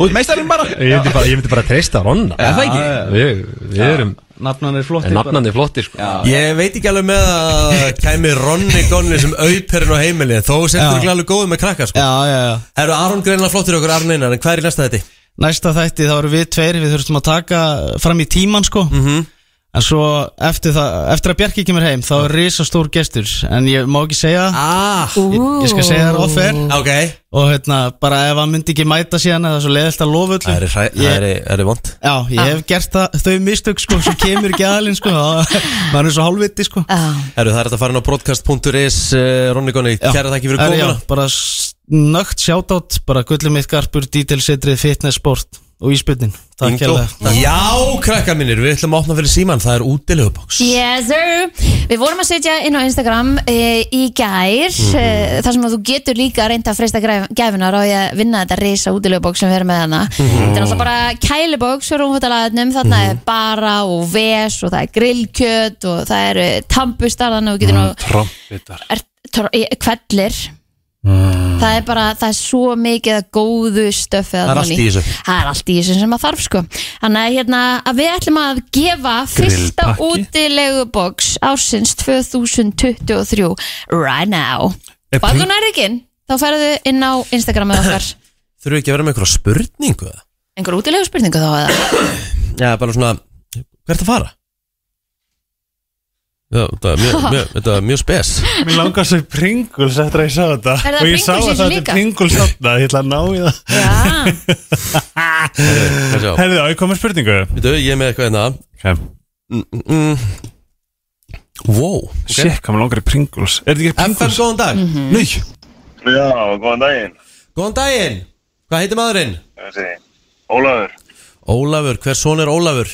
R: Út meistarinn bara
N: Ég myndi bara, ég myndi bara treysta Ronna
R: Já, það ekki.
N: Við, við erum
K: Nafnan er flottir
N: Nafnan er flottir sko
B: Ég veit ekki alveg með að kæmi Ronni Gonni sem auperinn á heimili þó
K: Já.
B: sendur ekki alveg góðið með krakka sko.
K: Já, já, já
B: Eru Aron greinlega flottir okkur Aron Einar en hvað er í næsta þetta? Mhm.
K: Næsta þætti þá eru við tveir Við þurfum að taka fram í tíman sko En svo eftir, það, eftir að Bjarki kemur heim Þá er risastór gestur En ég má ekki segja
B: ah,
K: ég, ég skal segja það offer
B: okay.
K: Og hérna, bara ef hann myndi ekki mæta síðan Eða svo leiðilt að lofa öllum
B: Það er, hræ-
K: Ég-
B: það er, það er vond
K: Já, ég hef gert það, þau mistök sko Svo kemur ekki aðalinn sko þá- Maður er svo hálfviti sko
B: Herru, það er þetta að fara inn á broadcast.is uh, Ronni Gonni, kæra þakki fyrir
K: Herri, já,
B: komuna
K: Bara s- nögt sjátátt Bara gullum mitt garpur, dítelsetrið, fitness, sport Og íspilnin Takk
B: Ingo.
K: hérlega.
B: Já, krakka mínir, við ætlum að opna fyrir síman Það er útilegubóks
C: Yes sir Við vorum að setja inn á Instagram e, í gær mm
B: Mhm.
C: þar sem að þú getur líka reynda að freista græf- gæfunar og ég vinna þetta risa útilegubóks sem við erum með hana Þetta er alltaf bara kælibóks fyrir umfættalaðnum þarna er bara og ves og það er grillkjöt og það eru tampustarðan og þú getur
E: Mhm. Mm,
C: nú
L: Trompitar
C: er, tor, e, kvellir
L: mm.
C: það er bara, það er svo mikið að góðu stöfi
L: Það er allt í þessu.
C: það er allt í þessu sem að þarf sko þannig að, hérna, að við ætlum að gefa fyrsta
L: Grillpakki.
C: útilegu box ársins 2023 right now
B: Er
C: og ef
B: pung-
C: þú nærið ekki inn, þá færðu inn á Instagramið okkar
B: Þurfum við ekki að vera með einhverja spurningu eða?
C: einhver útilegu spurningu þá eða
B: Já, bara svona, hvert að fara? Já, þetta er mjög, mjög, þetta er mjög spes
E: Mér langar svo í Pringles eftir að ég sá þetta
C: Er það
E: Og ég
C: Pringles
E: sá
C: í
E: að
C: þessu
E: þetta er
C: líka?
E: Pringles þarna Ég ætla að ná í það
B: Herðu,
E: á ég komið spurningu
B: Veitu, ég er með eitthvað hérna
E: okay.
B: mm, mm, Wow
E: okay. Shit, hvað mér langar í Pringles Er þetta ekki
B: Pringles? FM, góðan dag mm -hmm.
D: Já, góðan daginn
B: Góðan daginn, hvað heitir maðurinn?
D: Þessi, Ólafur
B: Ólafur, hver son er Ólafur?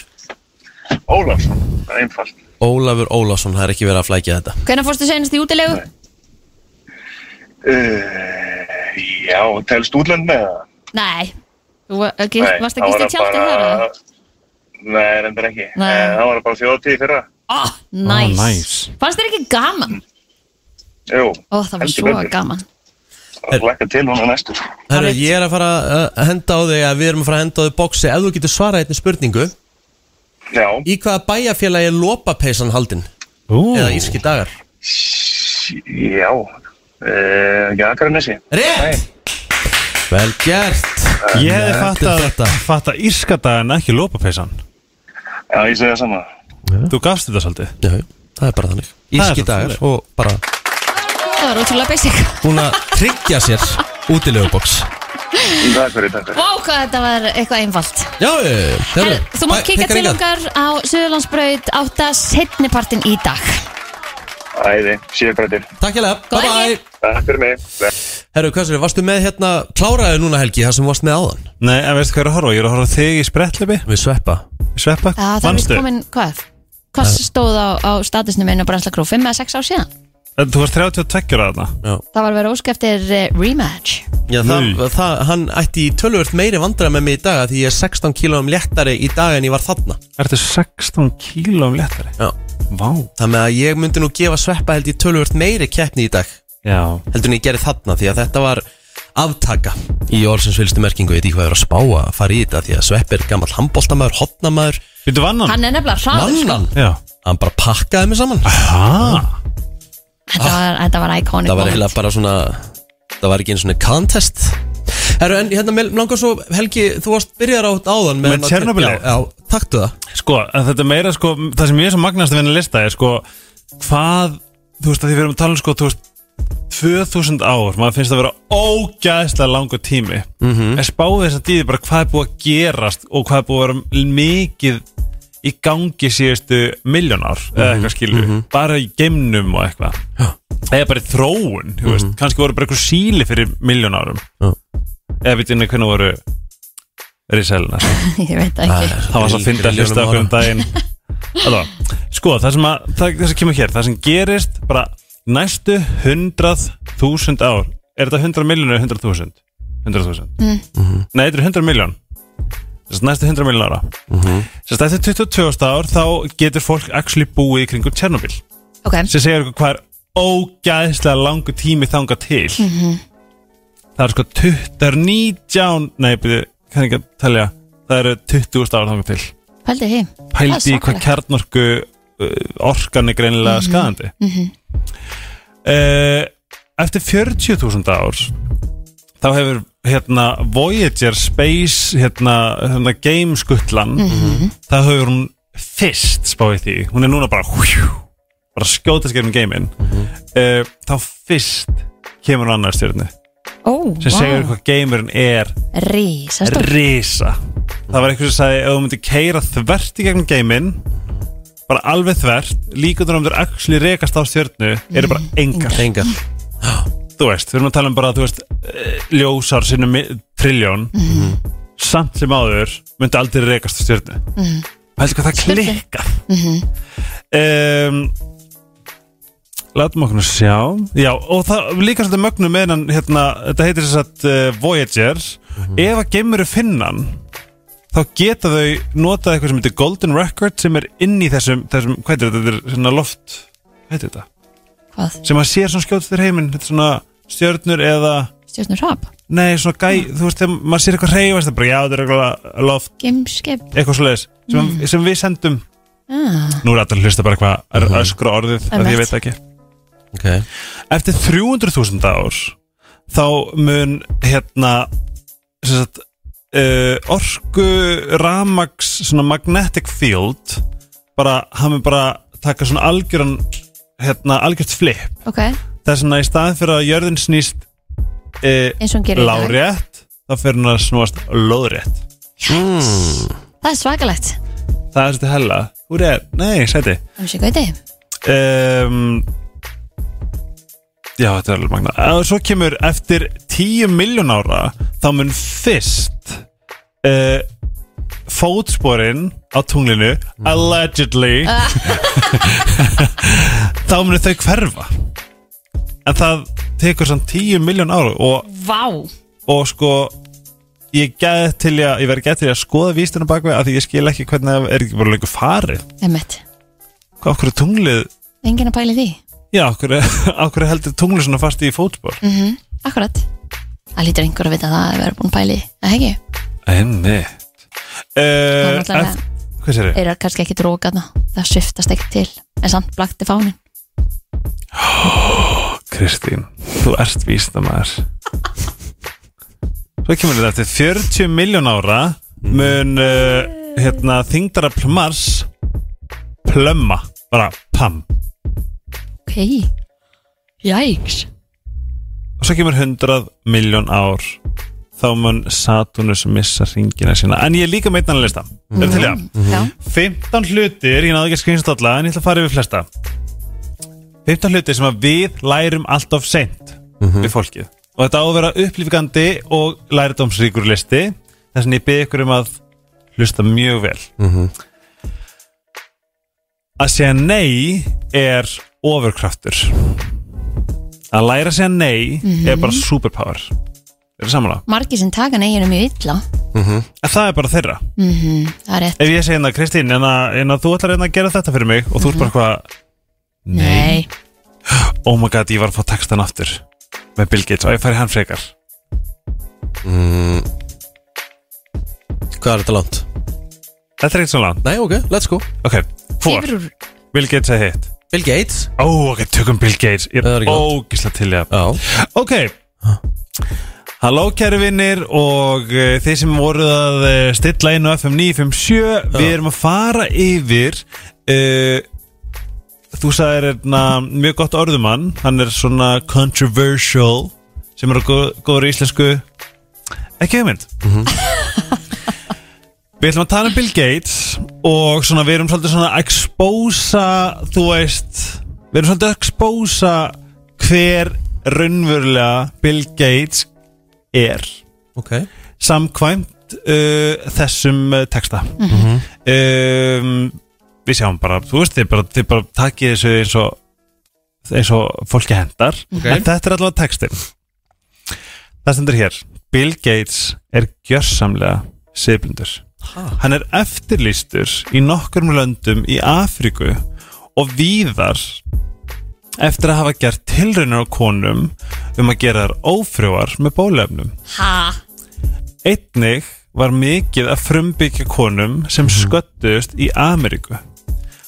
D: Ólafsson, einfalt
B: Ólafur Ólafsson, það er ekki verið að flækja þetta
C: hvernig fórstu senast í útilegu?
D: uh, Já, telst útlönd með það
C: nei, þú var- ekki, varst ekki í tjálta þar eða?
D: Nei, reyndar ekki
C: Nei.
D: Eh, Það var bara þjóðtíð fyrra
C: oh, nice.
B: Ah,
D: nice.
C: fannst þér ekki gaman?
D: Jú,
C: ó, það var
D: Heldur
C: svo
D: betur.
C: gaman
D: það lakka til núna næstu
B: Herru, ég er að fara að henda á þig að við erum að fara að henda á þig bóksi ef þú getur svarað einni spurningu
D: Já
B: Í hvaða bæjarfélagi er lopapeysan haldin?
E: Ú.
B: Eða íski dagar
D: Já, uh, ekki Akranesi
B: Rétt Vel gert
E: Ég hefði
D: Nei,
E: fattað fatta írskadagan ekki lópapeysan
D: Já, ég segja sama
E: Þú gafst þetta svolítið
B: Já, það er bara þannig Íski dagar og bara
C: það var ótrúlega basic
B: búin að tryggja sér útilegu bóks
D: Takk fyrir, takk
C: Vá, hvað þetta var eitthvað einfalt
B: Já, eh, herru,
C: Þú mátt
B: bæ-
C: kika til
B: hingað.
C: okkar á Suðurlandsbraut 8 setnipartin í dag
D: Æði, síðan brættir
B: Takk hérlega, bye bye
D: Takk fyrir mig
B: Herru, hvað sér, varstu með hérna kláraði núna helgi það sem þú varst með áðan?
E: Nei, en veistu hvað ég er að horfa? á? Ég er að horfa á þig í sprettlebi
B: Við sveppa
E: Við sveppa,
C: Já, það er vist komin, hvað? Hvað
B: Eh.
C: stóð á, á statusnum einu brennslakrú 5 eða 6 ár síðan?
E: En Þú varst 32 ára þarna
B: Já
C: Það var verið ósk eftir eh, rematch
B: Já, það, það, hann ætti í tölvöld meiri vandra með mig í dag af Því ég er 16 kílóum léttari í dag en ég var þarna
E: Ertu 16 kílóum léttari?
B: Já
E: Vá
B: Þannig að ég myndi nú gefa sveppa held í tölvöld meiri keppni í dag
E: Já
B: Heldur en ég gerði þarna því að þetta var aftaka Í orðsins fylgstu merkingu Ég veit ekki hvað er að spá að fara í þetta Því að svepp er gammal handbóltamaður, hotnamaður
E: Býttu vannan?
C: Hann er nefnilega hraður sko.
B: Vannan?
E: Já
B: Hann bara pakkaði mig saman Aha.
C: Þetta var, þetta var iconic
B: Það var
C: moment.
B: eiginlega bara svona Það var ekki einu svona contest Herru, en hérna mig langar svo Helgi, þú varst byrjar átt áðan
E: Með Tjernobyl?
B: Já, já, taktu það
E: Sko, en þetta er meira sko Það sem ég er svo magnast að vinna lista er sko Hvað, þú veist að því við erum að tala um sko Þú veist, 2000 ár Maður finnst það að vera ógæðslega langur tími
B: Mhm.
E: En spáði þess að dýði bara hvað er búið að gerast Og hvað er búið að vera mikið Í gangi síðustu miljónar Eða
B: Mhm,
E: eitthvað skilju Bara í geimnum og eitthvað Eða bara í þróun, þú
C: Mhm.
E: veist Kannski voru bara eitthvað síli fyrir miljónarum
B: Já.
E: Eða veit ég hvernig voru Rísælunar
C: Ég veit það ekki
E: það var svo að finna að hlusta okkur um daginn Allá, sko það sem, að, það, það sem kemur hér það sem gerist bara næstu 100.000 ár er þetta 100 miljónur eða 100.000 100.000
R: Mm.
E: -hmm. nei þetta er 100 miljón Þess að næstu 100 miljón ára
R: Mhm.
E: Þess að eftir 22. ár þá getur fólk actually búið í kringum Tjernobyl
C: Ok.
E: sem segir okkur hvað er ógæðslega langu tími þanga til
R: Mhm.
E: það er sko 29 nei, byrju, kann ekki að telja það eru 20.000 ára þanga til
C: Pældi því
E: pældi í hvað kjarnorku uh, orkan er greinilega
C: Mhm.
E: skadandi
C: mm -hmm.
E: uh, eftir 40.000 ár þá hefur hérna Voyager Space hérna, hérna gameskutlan
R: Mhm.
E: það hefur hún fyrst spáði því hún er núna bara hjú, bara skjóta skefnum geimin mm þá fyrst kemur hún annar stjórnu
C: Ó,
E: sem segir
C: vá.
E: hvað geimurinn er
C: Rísa stór
E: risa það var eitthvað sem sagði ef þú myndir keira þvert í gegnum geiminn bara alveg þvert líkundur um þér actually rekast á stjörnu eru bara engar,
B: engar.
E: þú veist, við erum að tala um bara þú veist, eh, ljósár sinnum triljón
F: Mhm.
E: samt sem áður myndi aldrei rekast á stjörnu
F: Mhm.
E: pæltu hvað það
F: Sturlu.
E: klikka um, Látum okkur nú sjá Já, og það líka svolítið mögnum með hennan hérna, þetta heitir þess að uh, Voyager Ef að geimur er finnan þá geta þau notað eitthvað sem heitir Golden Record sem er inn í þessum, þessum hvað heitir þetta, þetta er svona loft hvað heitir þetta?
C: Hvað?
E: Sem að sér svona skjótt þér heiminn, þetta er svona stjörnur eða
C: Stjórnur hrap
E: Nei, svona gæ, þú veist, þegar maður sér eitthvað reyfast það er bara, já, þetta er eitthvað loft
C: Gemskip
E: eitthvað svoleiðis, sem,
C: Mm.
E: sem við sendum
C: ah.
E: Nú er allir að hlusta bara hvað er öskra orðið af því ég veit það ekki
B: okay.
E: Eftir 300.000 ár þá mun hérna sem sagt, uh, orku ramags svona magnetic field bara, hann mun bara taka svona algjöran hérna, algjört flip
C: Ok,
E: það er svona í staðin fyrir að jörðin snýst uh,
C: Eins og hún gerir í dag.
E: lárétt þá fyrir hún að snúast lóðrétt yes.
C: það er svakalegt
E: það er þetta hella Úr er, nei, sæti
C: Það sé gauti
E: um, Já, þetta er alveg magna Og svo kemur eftir 10 miljón ára þá mun fyrst uh, fótsporin á tunglinu allegedly þá mun þau hverfa en það tekur samt 10 miljón ára og,
C: Vá
E: og sko ég gæði til í að ég verði gæði til í að skoða vístunum bakveg af því ég skil ekki hvernig það er ekki bara lengur farið
C: Emmett,
E: hvað okkur er tunglið
C: enginn að pæli því
E: Já, okkur, okkur heldur tunglið svona fast í fótspor
C: mm Akkurat Það lítur einhver að vita það að vera búin að pæli Það ekki,
E: Enni
C: það
E: uh,
C: er náttúrulega Eh.
E: ef- Hvað sér þið?
C: Eru kannski ekki dróka það Það sviftast ekki til En samt blakti fánin
E: Kristín, þú ert vísnamaður Svo kemur þetta eftir 40 miljón ára mun uh, hérna, þingdara plumars plömma, bara pam
C: Ok Jæks
E: og svo kemur 100 miljón ár þá mun Saturnus missa ringina sína en ég er líka meitnan að lista mm
F: Mhm.
E: -hmm.
F: Já.
E: 15 hlutir, ég náðu ekki að skrýnst alla en ég ætla að fara yfir flesta 15 hlutir sem að við lærum alltaf seint
F: Mhm.
E: við fólkið og þetta á að vera upplýfgandi og lærdómsríkur listi þess að ég byrði ykkur um að hlusta mjög vel
B: Mhm.
E: að segja nei er ofurkraftur að læra að segja nei
C: Mhm.
E: er bara superpower er það samanlega?
C: Margir sem taka neginu mjög illa
E: -hmm. Það er bara þeirra
C: mm Það er rétt
E: Ef ég segi hérna, Kristín, en að, en að þú ætlar hérna að gera þetta fyrir mig og þú ert bara eitthvað
C: Nei
E: Oh my god, ég var að fá textan aftur með Bill Gates og ég færi hann frekar mhm.
B: mm. Hvað er þetta langt?
E: Þetta er ekkert svo langt
B: Nei, ok, let's go
E: Ok, fór,
C: Yfir úr
E: Bill Gates eða hitt
B: Bill Gates
E: Ó, ok, tökum Bill Gates Ég
B: Það er
E: er
B: ekki langt.
E: ógislega til ég
B: Já.
E: Ok Halló kæri vinnir og uh, þeir sem voruð að uh, stilla inn á FM 957 Við erum að fara yfir uh, Þú sagðir erna, mjög gott orðumann Hann er svona controversial sem er á gó- góður íslensku Ekki hugmynd
B: Mhm.
E: Við ætlum að tala um Bill Gates og svona við erum svolítið svona að expósa, þú veist, við erum svolítið að expósa hver raunverulega Bill Gates er.
B: Ok.
E: Samkvæmt uh, þessum uh, texta.
B: Mhm.
E: um, við sjáum bara, þú veist, þið bara, þið bara takið þessu eins og, eins og fólki hendar.
B: Ok.
E: En þetta er allavega textin. Það stendur hér. Bill Gates er gjörsamlega siðblindur. Hann er eftirlýstur í nokkrum löndum í Afríku og víðar eftir að hafa gert tilraunar á konum um að gera þær ófrjóar með bólefnum.
C: Ha
E: Einnig var mikið að frumbyggja konum sem sköttust í Ameríku.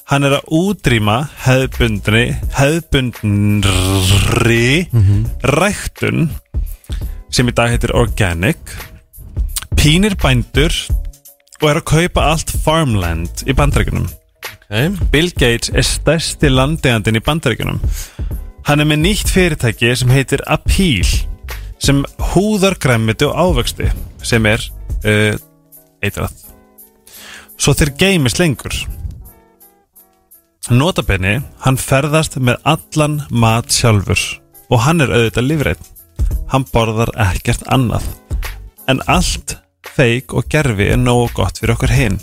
E: Hann er að útrýma hefðbundni, hefðbundnri ræktun sem í dag heitir Organic pínir bændur og er að kaupa allt farmland í bandreikunum Bill Gates er stærsti landeigandinn í bandaríkjunum Hann er með nýtt fyrirtæki sem heitir Appeal sem húðar græmiti og ávexti sem er uh, eitrað Svo þeir geymis lengur Notabenni, hann ferðast með allan mat sjálfur og hann er auðvitað lifrætt. Hann borðar ekkert annað. En allt feik og gerfi er nógu gott fyrir okkur hinn.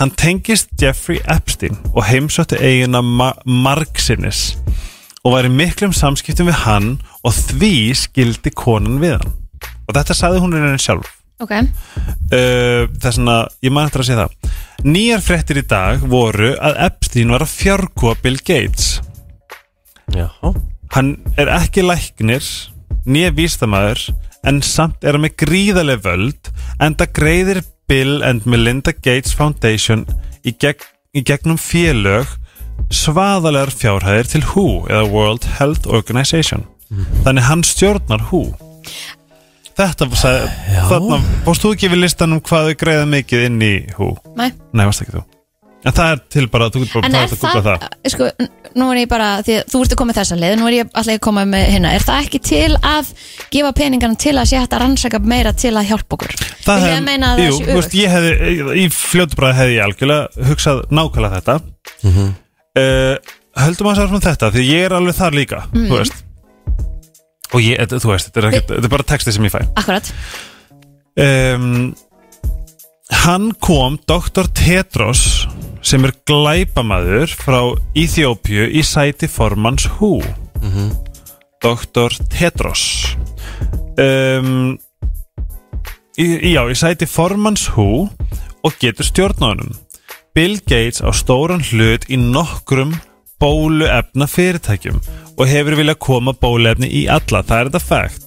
E: Hann tengist Jeffrey Epstein og heimsótti eiguna Ma Marksinnis og var í miklum samskiptum við hann og því skildi konan við hann. Og þetta sagði hún henni sjálf
C: Ok,
E: uh, þess vegna, ég man eftir að segja það nýjar fréttir í dag voru að Epstein var að fjárkúa Bill Gates já hann er ekki læknir nýja vístamæður en samt er hann með gríðarlega völd en það greiðir Bill and Melinda Gates Foundation í, gegn, í gegnum félög svaðalegar fjárhæðir til WHO eða World Health Organization þannig hann stjórnar WHO Þetta sagði, þarna, fórst þú ekki við listan um hvað þau greiða mikið inn í hú?
C: Nei.
E: Nei, varst ekki þú. En það er til bara, þú getur bara
C: en er
E: farið að googla
C: það, sko, n- nú er ég bara, því að þú ert að koma með þessa leið, nú er ég alltaf að koma með hérna, er það ekki til að gefa peningarna til að sé hægt að rannsaka meira til að hjálpa okkur?
E: það
C: Viljiði
E: hef-
C: meina að það
E: jú,
C: sé
E: þú veist, ég hefði, í fljótu bara hefði ég algjörlega hugsað nákvæmlega þetta mm -hmm. höldum að sáfram þetta því ég er alveg þar líka
C: Mhm.
E: þú veist og ég, þetta- þú veist, þetta er, ekkert, þetta er bara texti sem ég fæ
C: Akkurat,
E: um, hann kom Dr. Tetros sem er glæpamaður frá Íþjópju í sæti formans Hú Dr. Tetros um, í, já, í sæti formans Hú og getur stjórnáðunum Bill Gates á stóran hlut í nokkrum bóluefna fyrirtækjum og hefur viljað koma bóluefni í alla, það er þetta fact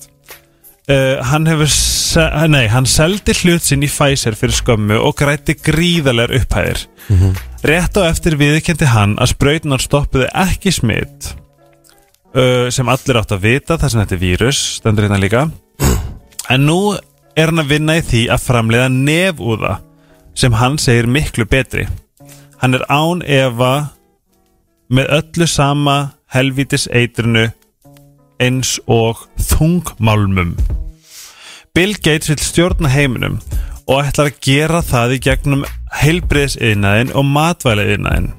E: Uh, hann hefur se- eh, nei, hann seldi hlut sinn í Pfizer fyrir skömmu og grætti gríðalegar upphæðir rétt á eftir viðkendi hann að sprautunar stoppuði ekki smitt uh, sem allir átt að vita þar sem þetta er vírus, stendur hérna líka en nú er hann að vinna í því að framleiða nefúða sem hann segir miklu betri hann er án efa með öllu sama helvítis eitrinu eins og þungmálmum. Bill Gates vil stjórna heiminum og ætlar að gera það í gegnum heilbriðsiðnaðin og matvæliðnaðin.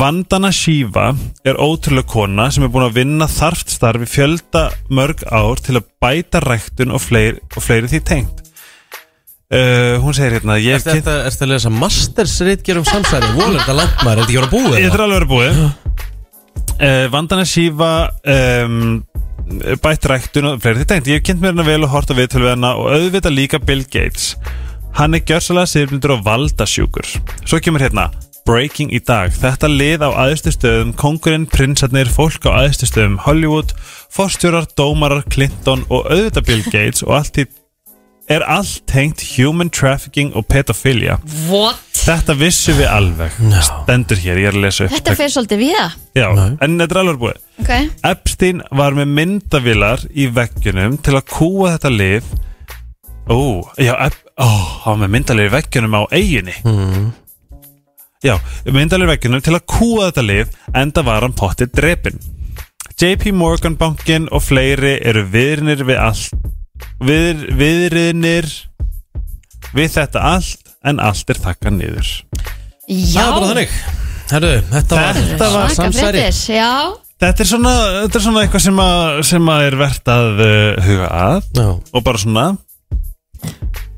E: Vandana Shiva er ótrúlega kona sem er búin að vinna þarft starfi fjölda mörg ár til að bæta ræktun og fleiri, og fleiri því tengt. Uh, hún segir hérna
B: Er þetta er þetta að lesa Masters reitgerum samsæri? Volur þetta langt maður, er þetta ekki voru búið?
E: Þetta er alveg verið búið uh, Vandana Shiva um, bætt ræktun og fleiri því tengt Ég hef kynnt mér hennar vel og hort á viðtölu við hennar og auðvitað líka Bill Gates Hann er gjörsalega sérmyndur og valdasjúkur Svo kemur hérna Breaking í dag Þetta lið á aðstu stöðum Kongurinn, prinsarnir, fólk á aðstu stöðum Hollywood, forstjórar, dómarar, Clinton og auðvitað Bill Gates og allt í er allt tengt human trafficking og pedofilia
C: What?
E: Þetta vissum við alveg Stendur hér, ég er að lesa upp
C: þetta fer svolítið víða
E: Já, en þetta er alveg búið
C: Ok,
E: Epstein var með myndavilar í veggjunum til að kúa þetta lið Ó, já, Ep ó, hann var með myndavilar í veggjunum á eiginni mm. Já, myndavilar í veggjunum til að kúa þetta lið enda var hann pottið drepin JP Morgan bankin og fleiri eru viðrinir við allt Viðr, Viðrinir við þetta allt en allt er þakka niður
C: já
B: Það er bara þannig Herru, þetta var,
E: Þetta var
C: Svaka
E: samsæri.
C: fréttir, Já,
E: Þetta er svona, þetta er svona eitthvað sem, að, sem að er verðt að uh, huga að Já. og bara svona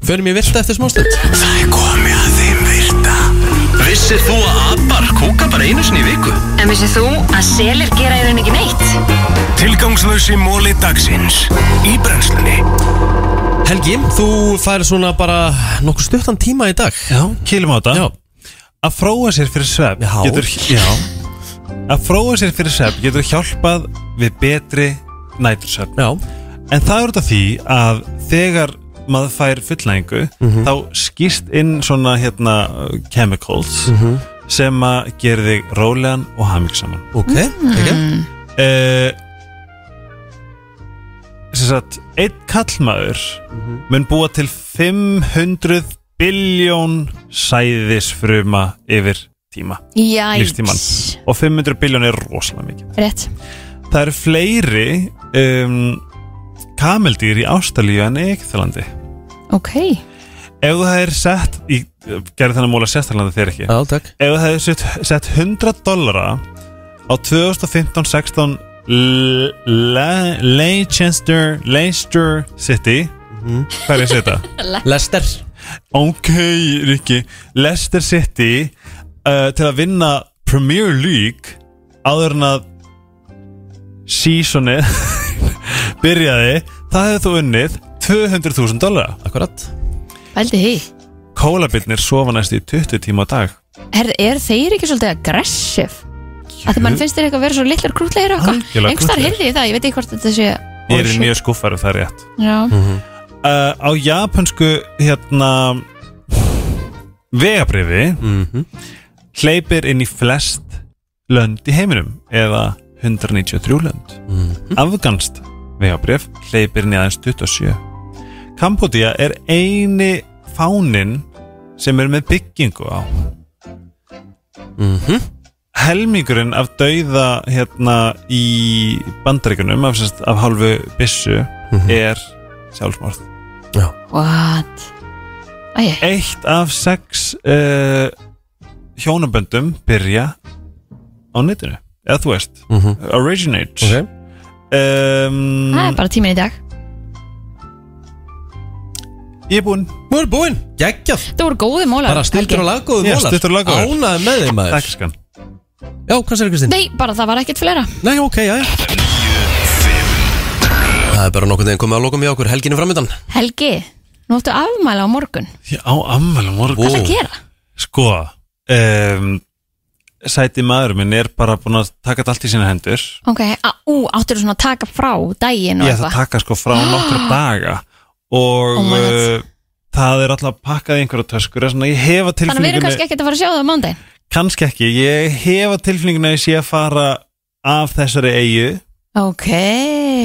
B: Förum ég virta eftir smástund
A: Það er komið að þeim virta Vissir þú að abar kúka bara einu sinni í viku?
Q: En vissið þú að selir gera í rauninni ekki neitt?
A: Tilgangslösi móli dagsins Í brennslunni
B: Helgi, þú fær svona bara nokkuð stuttan tíma í dag
E: Já, kýlum á þetta Að fróa sér fyrir svefn
B: Já.
E: getur, já Að fróa sér fyrir svefn getur hjálpað við betri nætursvefn
B: Já.
E: En það er út af því að þegar maður fær fullnæðingu
B: Mhm.
E: þá skýrst inn svona hérna uh, chemicals
B: Mhm.
E: sem að gera þig rólegan og hamingsaman
B: Ok,
E: mm. ekki sem sagt, einn kallmaður mun búa til 500 biljón sæðisfruma yfir tíma
C: Jæks.
E: lífstíman og 500 biljón er rosalega mikið
C: Rétt
E: það eru fleiri um, kameldýr í Ástralíu en Eikþalandi
C: Ok
E: ef þú hefur sett í, gerði þannig múla sérstaklega þér ekki
B: Já, takk
E: ef þú hefur sett, sett 100 dollara á 2015-16 Le- Le- Leicester Leicester City hvað er ég að setja?
B: Le- Mhm. Leicester
E: ok, Rikki Leicester City uh, til að vinna Premier League áður en að seasonið byrjaði, það hefur þú unnið 200.000 dollara akkurat
C: Pældi því
E: Kólabirnir sofa næst í 20 tíma á dag
C: er, er þeir ekki svolítið aggressiv? Að því mann finnst þeir eitthvað að vera svo litlar krútlegir og eitthvað
E: Algjörlega
C: Einhverstar
E: krútlegir.
C: heyrði ég það, ég veit ekki hvort þetta sé
E: Ég er mjög skuffar ef það er rétt
C: Já. Mhm.
E: uh, Á japansku hérna vegabrifi hleypir inn í flest lönd í heiminum eða 193 lönd Afganst vegabrif hleypir inn í aðeins 27 Kambodía er eini fánin sem er með byggingu á -hmm. helmingurinn af dauða hérna í bandaríkunum af, sérst, af hálfu byssu er sjálfsmorð
C: What? Æ,
E: eitt af sex uh, hjónaböndum byrja á netinu eða þú veist,
B: Mhm.
E: originates okay. um,
C: Það er bara tíminn í dag
E: Ég er búinn
B: Nú er búinn Gækjað
C: Það voru góði mólar
B: Bara stuttur og laggóður
E: Já, stuttur og laggóður.
B: Ánaði með þeim maður
E: Takk skan
B: Já, hvað sér Kristín?
C: Nei, bara það var ekkert fleira
B: Mm. Nei, ok, já, já Það er bara nokkuð þegar komið að lokum í okkur Helginu framöndan
C: Helgi, nú ættu afmæla á morgun
E: Já, á ammæli á morgun
C: Hvað er að gera?
E: Sko um, Sæti maður minn er bara búinn að taka þetta allt í sína hendur
C: Ok, á, ú, áttur svona að taka frá daginn og
E: Ég ætla að taka sko frá nokkra daga Og
C: Oh my God.
E: uh, það er alltaf pakkað í einhverja töskur eða svona, Ég hefa
C: Þannig við erum kannski
E: tilfinningunni
C: ekkert að fara að sjá það á mándaginn
E: Kannski ekki, ég hefa tilfinningunni að ég sé að fara af þessari eigu
C: Ok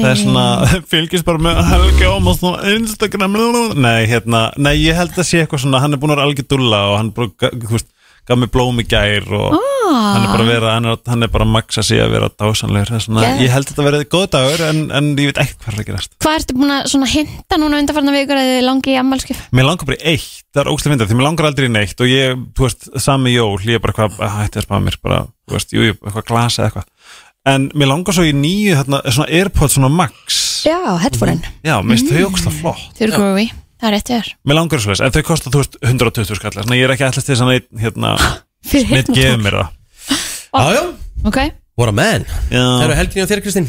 E: Það er svona, fylgist bara með Helgi Ómas á Instagram Nei, hérna, nei, ég held að sé eitthvað svona Hann er búin að vera algjör dúlla og hann bara, ga- þú veist, gaf mér blóm í gær og
C: Ah.
E: hann er bara að vera, hann er, hann er bara að maksa sig að vera dásanlegur Það er svona,
C: Geðveikt.
E: ég held að þetta verið góð dagur en, en ég veit ekki hvað er að gerast
C: Hvað ertu búin að svona hinta núna undarfarna vikur að þið langi í sko? ammálskjöf?
E: Mér langar bara í eitt, það er ógstlega fyndið Því mér langar aldrei í neitt og ég, þú veist, sami jól Ég er bara hvað, að hætti að spá mér bara, þú veist, jú, jú, eitthvað glasa eða eitthvað En mér langar svo í nýju, hérna, svona Airpods, svona Max Mhm.
C: Já, headphone
E: Já, mér finnst þau ógstlega flott
C: Þau Mhm. eru groovy, það er rétt þér
E: Mér langar svo þess, en þau kostar þú veist 120 skall Þannig að ég er ekki allast til þess að neitt hérna
C: Fyrir
E: Neitt
C: heyrnartól.
E: gefið mér það
B: Já, já
C: Ok,
B: What a man Það eru helginu á þér Kristín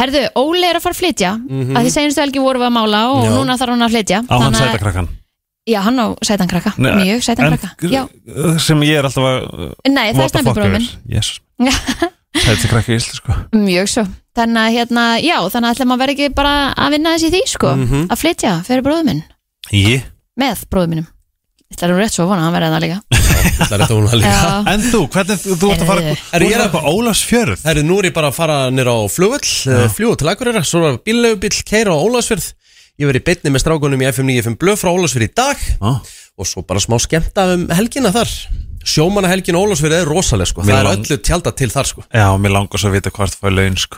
C: herðu, Óli er að fara að flytja mm
B: Mhm.
C: -hmm. að því segjumstu helgi vorum við að mála og
B: Já.
C: núna þarf hann að flytja
E: Á hann
C: Þannig að-
E: sæta krakkan
C: Já, hann á sætan krakka,
E: Nei,
C: mjög sætan
E: en-
C: krakka Já,
E: Sem ég er alltaf að uh,
C: Nei, það er
E: what the
C: snæpi
E: fuck
C: bróðir
E: yfir. Jesus, sæta krakki í Íslu sko
C: mjög svo Þannig að hérna, já, þannig að ætla maður verið ekki bara að vinna þessi því, sko
E: Mhm.
C: að flytja fyrir bróðum minn,
E: Ég
C: með bróðum minnum Þetta er nú rétt svo að vona, að hann verið það líka
B: Það er þetta hún að líka
C: Já. Eh.
E: En þú, hvernig þú, þú ert að fara
B: Er ég
E: eitthvað Ólasfjörð?
B: Herru, nú er ég bara að fara nýra á flugvöll Fljú til Akureyra, svo er bíllaugubill Keira á Ólasfjörð Ég verið beinni með strákunum í FM 95 Blöð frá Ólasfjörð í dag
E: ah.
B: Og svo bara smá skemmta um helgina þar Sjómanna helgin Ólasfjörð er rosaleg sko
E: Mér
B: Það er
E: lang-
B: öllu tjálta til þar sko
E: Já, mér langar svo að vita hvort fæði laun sko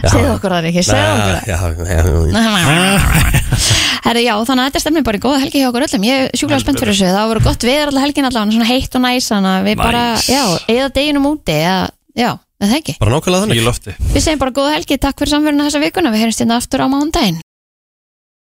C: Segðu okkur það ekki, segðu okkur það
B: Já, já, já,
C: Herri, já, þannig að þetta stemnir bara í góða helgi hjá okkur öllum Ég er sjúklega spennt fyrir þessu, það voru gott veður alla helgin allavega Svona heitt og næs, þannig að við
B: Næs.
C: bara, já, eða deginum úti eða, Já, eða það ekki
B: Bara nákvæmlega þannig
E: Í lofti
C: Við segjum bara góða helgi, takk fyrir samverðina þessa vikuna Við heyrjumst hérna aftur á mándaginn